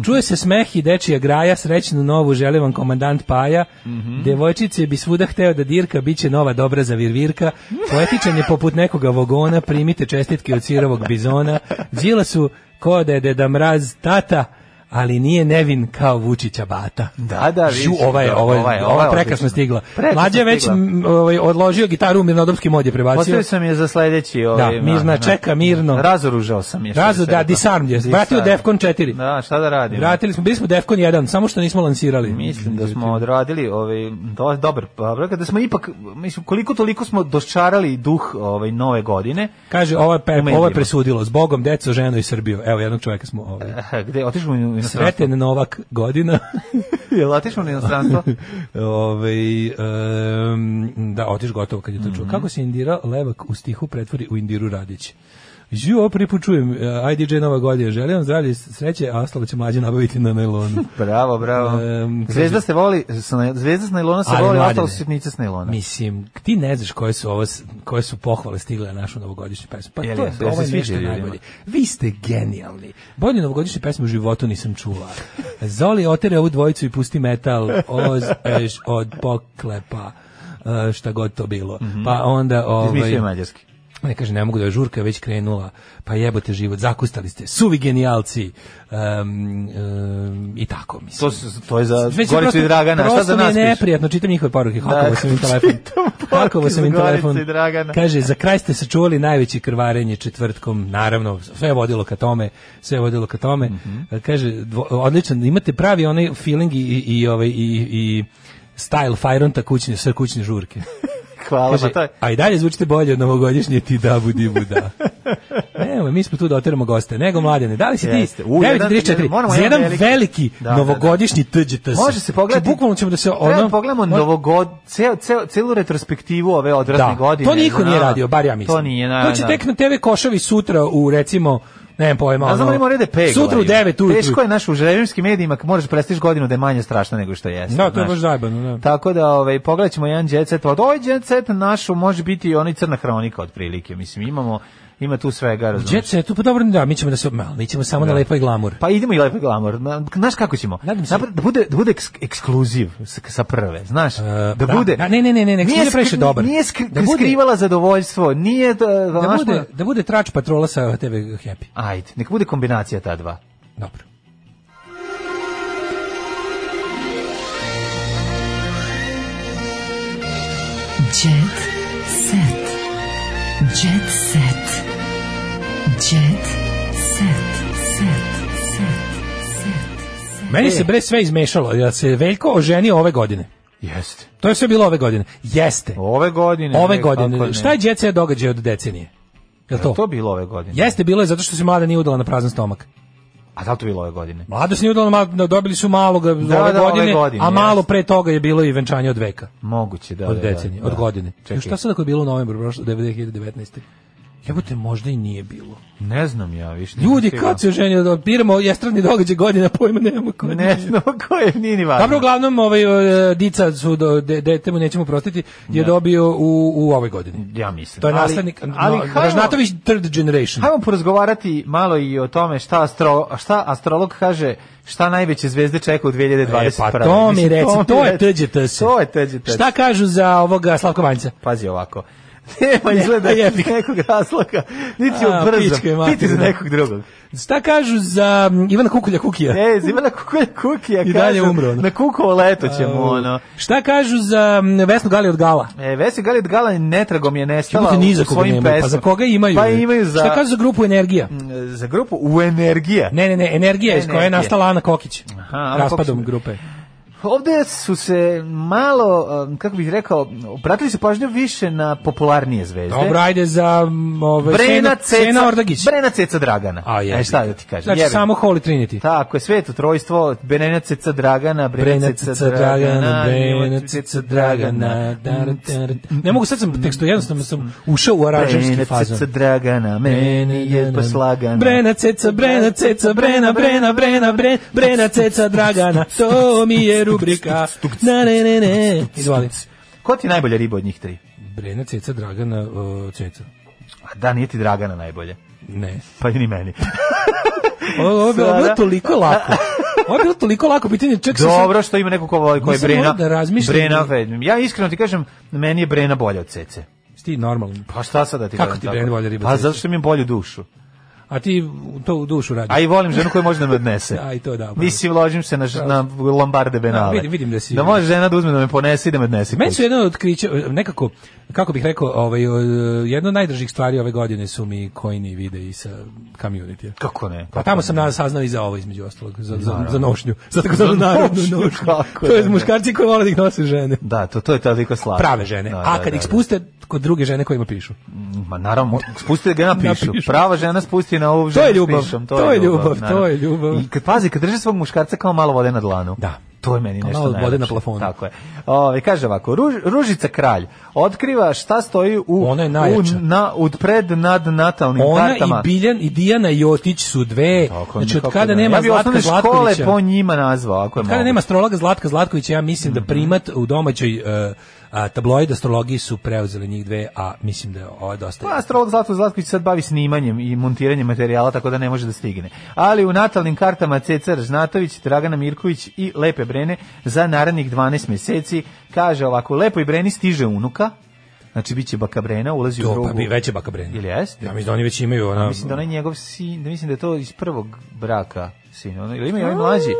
Čuje se smeh i dečija graja, srećnu novu želim vam komandant Paja. Mhm. Devojčice bi svuda hteo da dirka, bit će nova dobra za virvirka. Poetičan je poput nekoga vogona, primite čestitke od sirovog bizona. Đila su ko da je deda mraz tata, ali nije nevin kao Vučića bata. Da, da, vidiš, Žu, ova ovaj je, da, ova je, ova je, ova ova je je prekrasno odlična. stigla. Prekrasno Mlađe je već stigla. m, ovaj, odložio gitaru u mirnodopski mod je prebacio. Ostavio sam je za sledeći ovaj. Da, mirna, na- na- čeka mirno. Razoružao sam je. što Razu, bi se da, reklo. disarm je. Disarm. Vratio Defcon 4. Da, šta da radim? Vratili smo, bili smo Defcon 1, samo što nismo lansirali. Mislim da smo odradili ovaj do, dobar dobro da smo ipak mislim koliko toliko smo dočarali duh ovaj nove godine. Kaže, ovo je, pe, ovo Umedljivo. je presudilo. S Bogom, deco, ženo i Srbiju. Evo, jednog čovjeka smo ovaj. eh, Gde otišao u inostranstvo? Sreten Novak godina. Jel otišao u inostranstvo? Ove, em, Ovaj, da, otiš gotovo kad je to čuo. Kako se Indira Levak u stihu pretvori u Indiru Radić? Ju, ovo prvi put čujem. E, IDJ Nova godina. Želim vam zdravlje i sreće, a ostalo će mlađe nabaviti na nailonu. bravo, bravo. Em, kaže- zvezda se voli, s na- zvezda s nailona se Ali, voli, mladene. ostalo su sitnice s nailona. Mislim, ti ne znaš koje su ovo s- koje su pohvale stigle na našu novogodišnju pesmu. Pa Jel to je, jesu? Jel ovo je se nešto sviđaju ljudima? najbolje. Vi ste genijalni. Bolje novogodišnje pesme u životu nisam čula. Zoli otere ovu dvojicu i pusti metal oz eš od poklepa. E, šta god to bilo. Pa onda ovaj Mhm. Izmišljaju mađarski. ne kaže, ne mogu da je žurka već krenula, pa jebote život, zakustali ste, suvi genijalci, um, um, i tako, mislim. To, s- to je za Već je Goricu i Dragana, šta za prosto mi je nas piše? neprijatno, čitam njihove poruke, hakovo Da, sam im čitam telefon. poruke Hakovo sam im za Goricu telefon. i Dragana. Kaže, za kraj ste sačuvali najveće krvarenje četvrtkom, naravno, sve je vodilo ka tome, sve je vodilo ka tome. Mhm. Kaže, dvo- odličan, imate pravi onaj feeling i, i, i, ovaj, i, i style Fajronta kućne, sve kućne žurke. Hvala, Kaže, pa to je- Znači, A i dalje zvučite bolje od novogodišnje ti da budi buda. Nemo, mi smo tu da oteramo goste. Nego mladene, da li si ti? Jeste. U, jedan- 9:34, moramo za jedan jedan veliki- veliki Da, da, da. novogodišnji TGTS. Može se pogledati. Znači, Bukvalno ćemo da se Treba ono... pogledamo Može- novogod, ceo, ceo, celu retrospektivu ove odrasne Da, godine. to niko nije Da. radio, bar ja mislim. To nije, na, na, to će na. tek na TV Košavi sutra u recimo, ne znam pojma, A znamo li moraju da peglaju? ono- Sutra u 9 ujutru. Teško je naš u željevimskim medijima, ako moraš prestiš godinu da je manje strašno nego što jeste. Da, to je znaš. baš zajebano, da. Tako da, ovaj, pogledat ćemo jedan jet set. Od ovaj jet set našu može biti i onaj crna hronika otprilike. Mislim, imamo, ima tu svega, razumiješ. Jet setu, pa dobro, da, mi ćemo da se, ma, mi ćemo samo Da. na lepo i glamur. Pa idemo i lepo glamor. Na- Znaš kako ćemo? Napra- da bude, da bude eks- ekskluziv s- sa prve, znaš? da E, da. bude... Da, ne, ne, ne, ne, ekskluziv je previše skri- dobar. Nije skri- Da bude- skrivala zadovoljstvo, nije... Da, Da znaš, ono- bude, da bude trač patrola sa TV Happy. Ajde, nek bude kombinacija ta dva. Dobro. Jet set. Jet set. Jet set. Set. Set. Set. Meni E. se bre sve izmešalo, ja se Veljko oženio ove godine. Jeste. To je sve bilo ove godine. Jeste. Ove godine. Ove ne, kako ne. godine. Šta je Jet Set događaj od decenije? Jel to? To bilo ove godine. Jeste, bilo je zato što se mlada nije udala na prazan stomak. A da li to bilo ove godine? Mlada se nije udala, ma- da, dobili su malog ove, da, ove godine, godine, a malo jeste. pre toga je bilo i venčanje od veka. Moguće, da. od da, da, decenije, da. od godine. Čekaj. Čekaj. Šta sad ako je bilo u novembru prošle 2019. Jebote, možda i nije bilo. Ne znam ja, više. Ljudi, kad se oženio, da piramo jestradni događaj godina, pojma nemamo ko je. Ne znam ko je, nije ni važno. Dobro, uglavnom, ovaj, e, dica su, do, de, dete mu nećemo prostiti, je dobio u, u ovoj godini. Ja mislim. To je Ali- nastavnik, ali no, hajmo- Dražnatović third generation. Hajmo porazgovarati malo i o tome šta, astro, šta astrolog kaže šta najveće zvezde čeka u 2021. E, pa to mi Mislim, reci, to je reci. TGTS. To je TGTS. Šta kažu za ovoga Slavko Vanjca? Pazi ovako. Nema izgleda jebi nekog razloga, niti je A, brzo. pička je mater, Piti za da. nekog drugog. Šta kažu za mm, Ivana Kukulja Kukija? E, zima na kukolj kukija, I dalje kažu, umro, ono. Na kukovo leto ćemo, Au. ono. Šta kažu za mm, Vesnu Gali od Gala? E, Vesi Galit Gala netragom je nestala Jebote, ni u za koga svojim nemaju. Pa pesmama. za koga imaju? e? Pa imaju za, Šta kažu za grupu Energija? e, za grupu U Energija. Ne, ne, ne, Energija iz koje je Energija. nastala Ana Kokić. Aha, Ana raspadom Kokić. grupe. Pa Ovde su se malo, um, kako bih rekao, obratili su pažnju više na popularnije zvezde. Dobro, ajde za mm, ovaj, Brena Sena, Ceca, Sena Ordagić. Brena Ceca Dragana. A, jebi e, šta ga. da ti kažem? Znači jebem. samo Holy Trinity. Tako je, sveto trojstvo, Brena Ceca Dragana, Brena Brena Ceca cica Dragana, Dragana, Brena cica Dragana. dar, dar, dar. Ne mogu, sad sam tekstu, jednostavno sam ušao u aranžerski Brena fazon. Ceca Dragana, meni je pa poslagana. Brena ceca, brena ceca, brena, brena, brena, brena, brena ceca Dragana, to mi je rubrika. Na, ne, ne, ne. Izvali. Ko ti je najbolja riba od njih tri? Brena ceca Dragana, o, ceca. A da, nije ti Dragana najbolje. Ne. Pa i ni meni. O, Ovo je bilo- ovo je Sada- bilo toliko lako. Ovo je bilo toliko lako pitanje. Ček, sam- Dobro što ima neko ko voli, ko je Nisam Brena. morao da razmišljam. Brena, Ve- ja iskreno ti kažem, meni je Brena bolja od Cece. Ti normalan. Pa šta sad da ti Kako kažem ti tako? Brena bolja riba od Pa Cece? zato što mi bolju dušu. A ti to u dušu radiš. A i volim ženu koja može da me odnese. Aj, to da, bravo. Mislim, ložim se na, ž- na lombarde Benale. Da, vidim- vidim da si- Da može žena da uzme da me ponese i da me odnese. Meni kući. su jedno od otkrića, nekako, kako bih rekao, ovaj, o, jedno od najdražih stvari ove godine su mi kojni vide i sa community. Kako ne? Pa Kako tamo ne? sam nas saznao i za ovo između ostalog, za, za, za nošnju, za tako za narodnu nošnju, nošnju. kako To je da ne. muškarci koji vole da ih nose žene. Da, to, to je toliko slatko. Prave žene. Da, A da, kad da, ih da. spuste kod druge žene kojima pišu. Ma naravno, mo- spusti da ga napišu. Napišu. Prava žena spusti na ovu To ženu je ljubav, s pišom, to je ljubav, to naravno. je ljubav. I kad pazi, kad drži svog muškarca kao malo vode na dlanu. Da. To je meni Kao nešto malo vode najlepše. na plafonu. Tako je. Ove, kaže ovako, Ruž, Ružica kralj otkriva šta stoji u, Ona je u, najjača. na, u pred nad natalnim Ona kartama. i Biljan i Dijana Jotić su dve. Tako, Znači od kako kada ne. nema ja bi Zlatka osnovne škole Zlatkovića. po njima nazvao, ako Kada je moguće. Mhm. nema astrologa Zlatka Zlatkovića, ja mislim da primat u domaćoj e, a, tabloid astrologiji su preuzeli njih dve, a mislim da je ovo dosta. Pa astrolog Zlatko Zlatković se sad bavi snimanjem i montiranjem materijala, tako da ne može da stigne. Ali u natalnim kartama Cecar Žnatović, Dragana Mirković i Lepe Brene za narednih 12 meseci kaže ovako, Lepoj Breni stiže unuka, Znači biće Bakabrena ulazi u To, drugu. pa bi veće Bakabrena. Ili jeste? Ja mislim da oni već imaju ona- A mislim da onaj njegov sin, da mislim da je to iz prvog braka sin. Ono, ili imaju ovaj mlađi?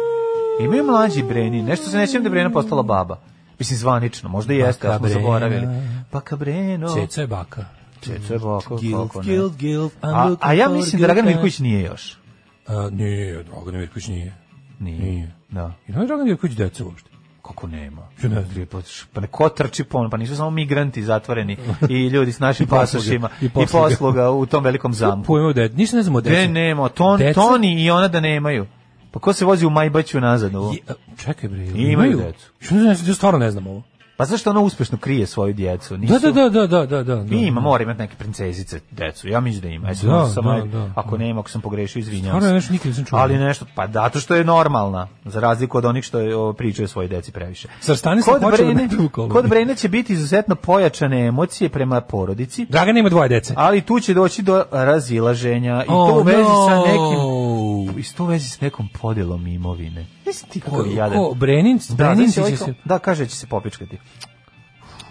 Imaju mlađi Breni. Nešto se nećem da je Brena postala baba. Mislim zvanično, možda i jeste, ali smo Bakabrena. zaboravili. Bakabreno. Ceca je baka. Ceca je baka, Gilf, kako Pa ne. gilf, gilf, I'm a, looking a ja for mislim a da Dragan girl. Mirković nije još. A, nije, Dragan Mirković nije. Nije. Nije. Da. I da li Dragan Mirković deca uopšte? Kako nema? Ja ne znam. Tri puta š- Pa neko trči pon, pa nisu samo migranti zatvoreni i ljudi s našim I posluge. pasošima I i posluge. posluga u tom velikom zamku. Pojma o deca. Ništa ne znamo o Gde deca. nema, ton, Deca? Toni i ona da nemaju. Pa ko se vozi u Majbaću nazad? Ovo? Je, a, e, čekaj bre, Imaju decu. Što ne znam, ja stvarno ne znam ovo. Pa zašto ona uspešno krije svoju djecu? Da, Nisu... da, da, da, da, da, da. da. Ima, mora imati neke princezice decu. Ja mislim da ima. Eto, Da, sam, da, ajde, da. ako nema, ako sam pogrešio, izvinjavam Stvarno se. nešto nikad nisam čuo. Ali nešto, pa zato što je normalna, za razliku od onih što je, o, pričaju svoje deci previše. Sar Stanislav Kod počeo da Brene, mete u kolonu. kod Brene će biti izuzetno pojačane emocije prema porodici, Dragan ima dvoje dece. ali tu će doći do razilaženja i to u Oh, vezi sa no. nekim i to u vezi s nekom podjelom imovine. Mislim ti Ko, koji jadan. ko, Brenin, Da, Brenin znači će ovaj se... ko- da, kaže da će se popičkati.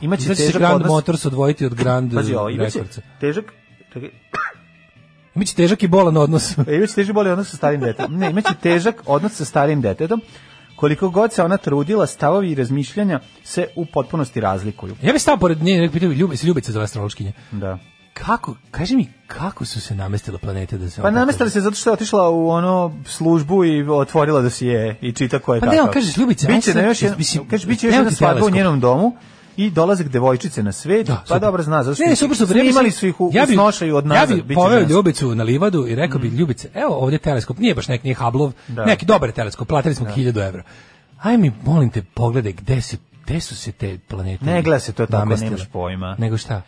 Imaće Znači će težak Grand odnos. Motors odvojiti od Grand Pazi, ovo, imaće Records. težak čekaj, Imaće težak i bolan odnos. E, imaće teži boli odnos sa starim detetom. Ne, imaće težak odnos sa starim detetom. Koliko god se ona trudila, stavovi i razmišljanja se u potpunosti razlikuju. Ja bih stao pored nje i pitao, ljube, se ljubice zove astrološkinje. Da. Kako, kaži mi, kako su se namestile planete da se... Pa ona tako- namestali se zato što je otišla u ono službu i otvorila da si je i čita ko je Pa ne, takav. on kažeš, Ljubice, aj biće sad, na još jedan, mislim, kažeš, biće još nema jedna ti svadba u teleskop. njenom domu i dolazak devojčice na svet, Da, pa super. dobro zna, zato što Ne, super, super. ja bi- imali su ih u, ja u bi- snošaju od Ja nazad. bi biće poveo žensko. Ljubicu na livadu i rekao bi, Ljubice, evo ovdje teleskop, nije baš nek, nije Hablov, Mhm. Da. neki dobar teleskop, platili smo 1000 evra. Aj mi, molim te, pogledaj gde se gde su se te planete Ne gleda se to tako, namestile. nemaš pojma. Nego šta?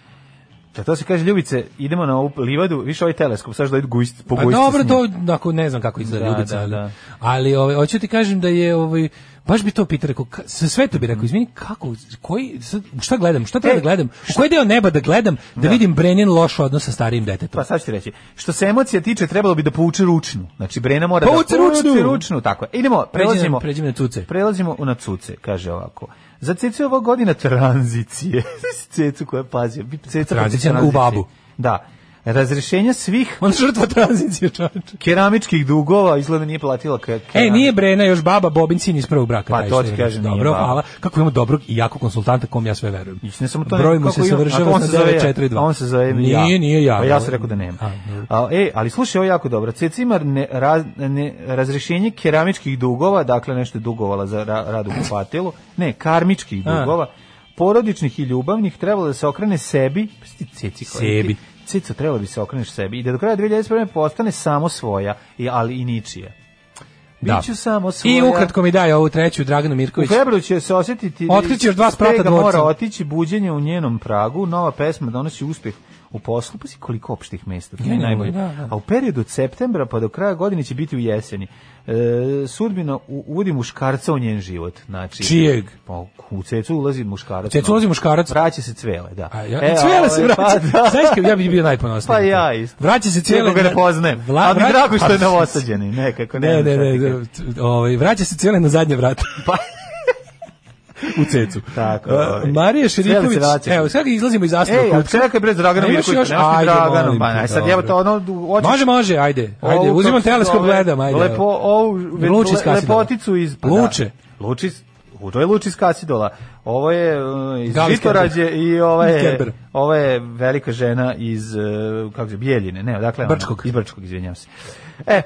Da, to se kaže, Ljubice, idemo na ovu livadu, više ovaj teleskop, sad što idu gujst, po Pa gujsci dobro, s njim. to ako ne znam kako izgleda Da, ljubica. da, ali- da. Ali ovaj hoću ti kažem da je ovaj baš bi to pitao rekao ka- sa sve to bi rekao izvini kako koji sad, šta gledam šta treba E, da gledam u koji deo neba da gledam da, vidim Brenin loš odnos sa starijim detetom Pa sad ću ti reći. Što se emocija tiče, trebalo bi da povuče ručnu. Znači, Brena mora Povuci da ručnu! povuče ručnu. Tako je. Idemo, Pređi prelazimo. na- pređi na cuce. Prelazimo na cuce, kaže ovako. Za cecu je ovo godina tranzicije. cecu koja pazi. bi- Ceca protiv Tranzicija na- u tranzicije. babu. Da. Razrešenja svih on Ono žrtva tranzicije čoveče keramičkih dugova, izgleda nije platila ke- E, keramik. nije Brena još baba Bobin sin iz prvog braka. Pa taj to što ti je kažem, nije Dobro, baba. hvala. Kako imamo dobrog i jakog konsultanta kom ja sve verujem. I ne samo to, Broj nego mu se kako ima- a savršava on sa se zove ja, 942. a On se zove ja. Nije, nije ja. Pa ja sam rekao da nema. A, dobro. A, e, ali slušaj, ovo je jako dobro. Ceca ima ne, raz, ne, razrešenje keramičkih dugova, dakle nešto je dugovala za ra, rad u kupatilu. Ne, karmičkih A. dugova, porodičnih i ljubavnih, trebalo da se okrene sebi, Pusti ceci koja ti- Sebi. Ceco, trebalo bi se okreneš sebi i da do kraja 2021. postane samo svoja, i- ali i ničija. Da. Biću samo svoja. I ukratko mi daje ovu treću, Draganu U Mirković. februaru će se osjetiti Otkriće još dva sprata sprega dvorca. mora otići buđenje u njenom pragu, nova pesma donosi uspjeh u poslu, pa si koliko opštih mesta, to je Genijalno, najbolje. da, da. A u periodu od septembra pa do kraja godine će biti u jeseni. E, sudbina u- uvodi muškarca u njen život. Znači, Čijeg? Pa, u cecu ulazi muškarac. ono, Cecu ulazi muškarac. Vraća se cvele, da. A ja, E, cvele se ovaj, vraća. Pa, da. Znaš kako ja bih bio najponosniji. Pa ja isto. Vraća se cvele. Cijelo ga ne poznajem. Vla- ali mi vra- je drago što je Pa, novosađeni. Nekako, Ne, znam ne, šta ne, ti kažem. ne, t- ovaj, vraća se cvele na zadnje vrata. Pa. u cecu. Tako, E, ovaj. Marija Cvele Šeriković, se vraća. evo, sad izlazimo iz Astro Ej, a klupca. čekaj bre Dragana A imaš Mirkovića, još? nemaš ti Ajde, Draganom, molim ba, te, aj sad jebo dobro. to ono du- hoćeš- Može, može, ajde. Ovu, Ajde, kako uzimam se teleskop, zove, gledam, ajde. ovaj Lepo, ovu, ve- Luči iz le- Kasidola. lepoticu iz... pa da. Luče. Luči iz- u, to je Luči iz Kasidola. Ovo je uh, iz Gali iz Žitorađe i ovo Iz je, Kerbera. ovo je velika žena iz, uh, kako se, Bijeljine, ne, dakle... Brčkog. Iz Brčkog, izvinjam se. E,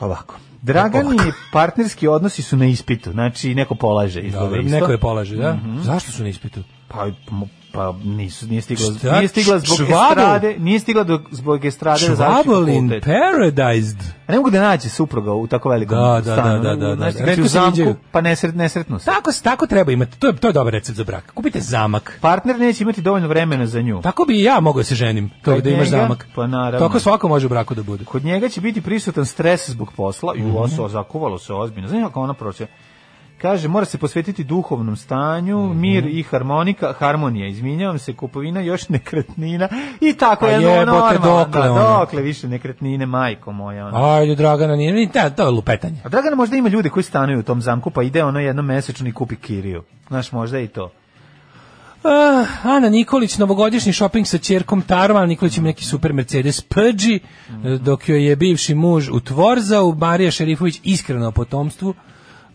ovako. Dragani partnerski odnosi su na ispitu, znači neko polaže iz Dobro, neko je polaže, da? Mhm. Zašto su na ispitu? Pa, m- pa nisu, nije stigla, Šta? nije stigla zbog Čvabel? estrade, nije stigla do, zbog estrade da završi Trouble in fakultet. Paradise. A ne mogu da nađe supruga u tako velikom Da, da, stanu. da, da, da, Znaš, da. kad si Retko u se viđaju. zamku, pa nesret, nesretno si. Tako, tako treba imati. To je, to je dobar recept za brak. Kupite zamak. Partner neće imati dovoljno vremena za nju. Tako bi i ja mogao da se ženim, to Kod da imaš njega? zamak. Pa naravno. Tako svako može u braku da bude. Kod njega će biti prisutan stres zbog posla i Mhm. ovo se zakuvalo se ozbiljno. Znaš kako ona proće? Kaže, mora se posvetiti duhovnom stanju, Mhm. mir i harmonika, harmonija, izminjavam se, kupovina, još nekretnina i tako Pa jedno ono jebote, normalno, dokle da, ono? dokle više nekretnine, majko moja. Ono. Ajde, Dragana, nije, ni- da, to je lupetanje. A Dragana možda ima ljude koji stanuju u tom zamku, pa ide ono jednom mesečno i kupi kiriju. Znaš, možda i to. Ah, Ana Nikolić, novogodišnji shopping sa ćerkom Tarma, Ana Nikolić ima neki super Mercedes Pudži, eh, dok joj je bivši muž utvorzao, Marija Šerifović iskreno o potomstvu.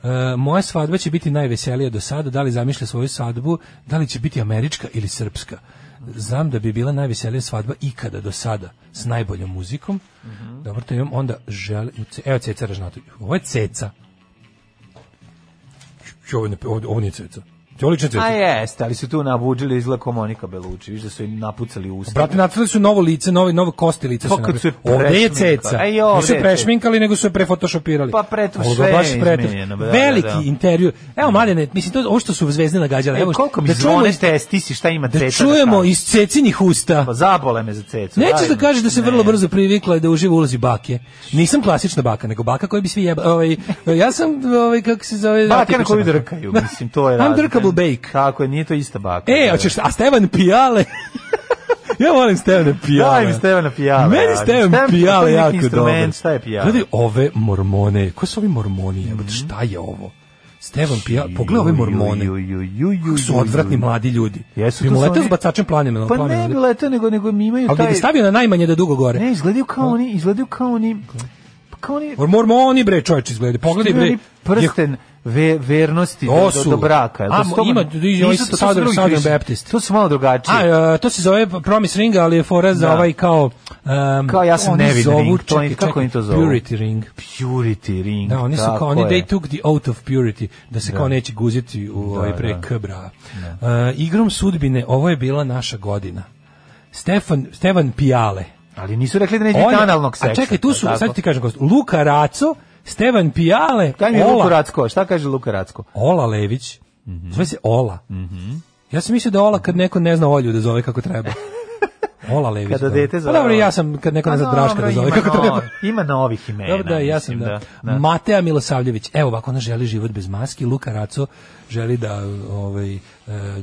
Eh, moja svadba će biti najveselija do sada, da li zamišlja svoju svadbu, da li će biti američka ili srpska. Znam da bi bila najveselija svadba ikada do sada, s najboljom muzikom. Dobro, to imam onda želi... Evo Ceca Ražnatović. Ovo je Ceca. Čo, Ovo je, nap- ovo- ovo nije Ceca. Ovo je lično Ceca. A jeste, ali su tu nabuđili izgled ko Monika Beluči, viš da su im napucali usta. Brate, napravili su novo lice, novo, novo kosti lice. Pa su kad napravili. su je Ovde je prešminkali. ceca. A i ovde Nisu je je prešminkali, nego su je prefotoshopirali. Pa preto- Ovo sve je baš preto- izmenjeno, da, da, da. Veliki interior. Evo, mladene, mislim, to, ovo što su zvezde nagađale. Evo, Evo, E, koliko mi da čujemo zvone iz- testisi, šta ima ceca Da da čujemo kaže? iz cecinih usta. Pa zabole me za cecu. Nećeš da ajde. kažeš da se vrlo brzo privikla da uživa u ulozi bake. Nisam klasična baka, nego baka koju bi svi jeba... Ovaj, ja sam, ovaj, kako se zove... Baka na koju atipična drkaju, mislim, to je razlika. Undrkable bake. Tako je, nije to ista baka. E, hoćeš, a Stevan Pijale? ja volim Stevana Pijale. Daj mi Stevana Pijale, Meni ali. Stevan Stevan to Pijale je neki jako instrument, dobar. šta je Pijale? Gledaj ove mormone. Ko su ovi mormoni? jebote, Šta je ovo? Stevan Pijale, pogledaj ove mormone. Ju, ju, ju, ju, Kako su ju, odvratni ju. mladi ljudi. Jesu, Bi to mu su letao oni- s bacačem planina. na Pa planinu, ne ljudi. bi leto, nego, nego mi imaju Ali bi taj... ga stavio na najmanje da dugo gore. Ne, izgledaju kao oni, izgledaju kao oni... pa Kao oni... Mor- Mormoni bre čoveč izgleda. Pogledaj Imaju bre. oni prsten ve, vernosti do, To do, su- do braka. jel A, to su to- ima- i ovaj Nisu to- to su Southern- drugi Southern Christian. Baptist. To su malo drugačije. A, e, to se zove Promise Ring, ali je fora za Da. ovaj kao... em, Kao ja sam oni nevin zovu- ring, to čekaj, oni- kako čekaj, oni to zovu? Purity Ring. Purity ring. Da, oni su tako kao, oni, je. they took the oath of purity, da se Da. kao neće guziti u ovaj pre kbra. E, igrom sudbine, ovo je bila naša godina. Stefan, Stevan Pijale. Ali nisu rekli da neće On biti je- analnog E, seksa. A čekaj, tu su, tako? sad ti kažem, gost, Luka Raco, Stevan Pijale, Kaj mi je Luka Mhm. Ola, Pa Racko? Šta kaže Luka Racko? Ola Lević, zove se Ola. Mhm. Ja sam mislio da Ola kad neko ne zna Olju da zove kako treba. Ola Lević. Kada da. dete Pa zove dobro, Ola. ja sam kad neko ne A zna Draška da dobro, zove ima kako no- treba. Ima novih imena. Dobro da, ja sam E, mislim, da. Mateja Milosavljević. Evo ovako ona želi život bez maski, Luka Raco želi da ovaj e,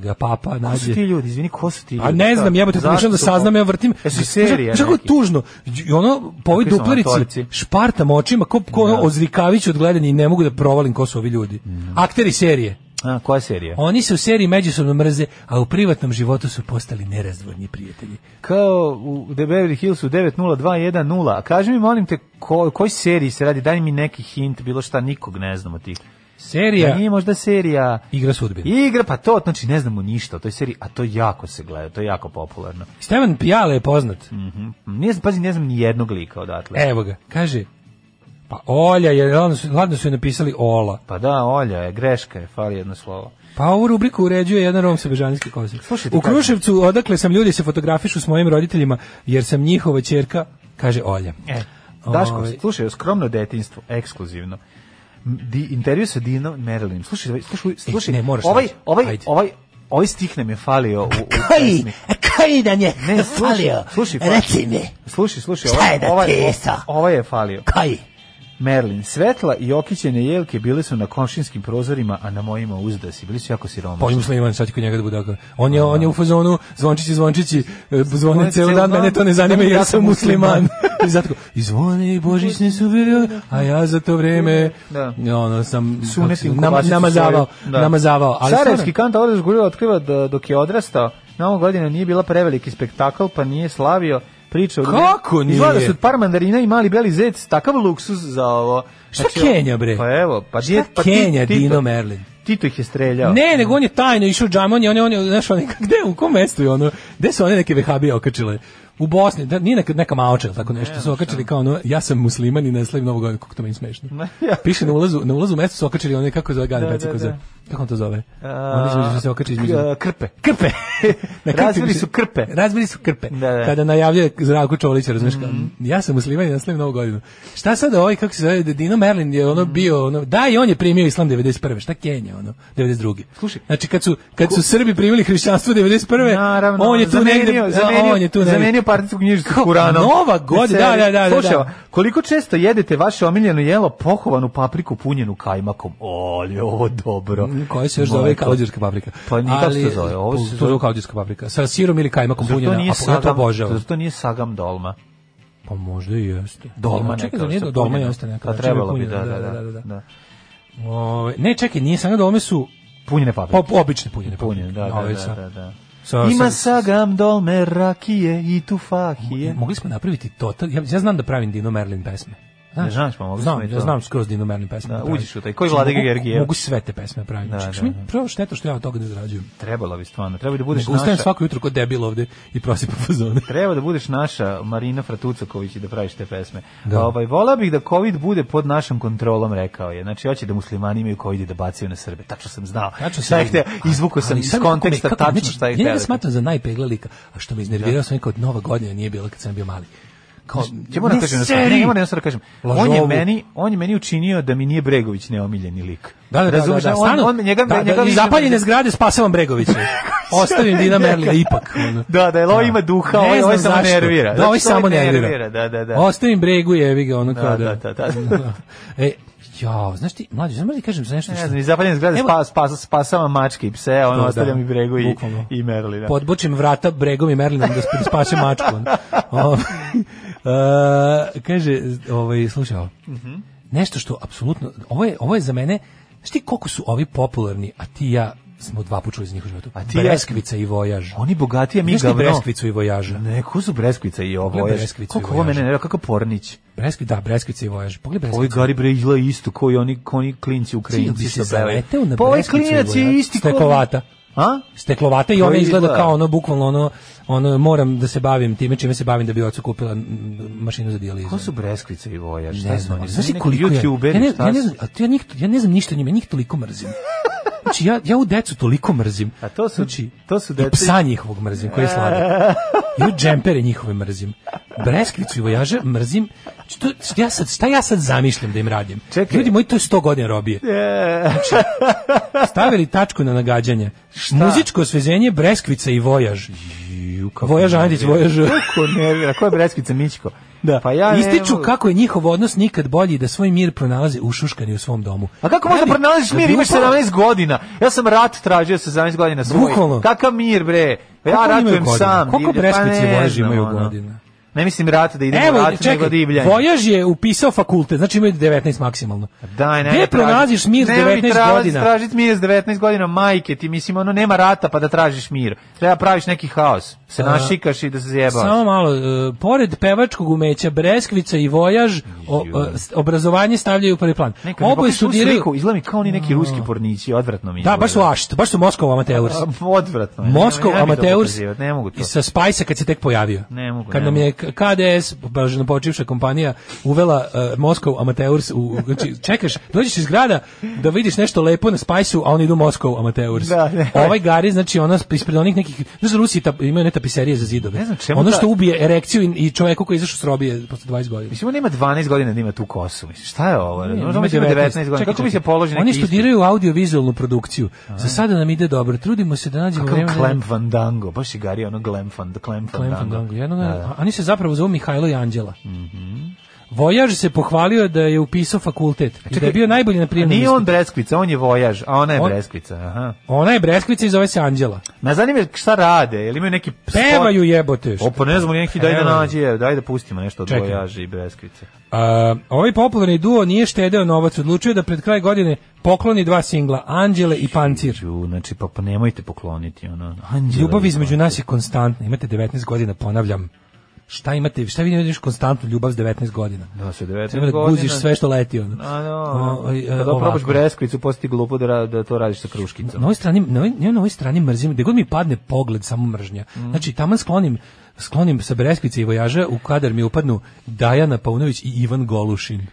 ga papa Ko su nađe. ti ljudi? Izvini, ko su ti ljudi? A ne Šta? znam, jebote, Zašto E, pokušavam da su saznam, ovo? ja vrtim. Jesu serije Čak- čak neke? tužno. I ono, po ovoj Kakvi su duplerici, amatorici? špartam očima, ko, ko ono, Ozrikavić odgledan i ne mogu da provalim ko su ovi ljudi. Mm. Akteri serije. A, koja serija? Oni se u seriji međusobno mrze, a u privatnom životu su postali nerazdvojni prijatelji. Kao u The Beverly Hillsu 90210. A kaži mi, molim te, ko, o kojoj seriji se radi? Daj mi neki hint, bilo šta, nikog ne znam od tih. Serija Da Nije možda serija... igra sudbine. Igra, pa to, znači ne znamo ništa o toj seriji, a to jako se gleda, to je jako popularno. Mhm. Stevan Pijale je poznat. Ne znam, pazi, ne znam ni jednog lika odatle. Evo ga, kaže, pa Olja, jer ladno su, ladno su je napisali Ola. Pa da, Olja je, greška je, fali jedno slovo. Pa ovu rubriku uređuje jedan rom sa bežanijski kozik. Slušaj, ti U kažem. Kruševcu, odakle sam ljudi se fotografišu s mojim roditeljima, jer sam njihova čerka, kaže Olja. E, Daško, Ovaj. slušaj, skromno detinjstvo, ekskluzivno. M, Di, intervju sa Dino Merlinim. Slušaj, slušaj, slušaj. ne, moraš ovaj, naći. ovaj, Ajde. ovaj, ovaj stih nam je falio u, u Koji, pesmi. koji E, da je Ne, ne, slušaj, falio? Slušaj, fali- Reci pa- mi, Slušaj, slušaj, Šta je da ovaj, ovaj, tesa? ovaj je falio. koji? Merlin, svetla i okićene jelke bile su na komšinskim prozorima, a na mojima uzdasi. Bili su jako siromašni. Pa on je musliman, sad će kod njega da bude ako- On je, on je u fazonu, zvončići, zvončići, e, zvone Zvone ceo ceo dan, mene to ne dan, zanima, ja jer sam sam musliman. musliman. I zato, i zvone i božićne su bili, a ja za to vreme, Da. ono, sam kako se- sunetim nama- namazavao, namazavao. Ali Sarajevski stvarno- kant Orez Gurila otkriva da, dok je odrastao, Nova godina nije bila preveliki spektakl, pa nije slavio priča. o- Kako nije? Izgleda da su par mandarina i mali beli zec, takav luksuz za ovo. Šta Kenja, bre? Pa evo, pa Šta djet, pa ti- Kenja, Tito- Dino Merlin? Tito ih je streljao. Ne, nego on je tajno išao u džamon i on je, on je, znaš, on je, gde, u kom mestu je ono, gde su one neke vehabije okačile? U Bosni, da, nije neka, neka maoča, ili tako nešto, su okačili kao ono, ja sam musliman i ne slavim novu godinu, kako to meni smešno. Ja. Piše na ulazu, na ulazu u mestu su okačili one, kako zove Gane Da, Peciko, da, zove? kako on to zove? Oni između što se okači između... K- Krpe. Krpe. Na krpi Razbili piše- su krpe. Razbili su krpe. Da, Mhm. da. Kada najavljuje Zdravko Čolića, razumeš, kao, ja sam musliman i naslavim novu godinu. Šta sad ovaj, kako se zove, Dino Merlin je Mhm. ono bio, ono, da i on je primio islam 91. Šta Kenja, ono, 92. Slušaj. Znači, kad su, kad su Srbi primili hrišćanstvo 91. Naravno, on je tu zamenio, negde, da, zamenio, on je tu negde. zamenio partijsku knjižicu Kao, s Kuranom. Nova godina, da, da, da, da, Slušaj, da. koliko često jedete vaše omiljeno jelo pohovanu papriku punjenu kajmakom? O, ali je ovo dobro. Koja Mm, se još Mleko. zove kalđerska paprika. Pa nije kako se Ali, zove, ovo se to zove- zove kalđerska paprika. Sa sirom ili kajmakom Zar to punjena, nije a po- ja to sagam, obožavam. zar to nije sagam dolma? Pa možda i jeste. Dolma Čekaj, neka. zar nije sa dolma punjena. jeste neka. Pa znači, trebalo bi, punjena, da, da, da. da. Ove, ne, čekaj, nije samo da ome su punjene paprike. Pop, obične Pa punjene paprike. Pa Punjene, da, da, Ove da, sa- da, da. sa- Ima sa- sagam dolme rakije i tufahije. Mogli smo napraviti total, ja, ja znam da pravim Dino Merlin pesme. Ne znaš, pa mogli smo i znam, to. ja znam skroz Dino Merlin pesme. Da, pravim. Znači, uđeš u taj, koji Vlade Mogu- Georgijev. Mogu sve te pesme pravim. Da, Da, da, da, mi, da. prvo šteta što ja od toga ne zarađujem. Trebalo bi stvarno, treba da budeš Nego ustajem naša. svako jutro kod debil ovde i prosipam fazone. Treba da budeš naša Marina Fratucaković i da praviš te pesme. Da. Ovaj, vola bih da COVID bude pod našom kontrolom, rekao je. Znači, hoće da muslimani imaju COVID i da bacaju na Srbe. Tačno sam znao. Tačno Šta je hteo, izvukao sam ali iz sam konteksta kako me- kako- tačno znači, šta je Ja hteo. njega smatram za najpegla lika, a što me iznervirao sam je kao nova godina nije bila kad sam bio mali. Kao, Ja moram ne da kažem, nešto, seri! ne, ja moram nešto da kažem. On je, Lažovu. meni, on je meni učinio da mi nije Bregović neomiljeni lik. Da, da, da, da, Razumeš, da, on, stanu- on, njega, da, da, njega i više- zapaljene zgrade spasavam Bregovića. Ostavim Dina Merlina ipak. ono. Da, da, jel ovo ima duha, ovo, Ne ovo je znam samo zašto. nervira. Da, ovo je Zato što samo nervira. Da, da, da. Ostavim bregu jevi ga, ono Da, kao da, da. da, da. e, jao, znaš ti, mlađe, znaš možda ti kažem za nešto Ne što... znam, iz zapaljene zgrade Evo- spa, spa, spasava mačke i pse, a on Da, da. ostavlja mi bregu i, Bukvalno. i Merlina. Podbočim vrata bregom i Merlinom da sp- spase mačku. ono. Ovaj, e, kaže, ovaj, slušaj ovo. Mhm. Nešto što apsolutno, ovo je, ovo je za mene, znaš ti koliko su ovi popularni, a ti i ja smo dva puta čuli za njih u životu. A ti i ja- Breskvica i Vojaž. Oni bogatiji, a mi Znaš ti gavno. Breskvicu i Vojaža? Ne, ko su Breskvica i ovo? Pogledaj je? Breskvicu Koliko i ovo Vojaža. mene nervira, kako Pornić? Breskvi, da, Breskvica i Vojaž. Pogledaj Ovi Breskvicu. Gari Bre izgleda isto, koji oni, ko oni klinci Ukrajinci Cilj bi se što pevaju. zaleteo na Pa ovaj Breskvicu i klinac je Vojaž. isti ko... Steklovata. A? Steklovata i ona Koji izgleda izgleda? kao ono, bukvalno ono, ono, moram da se bavim time čime se bavim da bi ocu kupila mm, mašinu za dijalizu. Ko su Breskvica i Vojaž? Ne Šta su znam, oni? znaš ti Neki koliko ja, youtuberi, ja, ne, šta ja ne su? znam, a to ja, njih, ja ne znam ništa o njima, ja njih toliko mrzim. Znači, ja, ja u decu toliko mrzim. A to su- znači, to su I deca- psa njihovog mrzim, koji je sladak. I u džempere njihove mrzim. Breskvicu i vojaže mrzim. Znači, to, šta, ja sad, šta ja sad zamišljam da im radim? Čekaj. Ljudi moji, to je 100 godina robije. Znači, stavili tačku na nagađanje. Muzičko osvezenje Breskvica i vojaž. Ju, kako Vojaž nervira. Andić, vojaž... Kako nervira, ko je Breskvica Mićko? Da. Pa ja ne Ističu mogu. kako je njihov odnos nikad bolji i da svoj mir pronalaze ušuškani u svom domu. A kako Ja možda bi- pronalaziš da mir, bi imaš upao- 17 godina. Ja sam rat tražio sa 17 godina svoj. Bukvalno. Kakav mir, bre? Pa Koliko ja oni imaju ratujem godina? sam. Koliko divlje, pa Breskvice i ne Vojaž znam, imaju ono. godina? Ne mislim rat da idemo Evo, rat, nego čekaj, divljanje. Vojaž je upisao fakultet, znači imaju 19 maksimalno. Daj, ne. Gde pronalaziš mir s 19 godina? Tražiti mir s 19 godina, majke, ti mislim, ono, nema rata pa da tražiš mir. Treba praviš neki haos. Se A, našikaš i da se zjebaš. Samo malo, e, pored pevačkog umeća Breskvica i Vojaž, o, o, s- obrazovanje stavljaju u prvi plan. Neka mi Oboje pokaži tu studiraju... Mm. sliku, izgleda mi kao oni neki ruski pornići, odvratno mi. Da, izgleda. baš su ašt, baš su Moskov amateurs. A, Pa, Odvratno. je, Moskov ne, ne bi to amateurs pokazivati, Ne mogu to. i sa Spajsa kad se tek pojavio. Ne mogu, Kad ne nam je K- KDS, bažno počivša kompanija, uvela uh, Moskov amateurs, u, znači čekaš, dođeš iz grada da vidiš nešto lepo na Spajsu, a oni idu Moskov amateurs. Da, ne. Ovaj gari, znači ono sp- ispred onih nekih, znaš da Rusi tap, imaju ne tapiserije za zidove. Ne znam čemu ono što ta- ubije erekciju i, i čoveku koji je izašao s robije posle 20 godina. Mislim, on ima 12 godina da ima tu kosu. Mislim, šta je ovo? Ne, Možda ima on ima 19 godina. Čekaj, Kako mi se čekaj. položi neki Oni isti? studiraju audiovizualnu produkciju. Za sada nam ide dobro. Trudimo se da nađemo Kakav vremena- Clem Fandango, baš je Gary ono Clem Fan- Clem Clem Fandango. Fandango, jednog- Da, da. Mhm. a- Oni se zapravo zovu Mihajlo i Anđela. Vojaž se pohvalio da je upisao fakultet i da je bio najbolji na E, A prijemnom Pa Nije ispitu. on Breskvica, on je Vojaž, a ona je On- Breskvica. Aha. Ona je Breskvica i zove se Anđela. Me zanima šta rade, jel imaju neki... spot- Pevaju jebote. O, pa ne znam, neki daj da Evo. nađe, evo, daj da pustimo nešto od Čekaj. Vojaža i Breskvice. A, ovaj popularni duo nije štedeo novac, odlučio je da pred kraj godine pokloni dva singla, Anđele i Pancir. Ju, znači, pa, pa nemojte pokloniti, ono, anđele. Ljubav između nas je konstantna. Imate 19 godina, ponavljam. Šta imate, šta vi ne vidiš konstantnu ljubav s 19 godina? Da, se 19 Treba da godina. guziš sve što leti. Ono. A, O, no, o, e, kada probaš ovako. Breskvicu, posti glupo da, ra- da to radiš sa Na kruškicom. ovoj strani, na ovoj, ja na ovoj strani mrzim, gde god mi padne pogled, samo mržnja. Mm. Znači, taman sklonim, sklonim sa Breskvice i Vojaža, u kadar mi upadnu Dajana Paunović i Ivan Golušin.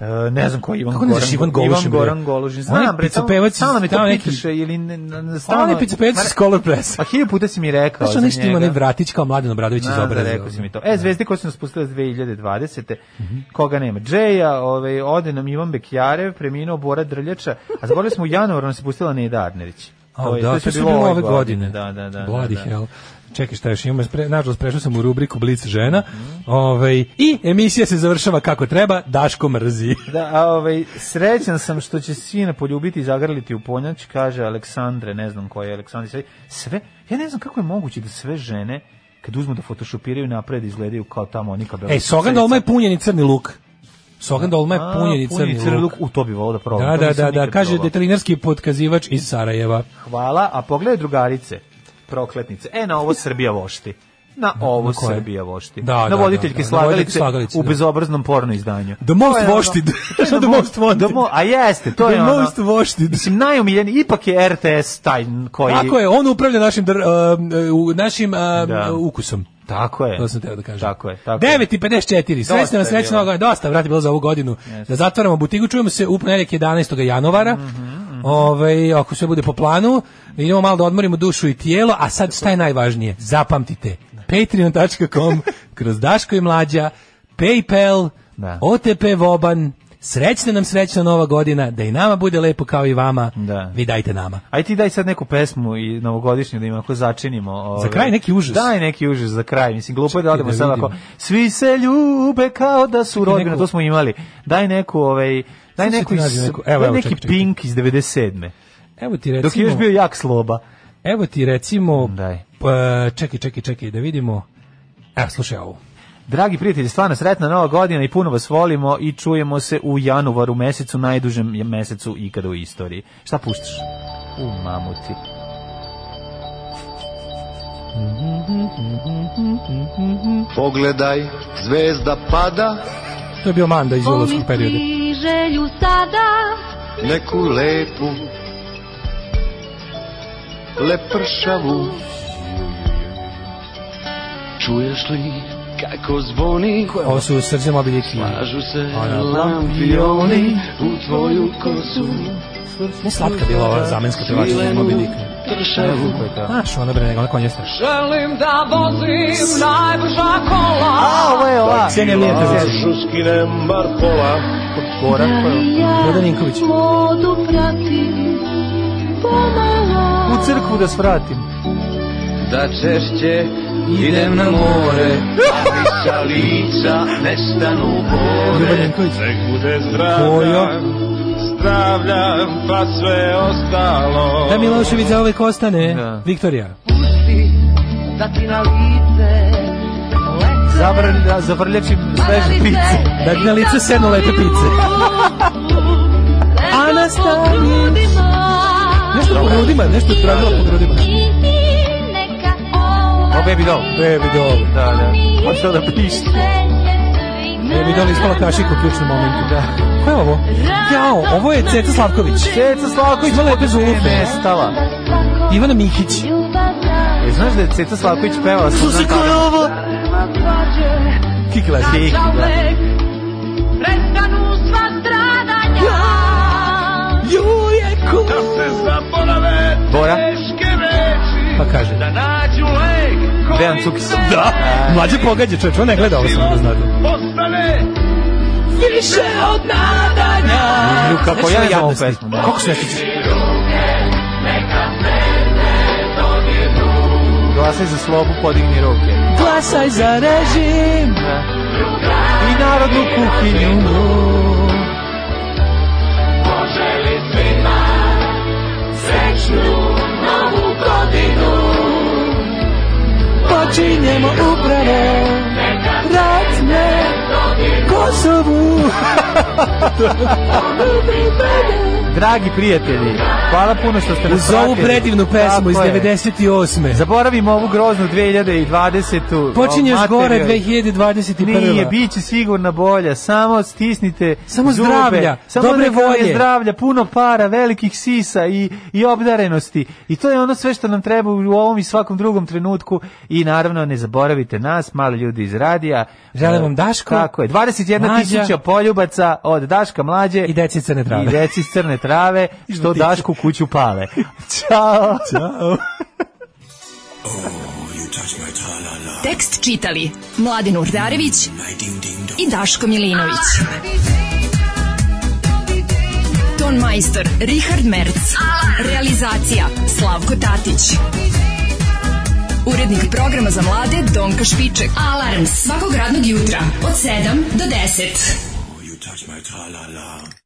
E, ne znam ko je Ivan Kako ne Goran. znaš Ivan Golušin, bre? Goran Golušin. On je Znam, bre, tamo, picopevac iz- stalno me to tamo neki- pitaš ili ne, ne, Stano ne, stalno... je picopevac iz Color Press. Pa hilju puta si mi rekao Znaš, za onaj što ima njega. onaj vratić kao Mladen Obradović ono. iz Znam da obraza. rekao si mi to. E, zvezde koje su nas pustile 2020. Mhm. Koga nema? Džeja, ovaj, ode nam Ivan Bekjarev, preminuo Bora Drljača, a zaboravili smo u januaru nas je pustila Neda Arnerić. A, je- da, je to su bilo ove godine. Da, da, da. Bloody da, da. hell. Čekaj šta još imam, spre, nažalost prešao sam u rubriku Blic žena Mhm. ovaj, i emisija se završava kako treba, Daško mrzi. Da, a ovaj, srećan sam što će sina poljubiti i zagrliti u ponjač, kaže Aleksandre, ne znam ko je Aleksandre. Sve, sve, ja ne znam kako je moguće da sve žene, E, kad uzmu da fotošopiraju napred, izgledaju kao tamo oni kao... Ej, Sogan Dolma je punjeni crni luk. Sogan Dolma je punjen i crni crni luk. luk. U to bi volao da probam. Da, Pa, to da, nisam da, da, nikad kaže probao. detalinarski potkazivač iz Sarajeva. Hvala, a pogledaj drugarice, prokletnice. E, na ovo Srbija vošti. Na ovo Na koje? Srbija vošti. Da, da, na da, voditeljke da, da, voditeljke slagalice, slagalice, u da. bezobraznom porno izdanju. The most To je ono- vošted. To je The most wanted. the mo- a jeste, to The je ono. most vošted. Mislim, najomiljeniji, ipak je RTS taj koji... Tako je, on upravlja našim dr, um, u- našim um, Da. ukusom. Tako je. To sam teo da kažem. E, Tako je, tako je. 9.54, Dosta srećna je vam srećna bilo. ovoga, dosta, vrati, bilo za ovu godinu. Da zatvaramo butigu, čujemo se u ponedjeljak 11. januara. Mhm, Ovaj, ako sve bude po planu, idemo malo da odmorimo dušu i tijelo, a sad šta je najvažnije? Zapamtite, patreon.com, kroz Daško i Mlađa, Paypal, Da. OTP Voban, srećna nam srećna nova godina, da i nama bude lepo kao i vama, Da. vi dajte nama. Aj ti daj sad neku pesmu i novogodišnju da ima ako začinimo. Ove. kraj neki užas. Daj neki užas za kraj. Mislim, glupo je da Čekaj odemo da sad vidim. ako... Svi se ljube kao da su rodbina, neku- to smo imali. Daj neku, ovaj, daj Sad ću neku, ti iz, nađem neku. Evo, daj evo, neki čekaj, čekaj. Pink iz 97. Evo ti recimo... Dok je još bio jak sloba. Evo ti recimo, Daj. pa, čekaj, čekaj, čekaj, da vidimo. Evo, slušaj ovo. Dragi prijatelji, stvarno sretna nova godina i puno vas volimo i čujemo se u januvaru mesecu, najdužem je mesecu ikada u istoriji. Šta puštaš? U mamuti. Pogledaj, zvezda pada, To je bio Manda iz ulovskog perioda. želju sada neku lepu, lepršavu. Čuješ li kako zvoni? Ovo su srce mobiljiki. Kažu se Ona- lampioni u tvoju kosu. Ne slatka bila ova zamenska pevačica iz mobiljika. Tršavu. Znaš, ona bre, nego ona konjesta. Želim da vozim najbrža kola A, ovo je ova. Ksenija Mijatović. Kažu skinem bar pola. Gorak, Vladan Ninković. modu prati pomalo U crkvu da svratim. Da češće idem na more, ali sa lica nestanu Ljuban bore. Ninković. Nek bude Kojo. zdravlja, zdravlja, pa sve ostalo. Da Milošević za uvek ostane. Da. Viktorija. Da ti na lice Zavr, zavrljačim sveže pice. Da ti na lice sedno lepe pice. Ana Stanić. Nešto po grudima, nešto je tražila po grudima. O, baby doll. Baby doll. Da, da. Počeo da pišti. Baby doll ispala kašika u ključnom momentu. Da. Ko je ovo? Jao, ovo je Ceca Slavković. Ceca Slavković Ima lepe zulupe. nestala. Ivana Mikić. E, znaš da je Ceca Slavković pevala sa Slušaj, ko je ovo? Kikla. Kiki, da. Prestanu sva stradanja Juje, ku. Da se zaborave Bora. teške reči, Pa kaže. da nađu lek koji Dejan Cukis. se Da, mlađe pogađa čovječ, on ne gleda ovo samo da znate. Postane Više od nadanja Ju, kako ja ja ovu Jadnosti. pesmu. Da. Kako su neki Glasaj za slobu, podigni ruke. Glasaj za režim. I narodnu kuhinju. Počinjemo upravo ratne Kosovu. Dragi prijatelji, hvala puno što ste nas Uz ovu pratili. predivnu pesmu iz Tako je. 98. Zaboravimo ovu groznu 2020. Počinješ Ovo gore materijalno. 2021. Nije, bit će sigurno bolja. Samo stisnite Samo zube. zdravlja, Samo dobre neka vam je volje. zdravlja, puno para, velikih sisa i, i obdarenosti. I to je ono sve što nam treba u ovom i svakom drugom trenutku. I naravno, ne zaboravite nas, malo ljudi iz radija. E, Želim vam Daško, Tako je, 21 Mlađa. tisuća poljubaca od Daška Mlađe I deci crne trave. i deci iz crne trave, što Žutice. Dašku kuću pale. Ćao! Ćao! Tekst čitali Mladin Urdarević i Daško Milinović. Ton majstor Richard Merc. Realizacija Slavko Tatić. Urednik programa za mlade Donka Špiček. Alarms svakog radnog jutra od 7 do 10. You touch my tra-la-la.